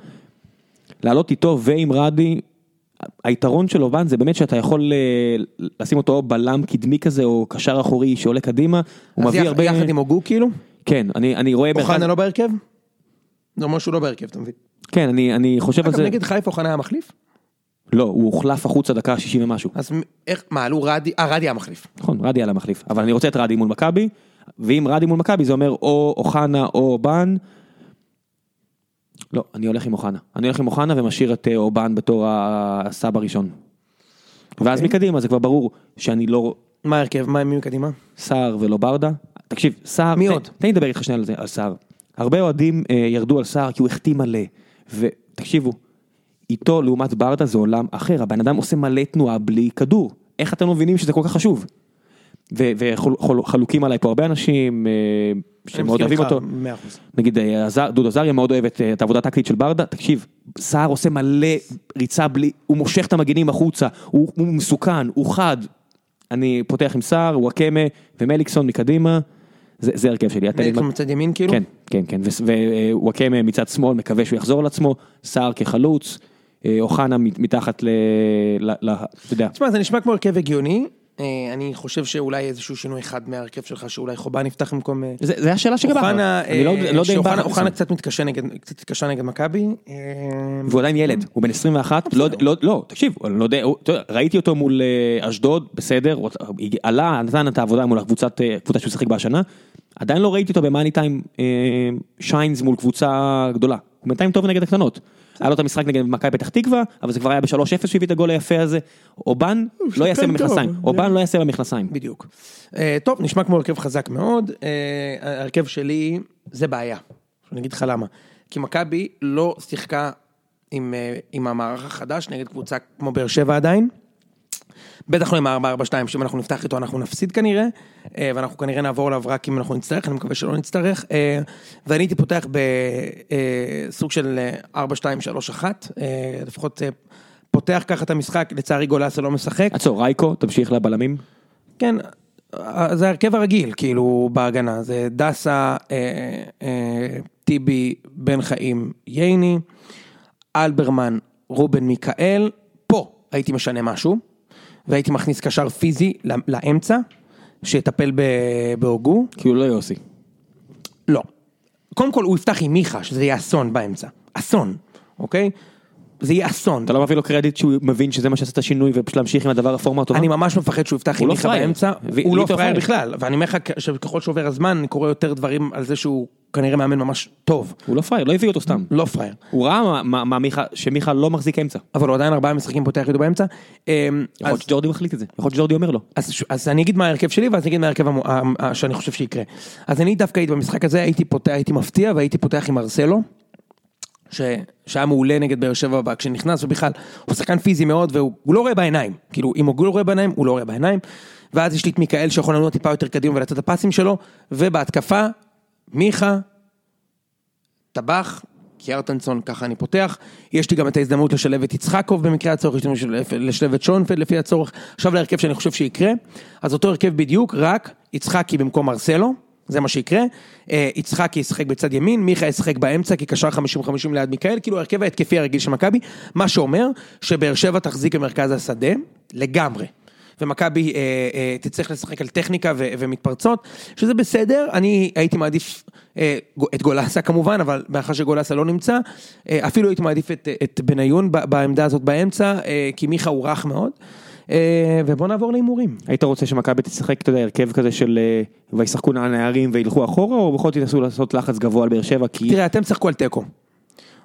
Speaker 1: לעלות איתו ועם רדי, היתרון של אובן זה באמת שאתה יכול אה, לשים אותו או בלם קדמי כזה, או קשר אחורי שעולה קדימה, הוא
Speaker 2: אז
Speaker 1: מביא
Speaker 2: יח-
Speaker 1: הרבה...
Speaker 2: יחד עם הוגו כאילו?
Speaker 1: כן, אני, אני רואה... מרכז-
Speaker 2: אוחנה לא בהרכב? זה אומר שהוא לא בהרכב, אתה מבין?
Speaker 1: כן, אני, אני חושב על
Speaker 2: אגב,
Speaker 1: זה...
Speaker 2: נגד חיפה אוחנה היה מחליף?
Speaker 1: לא, הוא הוחלף החוצה דקה ה-60 ומשהו.
Speaker 2: אז מ- איך, מה, עלו רדי, אה, רדי היה מחליף.
Speaker 1: נכון, רדי על המחליף, אבל אני רוצה את רדי מול מכבי, ואם רדי מול מכבי זה אומר או אוחנה או אובן. לא, אני הולך עם אוחנה. אני הולך עם אוחנה ומשאיר את אה, אובן בתור הסבא הראשון. ואז מקדימה זה כבר ברור שאני לא
Speaker 2: מה ההרכב? מה, מי מקדימה?
Speaker 1: סער ולא ברדה. תקשיב, סער...
Speaker 2: מי
Speaker 1: תן-
Speaker 2: עוד?
Speaker 1: תן לי לדבר איתך שנייה על זה, על סער. הרבה אוהדים אה, ירדו על סער כי הוא החטיא מלא. ותקשיבו, איתו לעומת ברדה זה עולם אחר, הבן אדם עושה מלא תנועה בלי כדור. איך אתם לא מבינים שזה כל כך חשוב? וחלוקים עליי פה הרבה אנשים אה,
Speaker 2: אני
Speaker 1: שמאוד
Speaker 2: מסכים
Speaker 1: אוהבים
Speaker 2: איתך,
Speaker 1: אותו.
Speaker 2: מאה אחוז.
Speaker 1: נגיד אה, עזר- דודו עזריה מאוד אוהב את אה, את העבודה הטקטית של ברדה, תקשיב, סער עושה מלא ריצה בלי, הוא מושך את המגנים החוצה, הוא, הוא מסוכן, הוא חד. אני פותח עם סער, וואקמה ומליקסון מקדימה, זה, זה הרכב שלי. אתם-
Speaker 2: מליקסון מצד ימין כאילו?
Speaker 1: כן, כן, כן, ווואקמה מצד שמאל, מקווה שהוא יחזור לעצמו, סער כחלוץ, אה, אוחנה מת- מתחת ל... ל- ל- אתה יודע,
Speaker 2: תשמע, זה נשמע כמו הרכב הגיוני. אה, אני חושב שאולי איזשהו שינוי אחד מההרכב שלך, שאולי חובן יפתח במקום... אה,
Speaker 1: זה, זה השאלה שגם
Speaker 2: אוחנה,
Speaker 1: אני לא,
Speaker 2: אה,
Speaker 1: לא יודע אם
Speaker 2: שאוחנה-
Speaker 1: בכר-
Speaker 2: אוחנה קצת מתקשה נגד, קצת התקשה נגד מכבי. אה,
Speaker 1: והוא עדיין ילד, הוא בן 21, לא, לא, לא, תקשיב, אני לא יודע, הוא- אתה יודע, ראיתי אותו מול אה, אשדוד, בסדר, הוא הג- עלה, נתן את העבודה מול הקבוצת, אה, קבוצה שהוא שיחק בה השנה, עדיין לא ראיתי אותו במאני טיים אה, שיינס מול קבוצה גדולה, הוא בינתיים טוב נגד הקטנות. היה לו את המשחק נגד מכבי פתח תקווה, אבל זה כבר היה ב-3-0 שהוא הביא את הגול היפה הזה, אובן לא יעשה
Speaker 2: אה, שחקן
Speaker 1: במכנסיים,
Speaker 2: טוב. אה.
Speaker 1: אובן לא יעשה במכנסיים.
Speaker 2: בדיוק. אה, טוב, נשמע כמו הרכב חזק מאוד. אה, ההרכב שלי, זה בעיה. אני אגיד לך למה. כי מכבי לא שיחקה עם, אה, עם המערך החדש נגד קבוצה כמו באר שבע עדיין. בטח לא עם ה-442, שאם אנחנו נפתח איתו אנחנו נפסיד כנראה, אה, ואנחנו כנראה נעבור עליו רק אם אנחנו נצטרך, אני מקווה שלא נצטרך. אה, ואני הייתי פותח בסוג של אה, 4231, אה, לפחות אה, פותח ככה את המשחק, לצערי גולסה לא משחק.
Speaker 1: עצור, רייקו, תמשיך לבלמים.
Speaker 2: כן, אה, זה ההרכב הרגיל, כאילו, בהגנה. זה דסה, אה, אה, טיבי, בן חיים, ייני, אלברמן, רובן מיכאל. פה הייתי משנה משהו, והייתי מכניס קשר פיזי ל- לאמצע, שיטפל ב- בהוגו.
Speaker 1: כי הוא לא יוסי.
Speaker 2: לא. קודם כל, הוא יפתח עם מיכה, שזה יהיה אסון באמצע. אסון, אוקיי? זה יהיה אסון.
Speaker 1: אתה לא מביא לו קרדיט שהוא מבין שזה מה שעשה את השינוי ופשוט להמשיך עם הדבר הפורמה הטובה?
Speaker 2: אני ממש מפחד שהוא יפתח עם
Speaker 1: הוא לא
Speaker 2: מיכה
Speaker 1: פראייר.
Speaker 2: באמצע,
Speaker 1: ו-
Speaker 2: הוא לא
Speaker 1: ליטו
Speaker 2: פראייר
Speaker 1: פראייר.
Speaker 2: בכלל, ואני אומר לך כ- שככל שעובר הזמן אני קורא יותר דברים על זה שהוא כנראה מאמן ממש טוב,
Speaker 1: הוא לא פראייר, לא הביא אותו סתם.
Speaker 2: לא פראייר,
Speaker 1: הוא ראה מה, מה, מה מיכה, שמיכה לא מחזיק אמצע.
Speaker 2: אבל הוא עדיין ארבעה משחקים פותח איתו באמצע. אמ,
Speaker 1: יכול להיות
Speaker 2: אז-
Speaker 1: שג'ורדי מחליט את זה, יכול להיות שג'ורדי אומר לא. לו.
Speaker 2: אז ש- אז אני אגיד מה ההרכב שלי ואז אני אגיד מה ההרכב המו- ה- ה- שאני חושב שיקרה. אז אני דווקא הייתי במשחק הזה, הייתי פותח, הייתי מפתיע והייתי פותח עם ארסלו. ש... שהיה מעולה נגד באר שבע בה, כשנכנס ובכלל, הוא שחקן פיזי מאוד והוא הוא לא רואה בעיניים, כאילו אם הוא לא רואה בעיניים, הוא לא רואה בעיניים, ואז יש לי את מיכאל שיכול לנוע טיפה יותר קדימה ולתת את הפסים שלו, ובהתקפה, מיכה, טבח, קיארטנסון, ככה אני פותח, יש לי גם את ההזדמנות לשלב את יצחקוב במקרה הצורך, יש לי משל- לשלב את שונפלד לפי הצורך, עכשיו להרכב שאני חושב שיקרה, אז אותו הרכב בדיוק, רק יצחקי במקום ארסלו, זה מה שיקרה, אה, יצחקי ישחק בצד ימין, מיכה ישחק באמצע כקשר 50-50 ליד מיכאל, כאילו ההרכב ההתקפי הרגיל של מכבי, מה שאומר שבאר שבע תחזיק במרכז השדה, לגמרי. ומכבי אה, אה, תצטרך לשחק על טכניקה ו- ומתפרצות, שזה בסדר, אני הייתי מעדיף אה, גו- את גולסה כמובן, אבל מאחר שגולסה לא נמצא, אה, אפילו הייתי מעדיף את, את בניון ב- בעמדה הזאת באמצע, אה, כי מיכה הוא רך מאוד, אה, ובוא נעבור להימורים.
Speaker 1: היית רוצה שמכבי תשחק, אתה יודע, הרכב כזה של אה, וישחקו הנערים וילכו אחורה, או בכל זאת ינסו לעשות לחץ גבוה על באר שבע, כי
Speaker 2: תראה, אתם תשחקו על תיקו,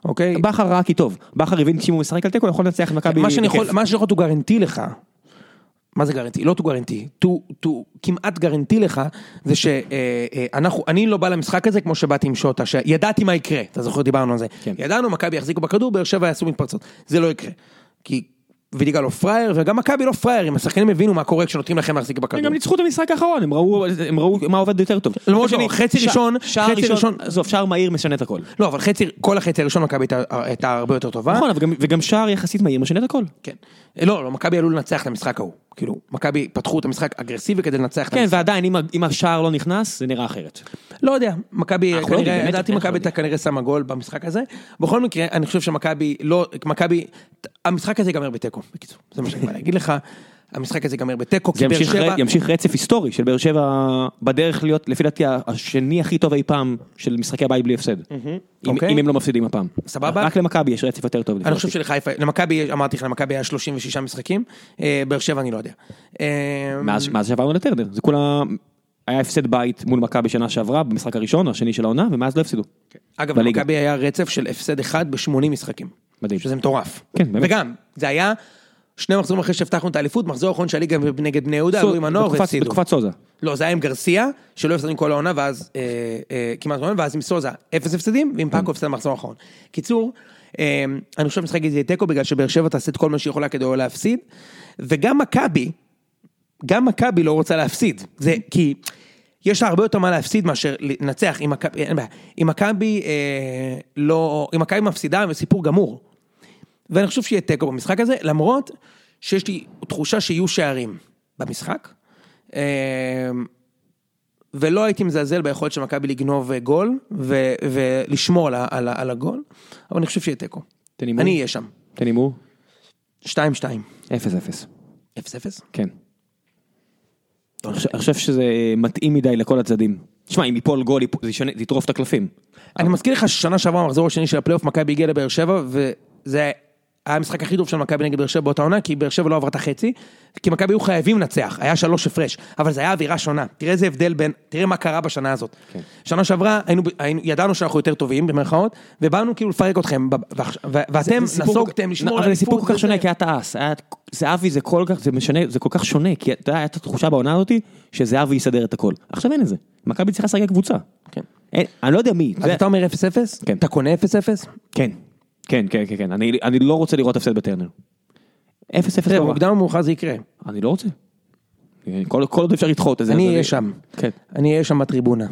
Speaker 2: אוקיי?
Speaker 1: בכר ראה כי טוב, בכר הבין שאם הוא משחק על תיקו, הוא יכול לנצח את מכבי
Speaker 2: מה שאני יכול,
Speaker 1: בכיף.
Speaker 2: מה שאני יכול to guarantee לך, מה זה guarantee? לא to guarantee, to, to, כמעט guarantee לך, זה שאנחנו, אני לא בא למשחק הזה כמו שבאתי עם שוטה, שידעתי מה יקרה, אתה זוכר דיברנו על זה.
Speaker 1: כן.
Speaker 2: ידענו, מכבי יחזיקו בכדור, באר שבע יעשו מתפרצות, זה לא יקרה. כי וליגה לא פראייר, וגם מכבי לא פראיירים, השחקנים הבינו מה קורה כשנותנים לכם להחזיק בכדור.
Speaker 1: הם גם ניצחו את המשחק האחרון, הם ראו, הם ראו מה עובד יותר טוב.
Speaker 2: למרות
Speaker 1: מצד שני,
Speaker 2: שלא, חצי
Speaker 1: שע-
Speaker 2: ראשון,
Speaker 3: שער
Speaker 2: חצי
Speaker 3: ראשון,
Speaker 2: ראשון,
Speaker 3: עזוב, שער מהיר משנה את הכל.
Speaker 2: לא, אבל חצי, כל החצי הראשון מכבי הייתה- הייתה הרבה יותר טובה.
Speaker 1: נכון, אבל גם- וגם שער יחסית מהיר משנה את הכל.
Speaker 2: כן. לא, לא, מכבי עלו לנצח את המשחק ההוא. כאילו, מכבי פתחו את המשחק אגרסיבי כדי לנצח את
Speaker 3: כן,
Speaker 2: המשחק.
Speaker 3: ועדיין, אם ה- אם השער לא נכנס, זה נראה אחרת.
Speaker 2: לא יודע, מכבי,
Speaker 3: אנחנו לא יודעים,
Speaker 2: כנראה,
Speaker 3: באמת,
Speaker 2: לדעתי
Speaker 3: אנחנו לא
Speaker 2: מכבי
Speaker 3: יודעים.
Speaker 2: הייתה כנראה שמה גול במשחק הזה. בכל מקרה, אני חושב שמכבי, לא, מכבי, המשחק הזה ייגמר בתיקו, בקיצור. זה מה שאני בא להגיד לך. המשחק הזה ייגמר בתיקו,
Speaker 1: זה
Speaker 2: כי באר
Speaker 1: ימשיך
Speaker 2: שבע...
Speaker 1: ר- ימשיך רצף היסטורי של באר שבע בדרך להיות, לפי דעתי, ה- השני הכי טוב אי פעם של משחקי הבית בלי הפסד. אם-
Speaker 2: אוקיי.
Speaker 1: אם הם לא מפסידים הפעם.
Speaker 2: סבבה.
Speaker 1: רק למכבי יש רצף יותר טוב. לפי
Speaker 2: אני
Speaker 1: דעתי.
Speaker 2: חושב שלחיפה, למכבי, יש- אמרתי לך, למכבי היה 36 משחקים, אה, באר שבע אני לא יודע. אה,
Speaker 1: מאז מאז שעברנו לטרנר, זה כולה... היה הפסד בית מול מכבי שנה שעברה, במשחק הראשון או השני של העונה, ומאז לא הפסידו.
Speaker 2: אגב,
Speaker 1: בליגה.
Speaker 2: למכבי היה רצף של הפסד אחד ב-80 משחקים.
Speaker 1: מדהים.
Speaker 2: שזה מטורף.
Speaker 1: כן, באמת.
Speaker 2: וגם, זה היה שני מחזורים אחרי שהבטחנו את האליפות, מחזור אחרון של הליגה נגד בני יהודה, עלו לא, עם הנוער
Speaker 1: בתקופת-
Speaker 2: והפסידו.
Speaker 1: בתקופת סוזה.
Speaker 2: לא, זה היה עם גרסיה, שלא הפסדנו כל העונה, ואז אה, אה, כמעט עונה, ואז עם סוזה, אפס הפסדים, ועם פאקו הפסד במחזור האחרון. קיצור, אה, אני חושב שמשחק הזה יהיה תיקו, בגלל שבאר שבע תעשה את כל מה שהיא יכולה כדי לא להפסיד, וגם מכבי, גם מכבי לא רוצה להפסיד, זה כי יש לה הרבה יותר מה להפסיד מאשר לנצח, אם מכבי, אין בעיה, אם מכבי אה, לא, אם מכבי מפסידה, זה סיפור גמור. ואני חושב שיהיה תיקו במשחק הזה, למרות שיש לי תחושה שיהיו שערים במשחק. אה, ולא הייתי מזלזל ביכולת של מכבי לגנוב אה, גול ו- ולשמור על, ה- על, ה- על הגול, אבל אני חושב שיהיה תיקו.
Speaker 1: תן הימור.
Speaker 2: אני אהיה שם.
Speaker 1: תן הימור.
Speaker 2: 2-2. 0-0.
Speaker 1: 0-0. כן. אני חושב- אני חושב שזה אה, מתאים מדי לכל הצדדים. תשמע, אם ייפול גול, ייפ- זה ישנה- זה יטרוף את הקלפים.
Speaker 2: אני מזכיר לך ששנה שעברה במחזור השני של הפלייאוף מכבי הגיעה לבאר שבע וזה היה המשחק הכי טוב של מכבי נגד באר שבע באותה עונה כי באר שבע לא עברה את החצי כי מכבי היו חייבים לנצח היה שלוש הפרש אבל זה היה אווירה שונה תראה איזה הבדל בין תראה מה קרה בשנה הזאת. שנה שעברה היינו, היינו ידענו שאנחנו יותר טובים במרכאות ובאנו כאילו לפרק אתכם ב- ועכש- ו- ואתם נסוגתם לשמור על
Speaker 1: אבל זה סיפור
Speaker 2: האליפות
Speaker 1: כל כך שונה,
Speaker 2: וזה.
Speaker 1: כי היה תעש. היה- זהבי זה כל כך, זה משנה, זה כל כך שונה, כי אתה יודע, הייתה תחושה בעונה הזאתי, שזהבי יסדר את הכל. עכשיו אין את זה. מכבי צריכה לשחק קבוצה.
Speaker 2: כן.
Speaker 1: אין- אני לא יודע מי.
Speaker 2: אז
Speaker 1: זה-
Speaker 2: אתה אומר 0-0?
Speaker 1: כן.
Speaker 2: אתה קונה 0-0?
Speaker 1: כן. כן, כן, כן, כן. אני- אני לא רוצה לראות הפסד בטרנר. 0-0
Speaker 2: תראה,
Speaker 1: לא רע.
Speaker 2: מוקדם או מאוחר זה יקרה.
Speaker 1: אני לא רוצה. כל כל עוד אפשר לדחות את זה.
Speaker 2: אני
Speaker 1: אז
Speaker 2: אהיה שם.
Speaker 1: כן.
Speaker 2: אני אהיה שם בטריבונה.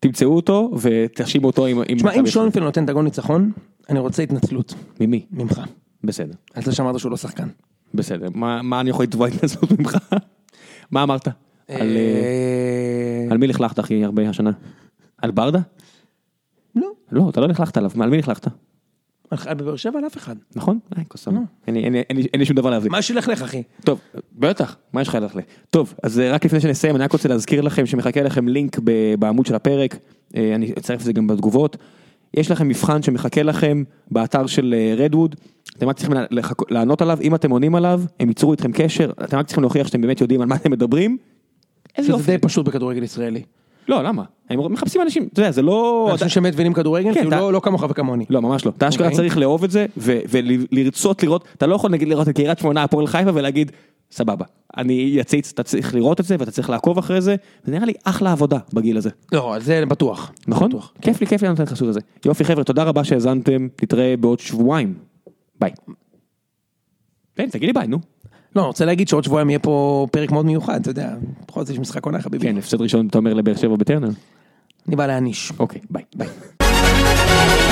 Speaker 1: תמצאו אותו ותאשימו אותו עם... עם-
Speaker 2: תשמע, אם שונפלד נותן את הגול ניצחון, אני רוצה התנצלות
Speaker 1: ממי?
Speaker 2: ממך.
Speaker 1: בסדר.
Speaker 2: על זה שאמרת שהוא לא שחקן.
Speaker 1: בסדר, מה, מה אני יכול לתבוע התנצלות ממך? מה אמרת? על, אה,
Speaker 2: אה,
Speaker 1: על מי לכלכת הכי הרבה השנה? על ברדה?
Speaker 2: לא,
Speaker 1: לא, אתה לא לכלכת עליו, מה- על מי לכלכת?
Speaker 2: על ח- בבאר שבע על אף אחד.
Speaker 1: נכון? אה, כוס סבבה. אין לי- אין לי- אין לי- אין לי שום דבר להביא.
Speaker 2: מה שילך לך אחי?
Speaker 1: טוב, בטח, מה יש לך ללכת? טוב, אז אה, רק לפני שנסיים, אני רק רוצה להזכיר לכם שמחכה לכם לינק ב- בעמוד של הפרק, אה, אני אצרף את זה גם בתגובות. יש לכם מבחן שמחכה לכם באתר של רדווד, אתם רק צריכים לה- לחכו- לענות עליו, אם אתם עונים עליו, הם ייצרו איתכם קשר, אתם רק צריכים להוכיח שאתם באמת יודעים על מה אתם מדברים. איזה
Speaker 2: זה
Speaker 1: יופי.
Speaker 2: די פשוט בכדורגל ישראלי.
Speaker 1: לא, למה? הם מחפשים אנשים, אתה יודע, זה לא...
Speaker 2: אנשים שמת מבינים כדורגל,
Speaker 1: כן,
Speaker 2: כאילו
Speaker 1: אתה-
Speaker 2: לא- לא כמוך וכמוני.
Speaker 1: לא, ממש לא. אתה אשכרה
Speaker 2: אוקיי.
Speaker 1: צריך לאהוב את זה, ו- ולרצות לראות, אתה לא יכול נגיד לראות את קריית שמונה, הפועל חיפה, ולהגיד, סבבה, אני יציץ, אתה צריך לראות את זה, ואתה צריך לעקוב אחרי זה, זה נראה לי אחלה עבודה בגיל הזה,
Speaker 2: לא, על זה בטוח.
Speaker 1: נכון? כיף לי, כיף לי לתת חסות לזה. יופי חבר'ה, תודה רבה שהאזנתם, נתראה בעוד שבועיים. ביי. כן, תגיד לי ביי, נו.
Speaker 2: לא, אני רוצה להגיד שעוד שבועיים יהיה פה פרק מאוד מיוחד, אתה יודע, בכל זאת יש משחק עונה חביבי.
Speaker 1: כן, הפסד ראשון, אתה אומר לבאר שבע בטרנר?
Speaker 2: אני בא להעניש.
Speaker 1: אוקיי, ביי.
Speaker 2: ביי.